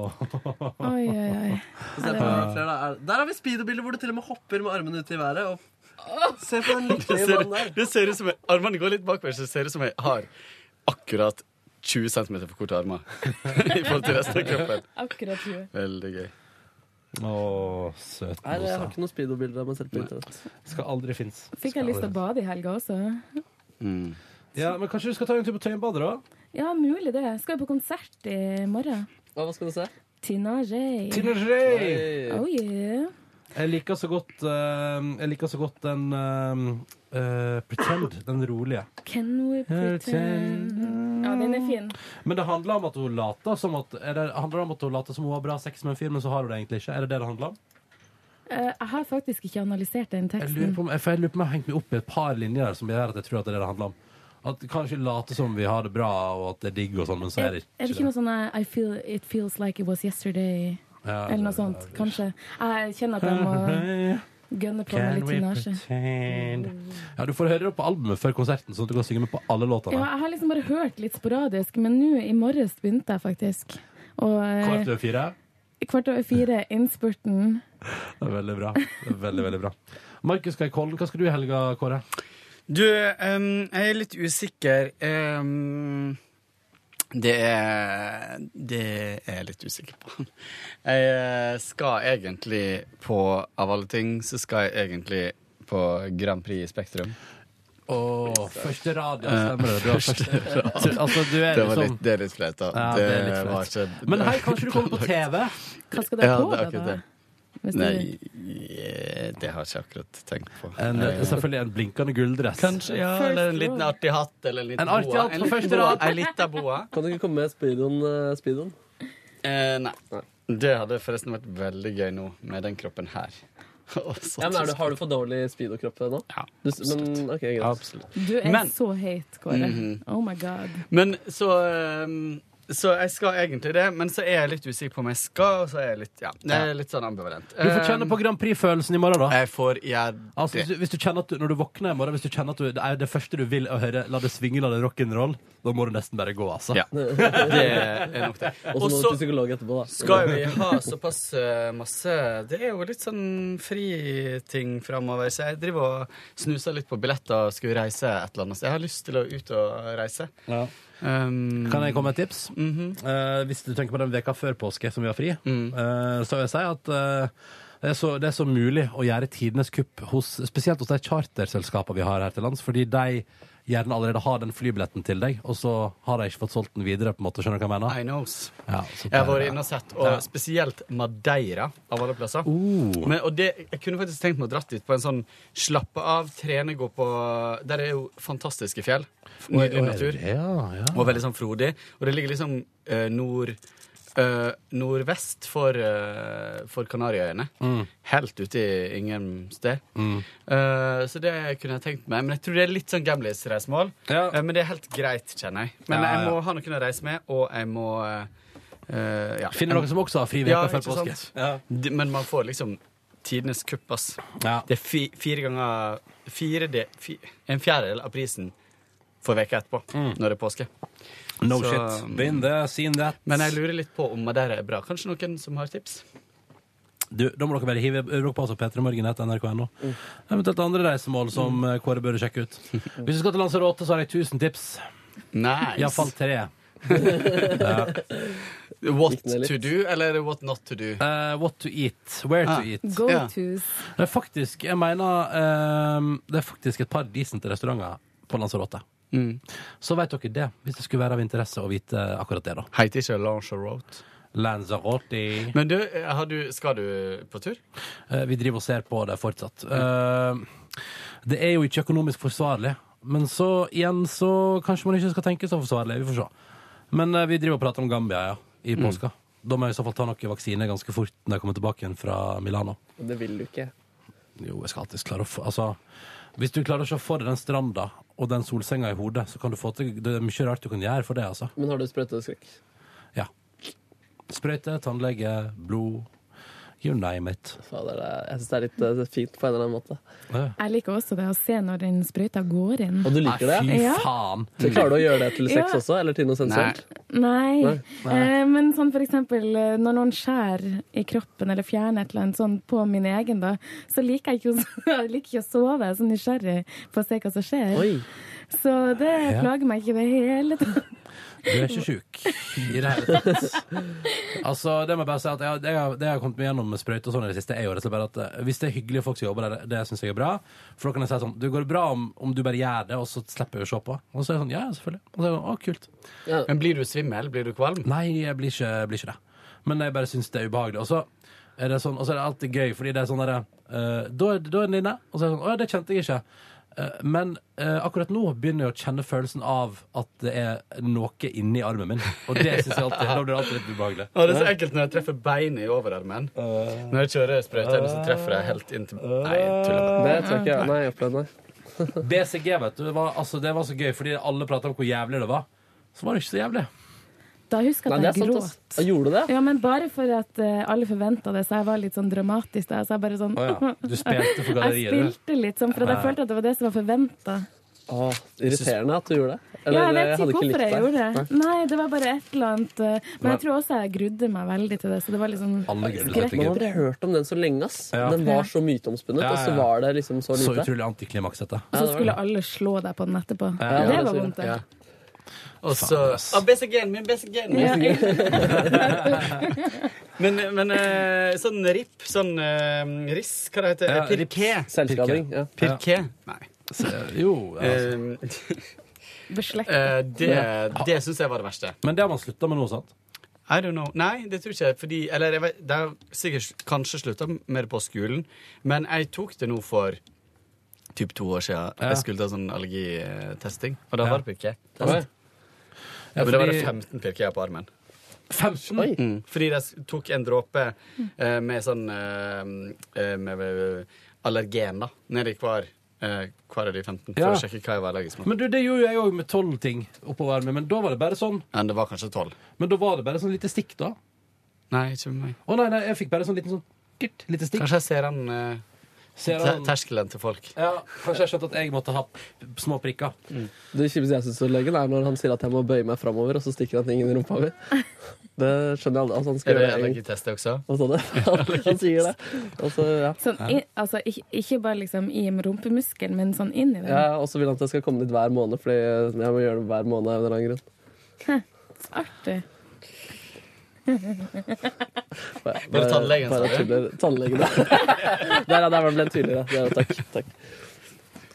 M: Oi, oi, oi.
C: Få se på noen flere, da. Er- Der har vi speedo-bilder hvor du til og med hopper med armene ut i været. Og Se på den
N: Det
C: lykkelige
N: ser,
C: mannen der.
N: det ser ut som jeg, Armene går litt bakover, så det ser ut som jeg har akkurat 20 cm for korte armer i forhold til resten av kroppen.
M: Akkurat huet.
N: Veldig gøy.
B: Å, søt
C: Nei, jeg har
B: Mosa.
C: ikke noen speedo-bilder av meg selv på internett.
B: Skal aldri finnes.
M: Fikk jeg lyst til å bade i helga også?
N: Mm.
B: Ja, men Kanskje du skal ta en tur på Tøyenbadet, da?
M: Ja, mulig det. Skal jeg på konsert i morgen.
C: Hva skal du se?
M: Tina Rey.
B: Tina Rey!
M: Oh yeah.
B: Jeg liker så godt, eh, jeg liker så godt den eh, eh, Pretend, den rolige.
M: Can we pretend Ja, den er fin.
B: Men det handler om at hun later som at, er det, handler det om at hun later som hun har bra sex med en fyr, men så har hun det egentlig ikke? Er det det det handler om?
M: Eh, jeg har faktisk ikke analysert den
B: Jeg lurer
M: teksten.
B: på om jeg, for jeg lurer på om jeg har hengt meg opp i et par linjer der som gjør at jeg tror at det er det det handler om. At kanskje late som vi har det bra, og at det er digg og sånn, men så er det
M: Er det ikke
B: ikke det.
M: noe sånn eh, I feel it feels like it was yesterday?
B: Ja,
M: Eller noe sånt, kanskje. Jeg kjenner at jeg må gønne på med litt Mm. tinasje.
B: pretend Ja, du får høre det på albumet før konserten, sånn at du kan synge med på alle
M: Ja,
B: låtene.
M: jeg har liksom bare hørt litt sporadisk, men nå i morges begynte jeg faktisk. Og eh,
B: Kvart over fire.
M: kvart over fire, innspurten.
B: Det er veldig bra. Det er veldig, veldig bra. Markus Kaikollen, hva skal du i helga, Kåre?
N: Du, em, jeg er litt usikker. Em, det er Det er jeg litt usikker på. Jeg eh, skal egentlig på, av alle ting, så skal jeg egentlig på Grand Prix i Spektrum.
B: Åh, første rad, ja, stemmer det. Du har første
N: rad.
B: Du- altså, du er
N: det, var
B: liksom-
N: litt, det er litt flaut, da.
B: Ja,
N: det
B: det er litt flaut.
N: var ikke
B: Men hei, kanskje du kommer på TV?
M: Hva skal
N: det
M: dere på,
N: er
M: da,
N: akkurat
M: da?
N: det.
M: Hvis du-
N: Nei, eh, det har jeg ikke akkurat tenkt på.
B: En,
N: Eh,
B: selvfølgelig en blinkende gulldress.
N: Kanskje, ja, eller en liten artig hatt. Eller en, liten
B: En artig
N: boa.
B: hatt på
N: En liten
B: første
N: boa.
B: rad.
N: En lita boa.
C: Kan du ikke komme med speedoen? eh, speedoen?
N: Eh, nei. Det hadde forresten vært veldig gøy nå, med den kroppen her.
C: Ja, men er du, har du for dårlig speedo-kropp nå?
N: Ja,
C: absolutt. Men, ok, greit.
M: Du er
N: Men-
M: så heit, Kåre.
N: Mhm.
M: Oh my god.
N: Men så ehm, Så jeg skal egentlig det, men så er jeg litt usikker på om jeg skal, og så er jeg litt Ja, det er litt sånn ambivalent.
B: Du får kjenne
N: Ehm,
B: på Grand Prix-følelsen i morgen, da.
N: Jeg får gjøre
B: Altså, hvis, du, hvis du kjenner at du, Når du våkner i morgen, hvis du kjenner at du, det er det første du vil å høre, la det svinge, la det rock'n'roll, da må du nesten bare gå, altså.
C: Og så må du til psykolog etterpå, da.
N: Skal vi ha såpass eh, masse Det er jo litt sånn friting framover, så jeg driver og snuser litt på billetter og skulle reise et eller annet. Så jeg har lyst til å ut og reise.
B: Ja.
N: Ehm,
B: kan jeg komme med et tips?
N: Mm. mhm.
B: Eh, hvis du tenker på den veka før påske som vi har fri,
N: Mm.
B: eh, så vil jeg si at eh, det, er så, det er så mulig å gjøre tidenes kupp, hos, spesielt hos de charterselskapene vi har her til lands, fordi de gjerne allerede har den flybilletten til deg, og så har de ikke fått solgt den videre, på en måte. Skjønner du hva jeg mener?
N: I knows.
B: Ja, så
N: Jeg har
B: der-
N: vært inne og sett, og
B: Ja.
N: spesielt Madeira, av alle plasser.
B: Oh.
N: Men, og det, jeg kunne faktisk tenkt meg å dratt dit på en sånn slappe av, trene, gå på Der er jo fantastiske fjell. Nydelig
B: Oi, oi,
N: natur.
B: ja, ja.
N: Og veldig sånn frodig. Og det ligger liksom eh, nord eh, nordvest for, eh, for Kanariøyene.
B: Mm.
N: Helt ute i ingen sted.
B: Mm.
N: Eh, så det kunne jeg tenkt meg. Men jeg tror det er litt sånn gamlis-reisemål. Eh, men det er helt greit, kjenner jeg. Men
B: Ja,
N: jeg
B: ja.
N: må ha noen å reise med, og jeg må eh, eh, ja.
B: Finner dere som også har fri veke før
N: ikke
B: påske.
N: sant? De- Men man får liksom tidenes kupp, ass. Det er fi, fire ganger fire de, fi, En fjerdedel av prisen for veka etterpå,
B: Mm.
N: når det er påske.
B: No shit. Been there, seen that.
N: Men jeg lurer litt på om Madeira er bra. Kanskje noen som har tips?
B: Du, da må dere bare hive dere på altså p3morgen.nrk.no.
N: Mm.
B: Eventuelt andre reisemål som eh, Kåre burde sjekke ut. Hvis du skal til Lanzarote, så har jeg 1000 tips.
N: Mm. Nice.
B: Iallfall tre.
N: What to do, eller what not to do?
B: Eh, what to eat. Where
N: Ah.
B: to eat.
N: Go Ja.
M: tos.
B: ehm, Det er faktisk jeg mener, eh, Det er faktisk et par decente restauranter på Lanzarote.
N: Mm.
B: Så vet dere det, hvis det skulle være av interesse å vite akkurat det, da.
N: Heter ikke Lanzarote?
B: Lanzarote.
N: Men du, eh, har du, skal du på tur?
B: Eh, Vi driver og ser på det fortsatt. Eh, Det er jo ikke økonomisk forsvarlig, men så igjen så kanskje man ikke skal tenke så forsvarlig. Vi får se. Men eh, vi driver og prater om Gambia, ja, i
C: Mm.
B: påska. Da må jeg i så fall ta noe vaksine ganske fort når jeg kommer tilbake igjen fra Milano.
C: Det vil du ikke.
B: Jo, jeg skal alltid klare å få Altså, hvis du klarer å se for deg den stranda og den solsenga i hodet, så kan du få til Det er mye rart du kan gjøre for det, altså.
C: Men har du sprøyteskrekk?
B: Ja. Sprøyte, tannlege, blod. You name it.
C: Fader, det er, jeg syns det er litt eh, fint på en eller annen måte.
M: Jeg liker også det å se når den sprøyta går inn.
C: Og du liker
B: Ah,
C: det?
M: Ja.
C: Så klarer du å gjøre det til sex
M: Ja.
C: også, eller til noe sensuelt?
M: Nei.
C: Nei.
M: Eh, men sånn for eksempel eh, når noen skjærer i kroppen eller fjerner et eller annet sånn på min egen, da, så liker jeg ikke å, jeg liker ikke å sove. Jeg er så nysgjerrig på å se hva som skjer.
B: Oi.
M: Så det
B: Ja.
M: plager meg ikke i det hele tatt.
B: Du er ikke sjuk i det hele tatt. Altså, det må jeg bare si at jeg, det jeg, har- det jeg har kommet meg gjennom med sprøyte og sånn i det siste, er jo rett og slett bare at eh, hvis det er hyggelige folk som jobber der, det syns jeg er bra. For da kan jeg si sånn Du går det bra om, om du bare gjør det, og så slipper jeg å se på. Og så er jeg sånn Ja, ja, selvfølgelig. Og så er jeg sånn Å, kult.
N: Men blir du svimmel? Blir du kvalm?
B: Nei, jeg blir ikke, jeg blir ikke det. Men jeg bare syns det er ubehagelig. Og så er det sånn, og så er det alltid gøy, fordi det er sånn derre eh, Da er da er den inne. Og så er det sånn Å ja, det kjente jeg ikke. Eh, men eh, akkurat nå begynner jeg å kjenne følelsen av at det er noe inni armen min. Og det syns jeg alltid Da blir det alltid litt ubehagelig.
N: Å, det er så ekkelt når jeg treffer beinet i overarmen. Når jeg kjører sprøyten, så treffer jeg helt inntil Nei, tuller bare.
C: Det tror jeg ikke jeg Nei, jeg opplevde det.
B: BCG, vet du, det var, altså, det var så gøy, fordi alle prata om hvor jævlig det var. Så var det ikke så jævlig.
M: Da husker jeg
B: Nei, det
M: at jeg
B: er sant,
M: gråt.
B: ass.
C: Ah,
B: Gjorde du det?
M: Ja, men bare for at eh, alle forventa det, så jeg var litt sånn dramatisk da. Så jeg bare sånn
B: Å ja, du spilte for galleriet,
M: Jeg
B: du.
M: spilte litt sånn, for at jeg
C: Nei.
M: følte at det var det som var forventa.
C: Å, Ah, irriterende at du gjorde det.
M: Ja, jeg
C: eh,
M: vet
C: hadde
M: ikke hvorfor jeg gjorde det.
C: Nei.
M: Nei, det var bare et eller annet eh, Men jeg tror også jeg grudde meg veldig til det, så det var liksom
B: Alle grudde seg til
M: skrekk.
B: Gud.
C: Man har hørt om den så lenge, ass.
B: Ja.
C: Den var så myteomspunnet,
B: Ja, ja,
C: og
B: ja.
C: så var det liksom så
B: Så
C: lite.
B: utrolig antiklimaks, dette.
M: Og så skulle alle slå deg på den etterpå.
B: Ja,
M: det,
B: det
M: var
B: sier
M: vondt, det.
B: jeg.
N: Og så Å, BCG-en min, BCG-en min!
M: Ja,
N: men men eh, sånn RIP, sånn eh, RIS, hva det heter
B: Ja,
N: det? Pirké.
B: rips. Selvskading, ja.
N: Pirké.
B: Ja.
N: Nei. Ehm,
B: Så- Eh, jo, ja, altså.
M: Beslekt.
N: Eh, det det syns jeg var det verste.
B: Men det har man slutta med nå, sant?
N: I don't know. Nei, det tror ikke jeg. Fordi, eller jeg vet, det har sikkert sl- kanskje slutta med det på skolen, men jeg tok det nå for typ to år siden.
B: Ja.
N: Jeg skulle ta sånn allergitesting, og da
B: Ja.
N: var det pirke.
B: Oi.
N: Ja,
B: Ja,
N: men Da var
B: fordi-
N: det 15 pirker jeg har på armen.
B: 15?
N: Mm. Fordi jeg s- tok en dråpe eh, med sånn eh, eh, med, med allergen da, nedi hver, eh, hver av de 15, for
B: Ja.
N: å sjekke hva jeg var allergisk mot.
B: Men du, det gjorde jo jeg òg med tolv ting oppover armen, men da var det bare sånn
N: Men det var kanskje 12.
B: Men da var det bare sånn lite stikk, da.
N: Nei, ikke med meg.
B: Å nei, nei, jeg fikk bare sånn liten sånn girt, lite stikk.
N: Kanskje jeg ser han, eh,
B: Ser
N: te-
B: han-
N: terskelen til folk.
B: Ja, kanskje jeg skjønte at jeg måtte ha p- små prikker.
C: Det kjipeste jeg syns er løgn, er når han sier at jeg må bøye meg framover, og så stikker han ting inn i rumpa mi. Det skjønner jeg aldri. Altså, han skal
N: Er det
C: gjøre det.
N: allergitest også?
C: Hva sa du? Han sier det. Altså, ja.
M: Sånn, i, altså, ikke, ikke bare liksom i rumpemuskelen, men sånn inn i den.
C: ja, og så vil han at jeg skal komme dit hver måned, fordi jeg må gjøre det hver måned av en eller annen grunn.
M: Hæ, Artig.
C: Bare-
N: tannlegen,
C: bare
N: sa du?
C: tuller. Tannlegen, ja. Der, ja, der var det litt tydeligere. Det, er jo- takk. takk.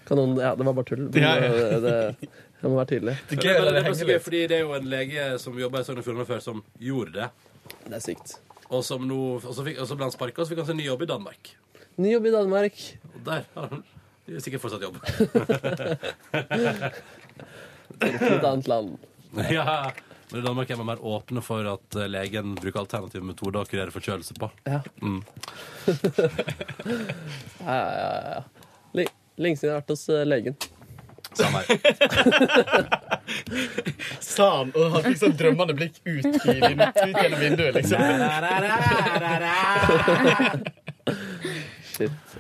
C: Kan noen, ja, det var bare tull. Men,
B: Ja, ja.
C: eh, Det, jeg må være tydelig.
B: Det, det, det, er bare så gøy, fordi det er jo en lege som jobba i Sogn og Fjordane før, som gjorde det.
C: Det er sykt.
B: Og, som nå, og, så fikk, og så ble han sparka, og så fikk han seg ny jobb i Danmark.
C: Ny jobb i Danmark.
B: Og der har han det er sikkert fortsatt jobb.
C: Til et annet land.
B: ja, men i Danmark er man mer åpne for at eh, legen bruker alternative metoder å kurere forkjølelse på.
C: Ja.
B: Mm.
C: Ja, ja, ja, ja. Le- Lenge siden jeg har vært hos eh, legen.
B: Samme
N: Sa han, og han fikk sånn drømmende blikk ut, i vin- ut gjennom vinduet, liksom.
C: Shit.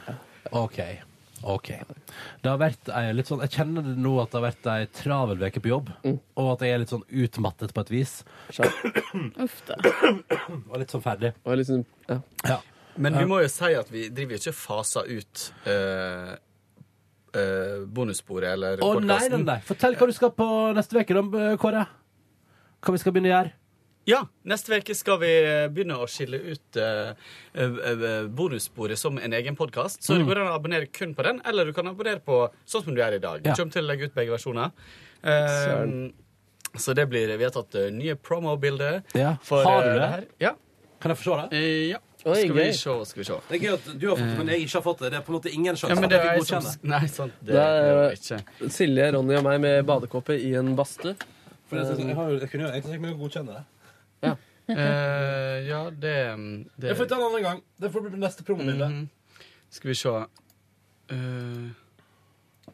B: OK. OK. Det har vært ei litt sånn Jeg kjenner det nå at det har vært ei travel uke på jobb, og at jeg er litt sånn utmattet på et vis.
M: Uff da.
B: Og litt sånn ferdig.
C: ja.
N: Men vi må jo si at vi driver jo ikke og faser ut eh, eh, bonussporet eller
B: Å nei,
N: podcasten.
B: nei, nei. Fortell hva du skal på neste uke, da, Kåre. Hva vi skal begynne å gjøre.
N: Ja, neste uke skal vi eh, begynne å skille ut eh, eh, eh, bonussporet som en egen podkast. Så det
Q: Mm.
N: går an å abonnere kun på den, eller du kan abonnere på sånn som du gjør i dag.
Q: Ja.
N: Vi kommer til å legge ut begge versjoner. Eh,
Q: Søren.
N: så det blir Vi har tatt eh, nye promo-bilder.
B: Ja.
N: for,
B: Har du
N: eh,
B: det?
N: her. Ja. Eh,
B: Kan jeg få se det?
N: ja. skal vi se, skal vi se.
B: Det er gøy at du har fått det, men jeg ikke har fått det. Det er på en måte ingen sjanse
N: Ja, men
B: for at
N: det
B: vi
N: er jeg som-
B: godkjenner.
N: Nei, sant. Det,
C: Det er
N: ikke.
C: Silje, Ronny og meg med badekåpe i en badstue.
B: For sånn- jeg, jeg, har, jo- jeg kunne jo jeg tenker meg å godkjenne det.
N: Eh, ja, det, det Mhm.
B: Jeg får ta en annen gang. Det får bli neste promobilde.
N: Mm, Skal vi se Eh, Nei.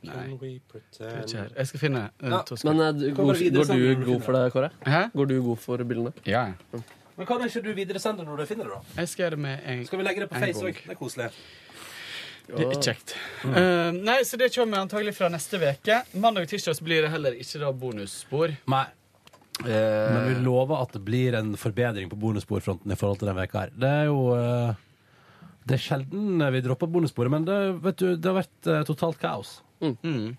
N: Det er ikke her. Jeg skal finne eh,
B: Ja,
N: to sekunder.
C: Men eh, du,
B: Kan
C: går,
B: bare videre
C: går
B: sammen når
C: du
B: du
C: god for det, Kåre?
N: Hæ?
C: Går du god for bildene?
N: Ja,
B: Men kan ikke du videresende når du finner det, da?
N: Jeg skal gjøre det med en
B: Skal vi legge det på
N: en
B: Face
N: gang.
B: òg? Det er koselig.
N: Det er kjekt. Eh, nei, så det kommer antagelig fra neste uke. Mandag og tirsdag så blir det heller ikke da bonusspor.
B: Nei.
N: Eh,
B: Men vi lover at det blir en forbedring på bonussporfronten i forhold til den veka her. Det er jo eh, Det er sjelden vi dropper bonussporet, men det, vet du, det har vært eh, totalt kaos. Mm.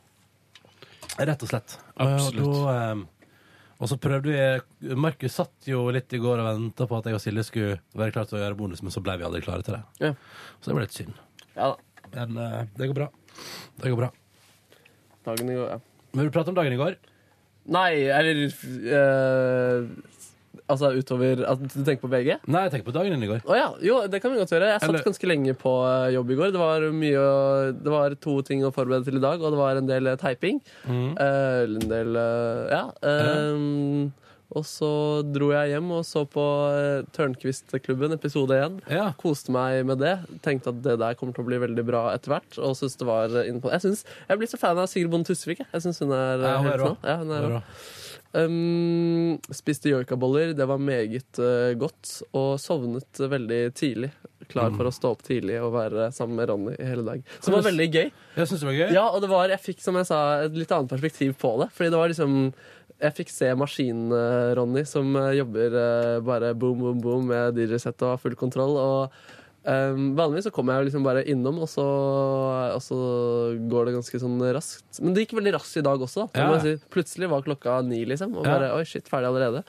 B: Rett og slett.
N: Mm. Absolutt.
B: Og, da, eh, og så prøvde vi eh, Markus satt jo litt i går og venta på at jeg og Silje skulle være klare til å gjøre bonus, men så ble vi aldri klare til det.
C: Ja.
B: Så det ble litt synd. Men eh, det går bra. Det går bra.
C: Dagen i går, ja.
B: Vil du prate om dagen i går?
C: Nei, eller eh, Altså utover at Du tenker på begge?
B: Nei, jeg tenker på dagen din i går.
C: Å ja, jo, det kan vi godt gjøre. Jeg satt
B: Eller-
C: ganske lenge på eh, jobb i går. Det var, mye å, det var to ting å forberede til i dag, og det var en del eh, typing.
B: Mhm.
C: Eh, eller en del eh, Ja. ehm, og så dro jeg hjem og så på eh, Tørnquist-klubben, episode én. Koste meg med det. Tenkte at det der kommer til å bli veldig bra etter hvert. Og synes det var eh, innpå. Jeg, synes, jeg blir så fan av Sigrid Bonde Tusvik. Jeg, jeg synes hun er eh,
B: Ja, hun er
C: helt
B: rå.
C: sånn. Ja, hun er
B: Hun er
C: rå. Um, spiste joikaboller, det var meget eh, godt, og sovnet veldig tidlig. Klar for å stå opp tidlig og være sammen med Ronny i hele dag. Som var veldig gøy.
B: Jeg syns det var gøy.
C: Ja, og det var, jeg fikk som jeg sa, et litt annet perspektiv på det. Fordi det var liksom Jeg fikk se Maskin-Ronny som eh, jobber eh, bare boom, boom, boom med DJ-sett og har full kontroll. Og eh, vanligvis så kommer jeg jo liksom bare innom, og så, og så går det ganske sånn raskt. Men det gikk veldig raskt i dag også. Da. Det må
B: Ja.
C: jeg Si. Plutselig var klokka ni, liksom. Og
B: Ja.
C: bare oi, shit, ferdig allerede.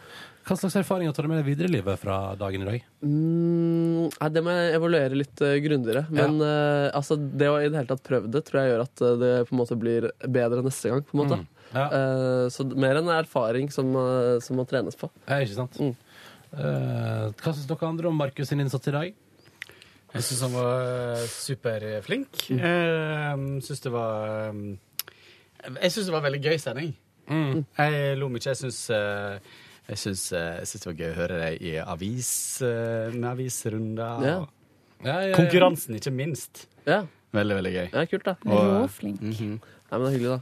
B: Hva slags erfaringer tar du med deg videre i livet fra dagen i dag?
C: Mm, nei, det må jeg evaluere litt uh, grundigere. Men eh, altså, det å i det hele tatt prøve det, tror jeg gjør at eh, det på en måte blir bedre neste gang. på en måte.
B: Mm, ja.
C: Eh, så d- mer enn erfaring som, eh, som må trenes på.
B: Ja, ikke sant? Eh, hva syns dere andre om Markus sin innsats i dag?
N: Jeg syns han var eh, superflink.
B: Mm.
N: Jeg syns det var eh, Jeg syns det var veldig gøy sending. Mm. Jeg lo mye. Jeg syns jeg syns, jeg syns det var gøy å høre deg i avis, eh, med avisrunder.
C: Ja.
N: og
B: Ja, ja, ja.
N: Konkurransen, ikke minst.
C: Ja.
N: Veldig, veldig gøy.
C: Ja, kult, da.
B: eh,
N: Og-
B: mm.
C: Nei, men det er hyggelig, da.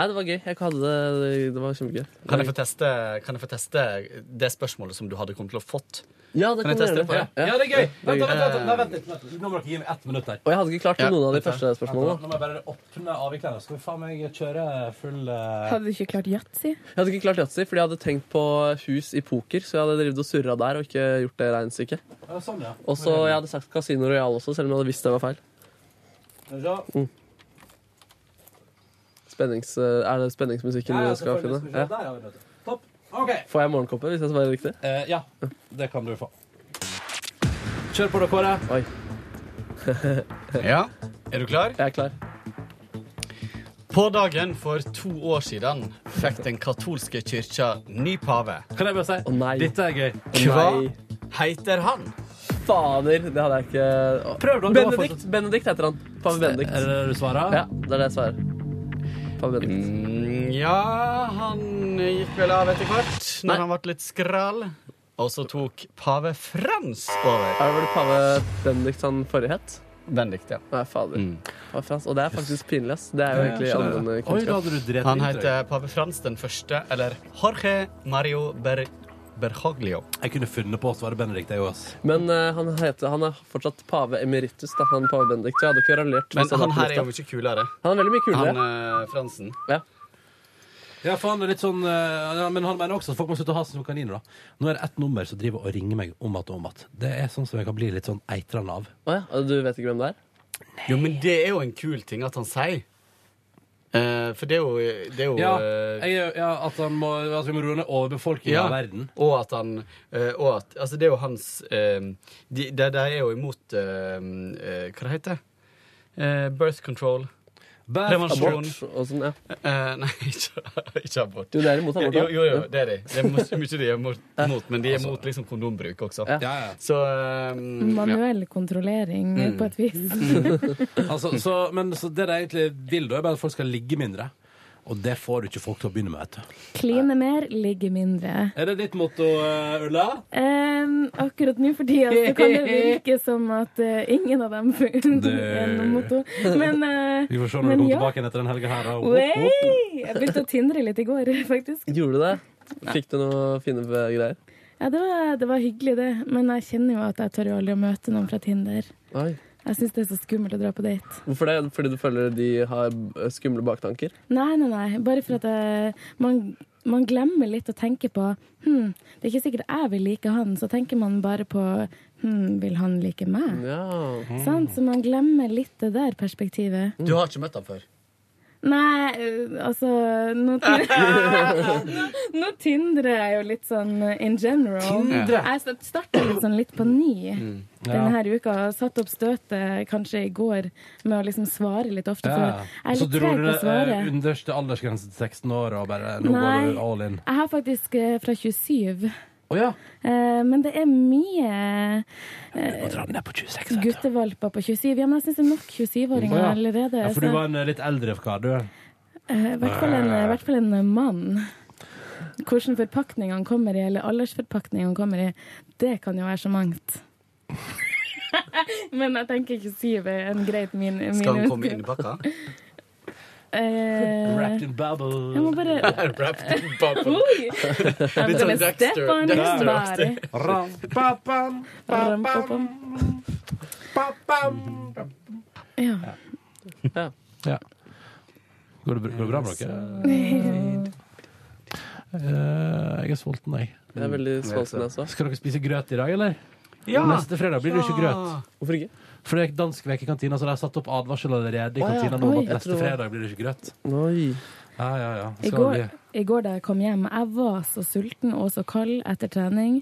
C: Nei, det var gøy. Jeg hadde det, det var kjempegøy.
N: Kan jeg, få teste, kan jeg få teste det spørsmålet som du hadde kommet til å fått?
C: Ja, det kan
N: jeg
C: du
N: teste
C: gjøre.
N: på det?
C: Ja.
B: Ja, det er gøy! Vent, da, vent, vent, vent,
N: Eh,
B: vent, litt, vent litt. Nå må dere gi meg ett minutt her.
C: Og jeg hadde ikke klart
N: Ja,
C: noen av de
B: vent da.
C: første spørsmålene.
B: Nå må jeg bare åpne avviklerne. Skal vi faen meg kjøre full eh,
M: Hadde du ikke klart yatzy?
C: da. Jeg hadde ikke klart yatzy, fordi jeg hadde tenkt på hus i poker. Så jeg hadde drevet og surra der og ikke gjort det regnestykket.
B: ja, Sånn, ja.
C: Og så jeg hadde sagt Casino Royal også, selv om jeg hadde visst det var feil.
B: Skal vi se.
C: Spennings, eh, er det spenningsmusikken
B: Ja, ja,
C: du skal
B: selvfølgelig skal
C: finne?
B: vi se.
C: Ja.
B: Der har vi det. Topp. OK.
C: Får jeg morgenkoppen hvis jeg svarer riktig?
B: Eh, ja, det kan du få. Kjør på, da, Kåre.
C: Oi.
N: Ja, er du klar?
C: Jeg er klar.
N: På dagen for to år siden fikk den katolske kyrkja ny pave.
B: Kan jeg bare si? Dette er gøy.
N: Hva
C: Nei.
N: heter han?
C: Fader, det hadde jeg ikke Å.
B: Prøv da, du har
C: Benedikt, Benedikt heter han. Pave Benedikt.
B: Er det det du svarer?
C: Ja, det er det jeg svarer. Pave
N: Mm.
C: Benedikt.
N: Ja, han gikk vel av etter hvert, når han ble litt skral. Og så tok pave Frans over.
C: Er det vel pave Benedikt han forrige het?
N: Benedikt, ja.
C: Nei, fader. Pave Frans. Og det er faktisk pinlig, ass. Det er jo
N: Ja,
C: egentlig
N: skjønner
C: allmenn
N: jeg.
C: kunnskap.
N: Han heter pave Frans den første, eller Jorge Mario Ber Bergoglio.
B: Jeg kunne funnet på å svare Benedikt, jeg òg.
C: Men eh, han, heter, han er fortsatt pave emeritus, da, han pave Benedikt. Så jeg hadde ikke rallert. hvis
N: Men
C: jeg hadde
N: han her er jo
C: hatt lyst,
N: mye kulere.
C: da. Han er veldig mye kulere.
N: Han eh, Fransen.
C: Ja.
B: Ja, for han er litt sånn eh, ja, Men han mener også at folk må slutte å hase som kaniner. da Nå er det ett nummer som driver og ringer meg om igjen og om igjen. Det er sånn som jeg kan bli litt sånn eitrende
N: eh,
B: av.
C: Å ja, og Du vet ikke hvem det er?
N: Jo, men det er jo en kul ting at han sier. Eh, for det er jo, det er jo
B: Ja,
N: eh,
B: jeg, ja at, han må, at vi må roe ned overbefolkningen av verden.
N: Og at han eh, og at, Altså, det er jo hans eh, de, de, de er jo imot eh, eh, Hva det heter det? Eh, birth control.
B: Birth abort
N: og sånn, ja. nei, ikke, ikke abort.
O: Jo, det er imot abort, da.
N: Jo, jo, jo, det er de. Det er mye mye de er mot,
O: Ja.
N: mot, men de er
O: Altså.
N: mot liksom kondombruk også.
O: Ja. Ja,
N: Så eh, ja.
M: Manuell kontrollering,
B: Mm.
M: på et vis.
B: altså, så, men så det de egentlig vil, da, er bare at folk skal ligge mindre. Og det får du ikke folk til å begynne med. vet du.
M: Kline mer, ligge mindre.
B: Er det ditt motto, eh, Ulla?
M: Em, akkurat nå for tida så kan det virke som at eh, ingen av dem får gjennom motto. Men, eh,
B: Vi får se når du
M: men
B: kommer
M: ja.
B: tilbake igjen etter den helga her. da. Opp,
M: Wey!
B: opp.
M: Jeg begynte å tindre litt i går, faktisk.
O: Gjorde du det? Fikk du noe fine eh, greier?
M: Ja, det var, det var hyggelig, det. Men jeg kjenner jo at jeg tør jo aldri å møte noen fra Tinder.
O: Oi.
M: Jeg syns det er så skummelt å dra på date.
O: Hvorfor det? Fordi du føler de har eh, skumle baktanker?
M: Nei, nei, nei. Bare for at jeg, man, man glemmer litt å tenke på hm, Det er ikke sikkert jeg vil like han, så tenker man bare på hm, vil han like meg? Sant? Så man glemmer litt det der perspektivet.
N: Du har ikke møtt ham før?
M: Nei, øh, altså Nå, nå, nå tindrer jeg jo litt sånn øh, in general.
N: Tindre?
M: Jeg starta litt sånn litt på ny
B: Ja.
M: denne her uka. Satt opp støtet eh, kanskje i går med å liksom svare litt ofte. For
B: Ja.
M: jeg er
B: Så
M: litt
B: dro du
M: treg på å
B: det
M: svare.
B: eh, underste aldersgrense til 16 år og bare Nå går du all
M: Nei,
B: in.
M: jeg har faktisk eh, fra 27.
B: Å ja.
M: Eh, Men det er mye eh,
B: på 26.
M: guttevalper på 27. Ja, men jeg syns det er nok 27-åringer
B: Å ja.
M: allerede.
B: Ja, for
M: så-
B: du var en eh, litt eldre kar, du.
M: Eh, I hvert fall en, i hvert fall en mann. Hvordan forpakningene kommer i, eller aldersforpakningene kommer i, det kan jo være så mangt. Men jeg tenker ikke syv er en greit min, min
N: Skal han komme inn i pakka?
M: Eh,
B: Wrapped in bubble.
M: Jeg må bare-
N: Wrapped in bubble.
M: Oi!
N: Litt
M: I'm gonna
N: sånn Dexter-
M: step on his
N: Dexter-aktig.
M: body.
B: Ram-pa-pam,
M: pa-pam, Ja.
O: Ja.
B: Ja. Går det, br- går det bra med dere? Eh, jeg er sulten, jeg.
O: Jeg er veldig sulten,
C: altså.
O: jeg også.
B: Skal dere spise grøt i dag, eller?
O: Ja!
B: Neste fredag blir det ikke
O: Ja.
B: grøt.
O: Hvorfor ikke?
B: For det er dansk veke i kantina, så de har satt opp advarsel allerede i
O: Å, ja.
B: kantina nå om
O: Oi.
B: at
O: Jeg
B: neste
O: tror-
B: fredag blir det ikke grøt. Ja, ja, ja.
M: I
B: Skal
M: går,
B: vi...
M: I går da jeg kom hjem, jeg var så sulten og så kald etter trening,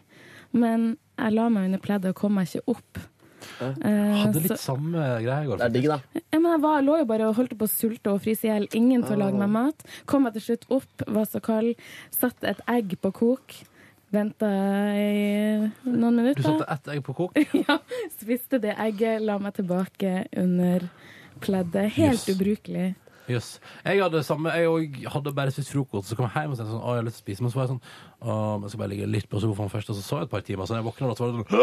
M: men jeg la meg under pleddet og kom meg ikke opp. Eh,
B: Hadde litt
M: så-
B: samme greie i går.
O: da.
M: Ja, men jeg var, lå jo bare og holdt på å sulte og fryse i hjel. Ingen til å lage meg mat. Kom jeg til slutt opp, var så kald, satte et egg på kok. Venta i noen
B: Du
M: minutter.
B: satte ett egg på kok.
M: ja, spiste det egget, la meg tilbake under pleddet. Helt ubrukelig.
B: Jøss. Jeg hadde samme, jeg og- hadde bare spist frokost, så kom jeg hjem og sa sånn, å, jeg har lyst til å spise, men så var jeg sånn, å, jeg skal bare ligge litt på sofaen først, og så så jeg et par timer, så jeg våkna og så var det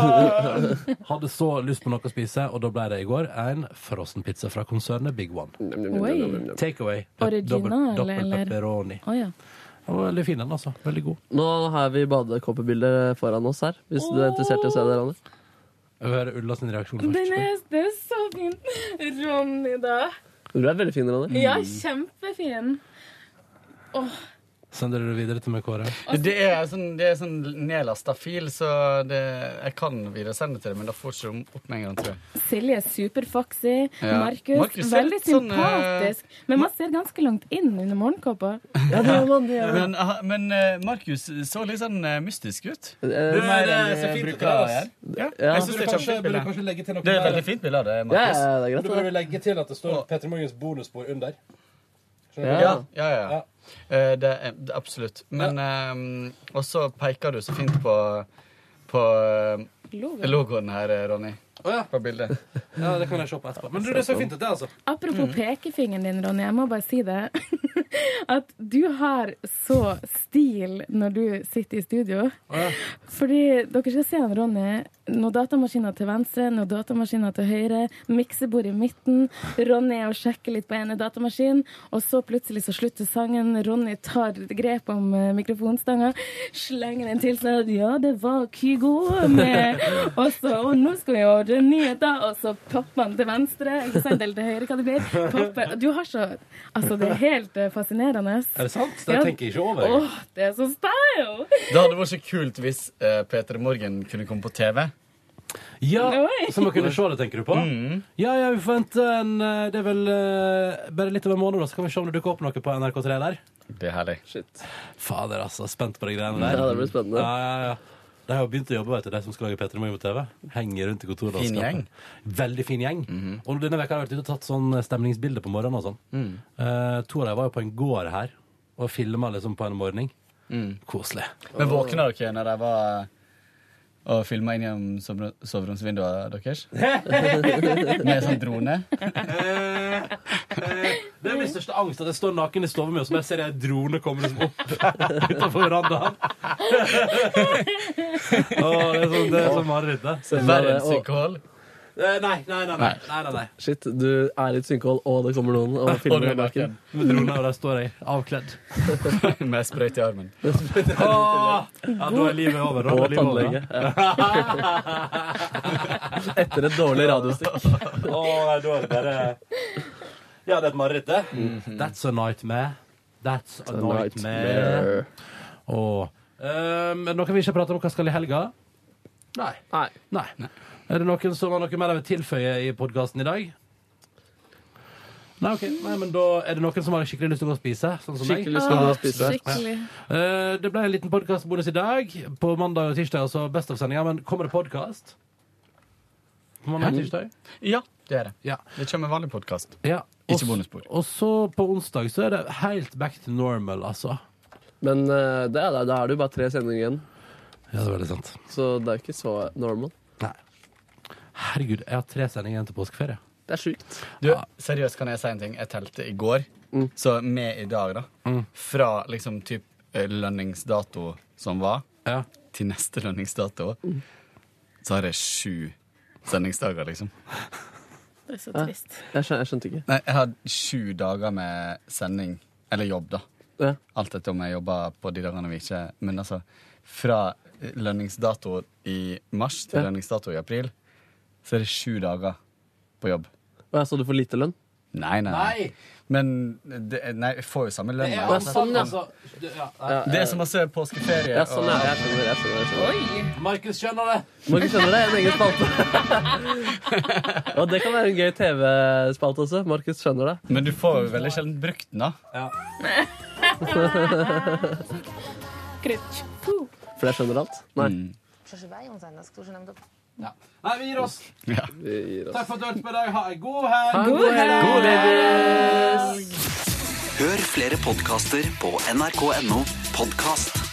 B: sånn, «Åh!» hadde så lyst på noe å spise, og da ble det i går en frossen pizza fra konsernet Big One.
M: Oi.
B: Take away.
M: Original,
B: Dobbel
M: eller?
B: pepperoni.
M: Å ja.
B: Den var veldig fin den, altså. Veldig god.
O: Nå har vi badekåpebilder foran oss her, hvis du er interessert i å se det, Ronny.
B: Jeg hører Ulla sin reaksjon
M: Den er, den er så fin. Ronny, da.
O: Du er veldig fin, Ronny.
M: Ja, kjempefin. Åh,
B: Sender du det videre til meg, Kåre?
N: Det er sånn, det er sånn nedlasta fil, så det, jeg kan videresende til det, men da får ikke de opp med en gang, tror jeg.
M: Silje er superfoxy.
N: Ja.
M: Markus,
N: Markus er
M: veldig
N: litt sånn, eh,
M: sympatisk. Men man ser ganske langt inn under morgenkåpa.
N: Men, ah, men eh, Markus så litt sånn eh, mystisk ut.
O: Det
N: er mer enn eh, brukere her. Ja. Jeg synes det er kjempefint bilde. Det er et veldig fint bilde av det, Markus.
B: Du burde legge til at det står Petter Morgens bonusbord under.
N: Ja, ja, ja. Eh, det er det er absolutt. Men ehm, Og så peker du så fint på, på eh,
M: Logoen.
N: logoen her, eh, Ronny. På bildet.
B: Ja, det kan jeg se på etterpå. Men du, det er så fint ut, det, altså.
M: Apropos
N: Mm.
M: pekefingeren din, Ronny, jeg må bare si det. At du har så stil når du sitter i studio. Fordi dere skal se han, Ronny. Noen datamaskiner til venstre, noen datamaskiner til høyre. Miksebord i midten. Ronny er og sjekker litt på ene datamaskinen, og så plutselig så slutter sangen. Ronny tar grep om eh, mikrofonstanga, slenger den til seg. og Ja, det var Kygo med Og så Og nå skal vi ordne nyheter, og så popper han til venstre, ikke sant, eller til høyre, hva det blir. Popper. Du har så Altså, det er helt eh, fascinerende.
B: Er det sant? Det
M: Ja.
B: tenker jeg ikke over.
M: Åh, det er så style!
N: eh, Det hadde vært så kult hvis uh, Peter Morgen kunne komme på TV.
B: Ja,
M: Oi.
B: Så man kunne se det, tenker du på?
N: Mm.
B: Ja, ja, vi får vente en eh, Det er vel eh, bare litt over en måned, da, så kan vi se om det dukker opp noe på NRK3 der.
N: Det er herlig.
B: Fader, altså. Spent på de greiene der.
N: Ja, det blir spennende.
B: Ja, ja, ja. De har jo begynt å jobbe, vet du, de som skal lage P3 Morgen på TV. Henger rundt i kontoret. og
N: Fin
B: skaper.
N: gjeng. Mhm.
B: Veldig fin gjeng. Og denne veka har jeg vært ute og tatt sånn stemningsbilde på morgenen og sånn.
N: Mm.
B: Eh, to av dem var jo på en gård her og filma liksom på en morgen.
N: Mm.
B: Koselig.
N: Men våkna dere når de var eh, og filma inn gjennom sover- soveromsvinduet deres? Med sånn drone?
B: Det er min største angst, at jeg står naken i stua mi, og så bare ser jeg en drone komme liksom opp utenfor verandaen. Åh, det er sånn, det er sånn mareritt, det.
C: Se for deg det, og-
B: Eh, Nei, nei, nei. nei, nei, nei, nei.
C: Shit, du er i et synkehold, og det kommer noen og filmer deg naken.
B: Med drone, og der står jeg avkledd.
N: Med sprøyte i armen.
B: Åh! Ja, da er livet over. Da
C: Og
B: er livet over.
C: tannlege. Etter et dårlig radiostikk.
B: Åh, nei, da er det bare Ja, det er et mareritt, det. That's a nightmare. That's a,
C: a
B: nightmare.
C: nightmare.
B: Åh. Um, er det noe vi ikke har pratet om? Hva skal i helga? Nei. Nei. Er det noen som har noe mer de vil tilføye i podkasten i dag? Nei, ok. Nei, men da er det noen som har skikkelig lyst til å gå og spise. Sånn som meg.
C: Skikkelig lyst til å gå og spise. Skikkelig.
B: Eh, det ble en liten podkastbonus i dag. På mandag og tirsdag altså Best of-sendinga. Men kommer det podkast? På mandag og tirsdag?
N: Ja, det er det.
B: Ja.
N: Det kommer vanlig podkast.
B: Ja.
N: Ikke bonusbord.
B: Og så på onsdag så er det helt back to normal, altså.
C: Men eh, det er, det. da er det jo bare tre sendinger igjen.
B: Ja, det er veldig sant.
C: Så det er ikke så normal.
B: Herregud, jeg har tre sendinger igjen til påskeferie.
C: Det er sjukt.
N: Du, seriøst, kan jeg si en ting? Jeg telte i går, så med i dag, da. Fra liksom typ eh, lønningsdato som var, til neste lønningsdato, så har jeg sju sendingsdager, liksom.
R: Det er så
C: Ja.
R: trist.
C: Jeg, skjønte, jeg skjønte ikke.
N: Nei, jeg har sju dager med sending, eller jobb, da. Alt etter om jeg jobber på de dagene vi ikke Men altså, fra lønningsdato i mars til
C: Ja.
N: lønningsdato i april, så er det sju dager på jobb.
C: Å, jeg så du får lite lønn?
N: Nei, nei. nei. Men det, nei, jeg får jo samme lønn.
B: Det er
N: uansett.
B: ansatt, altså. Du- ja, nei.
N: Det er som å se påskeferie.
C: Ja, sånn er det. Jeg skjønner, jeg skjønner. Jeg skjønner.
B: Markus skjønner det.
C: Markus skjønner det. En egen spalte. og det kan være en gøy TV-spalte også. Markus skjønner det.
N: Men du får jo veldig sjelden brukt den, da.
C: For jeg skjønner alt? Nei.
S: Przeżywają za nas, którzy nam do...
B: Mm. Nei, vi gir oss.
C: Vi gir
B: Takk
C: oss.
B: for at du hørte på i dag. Ha en god helg.
C: Ha en god helg. God
J: Hør flere podkaster på nrk.no podkast.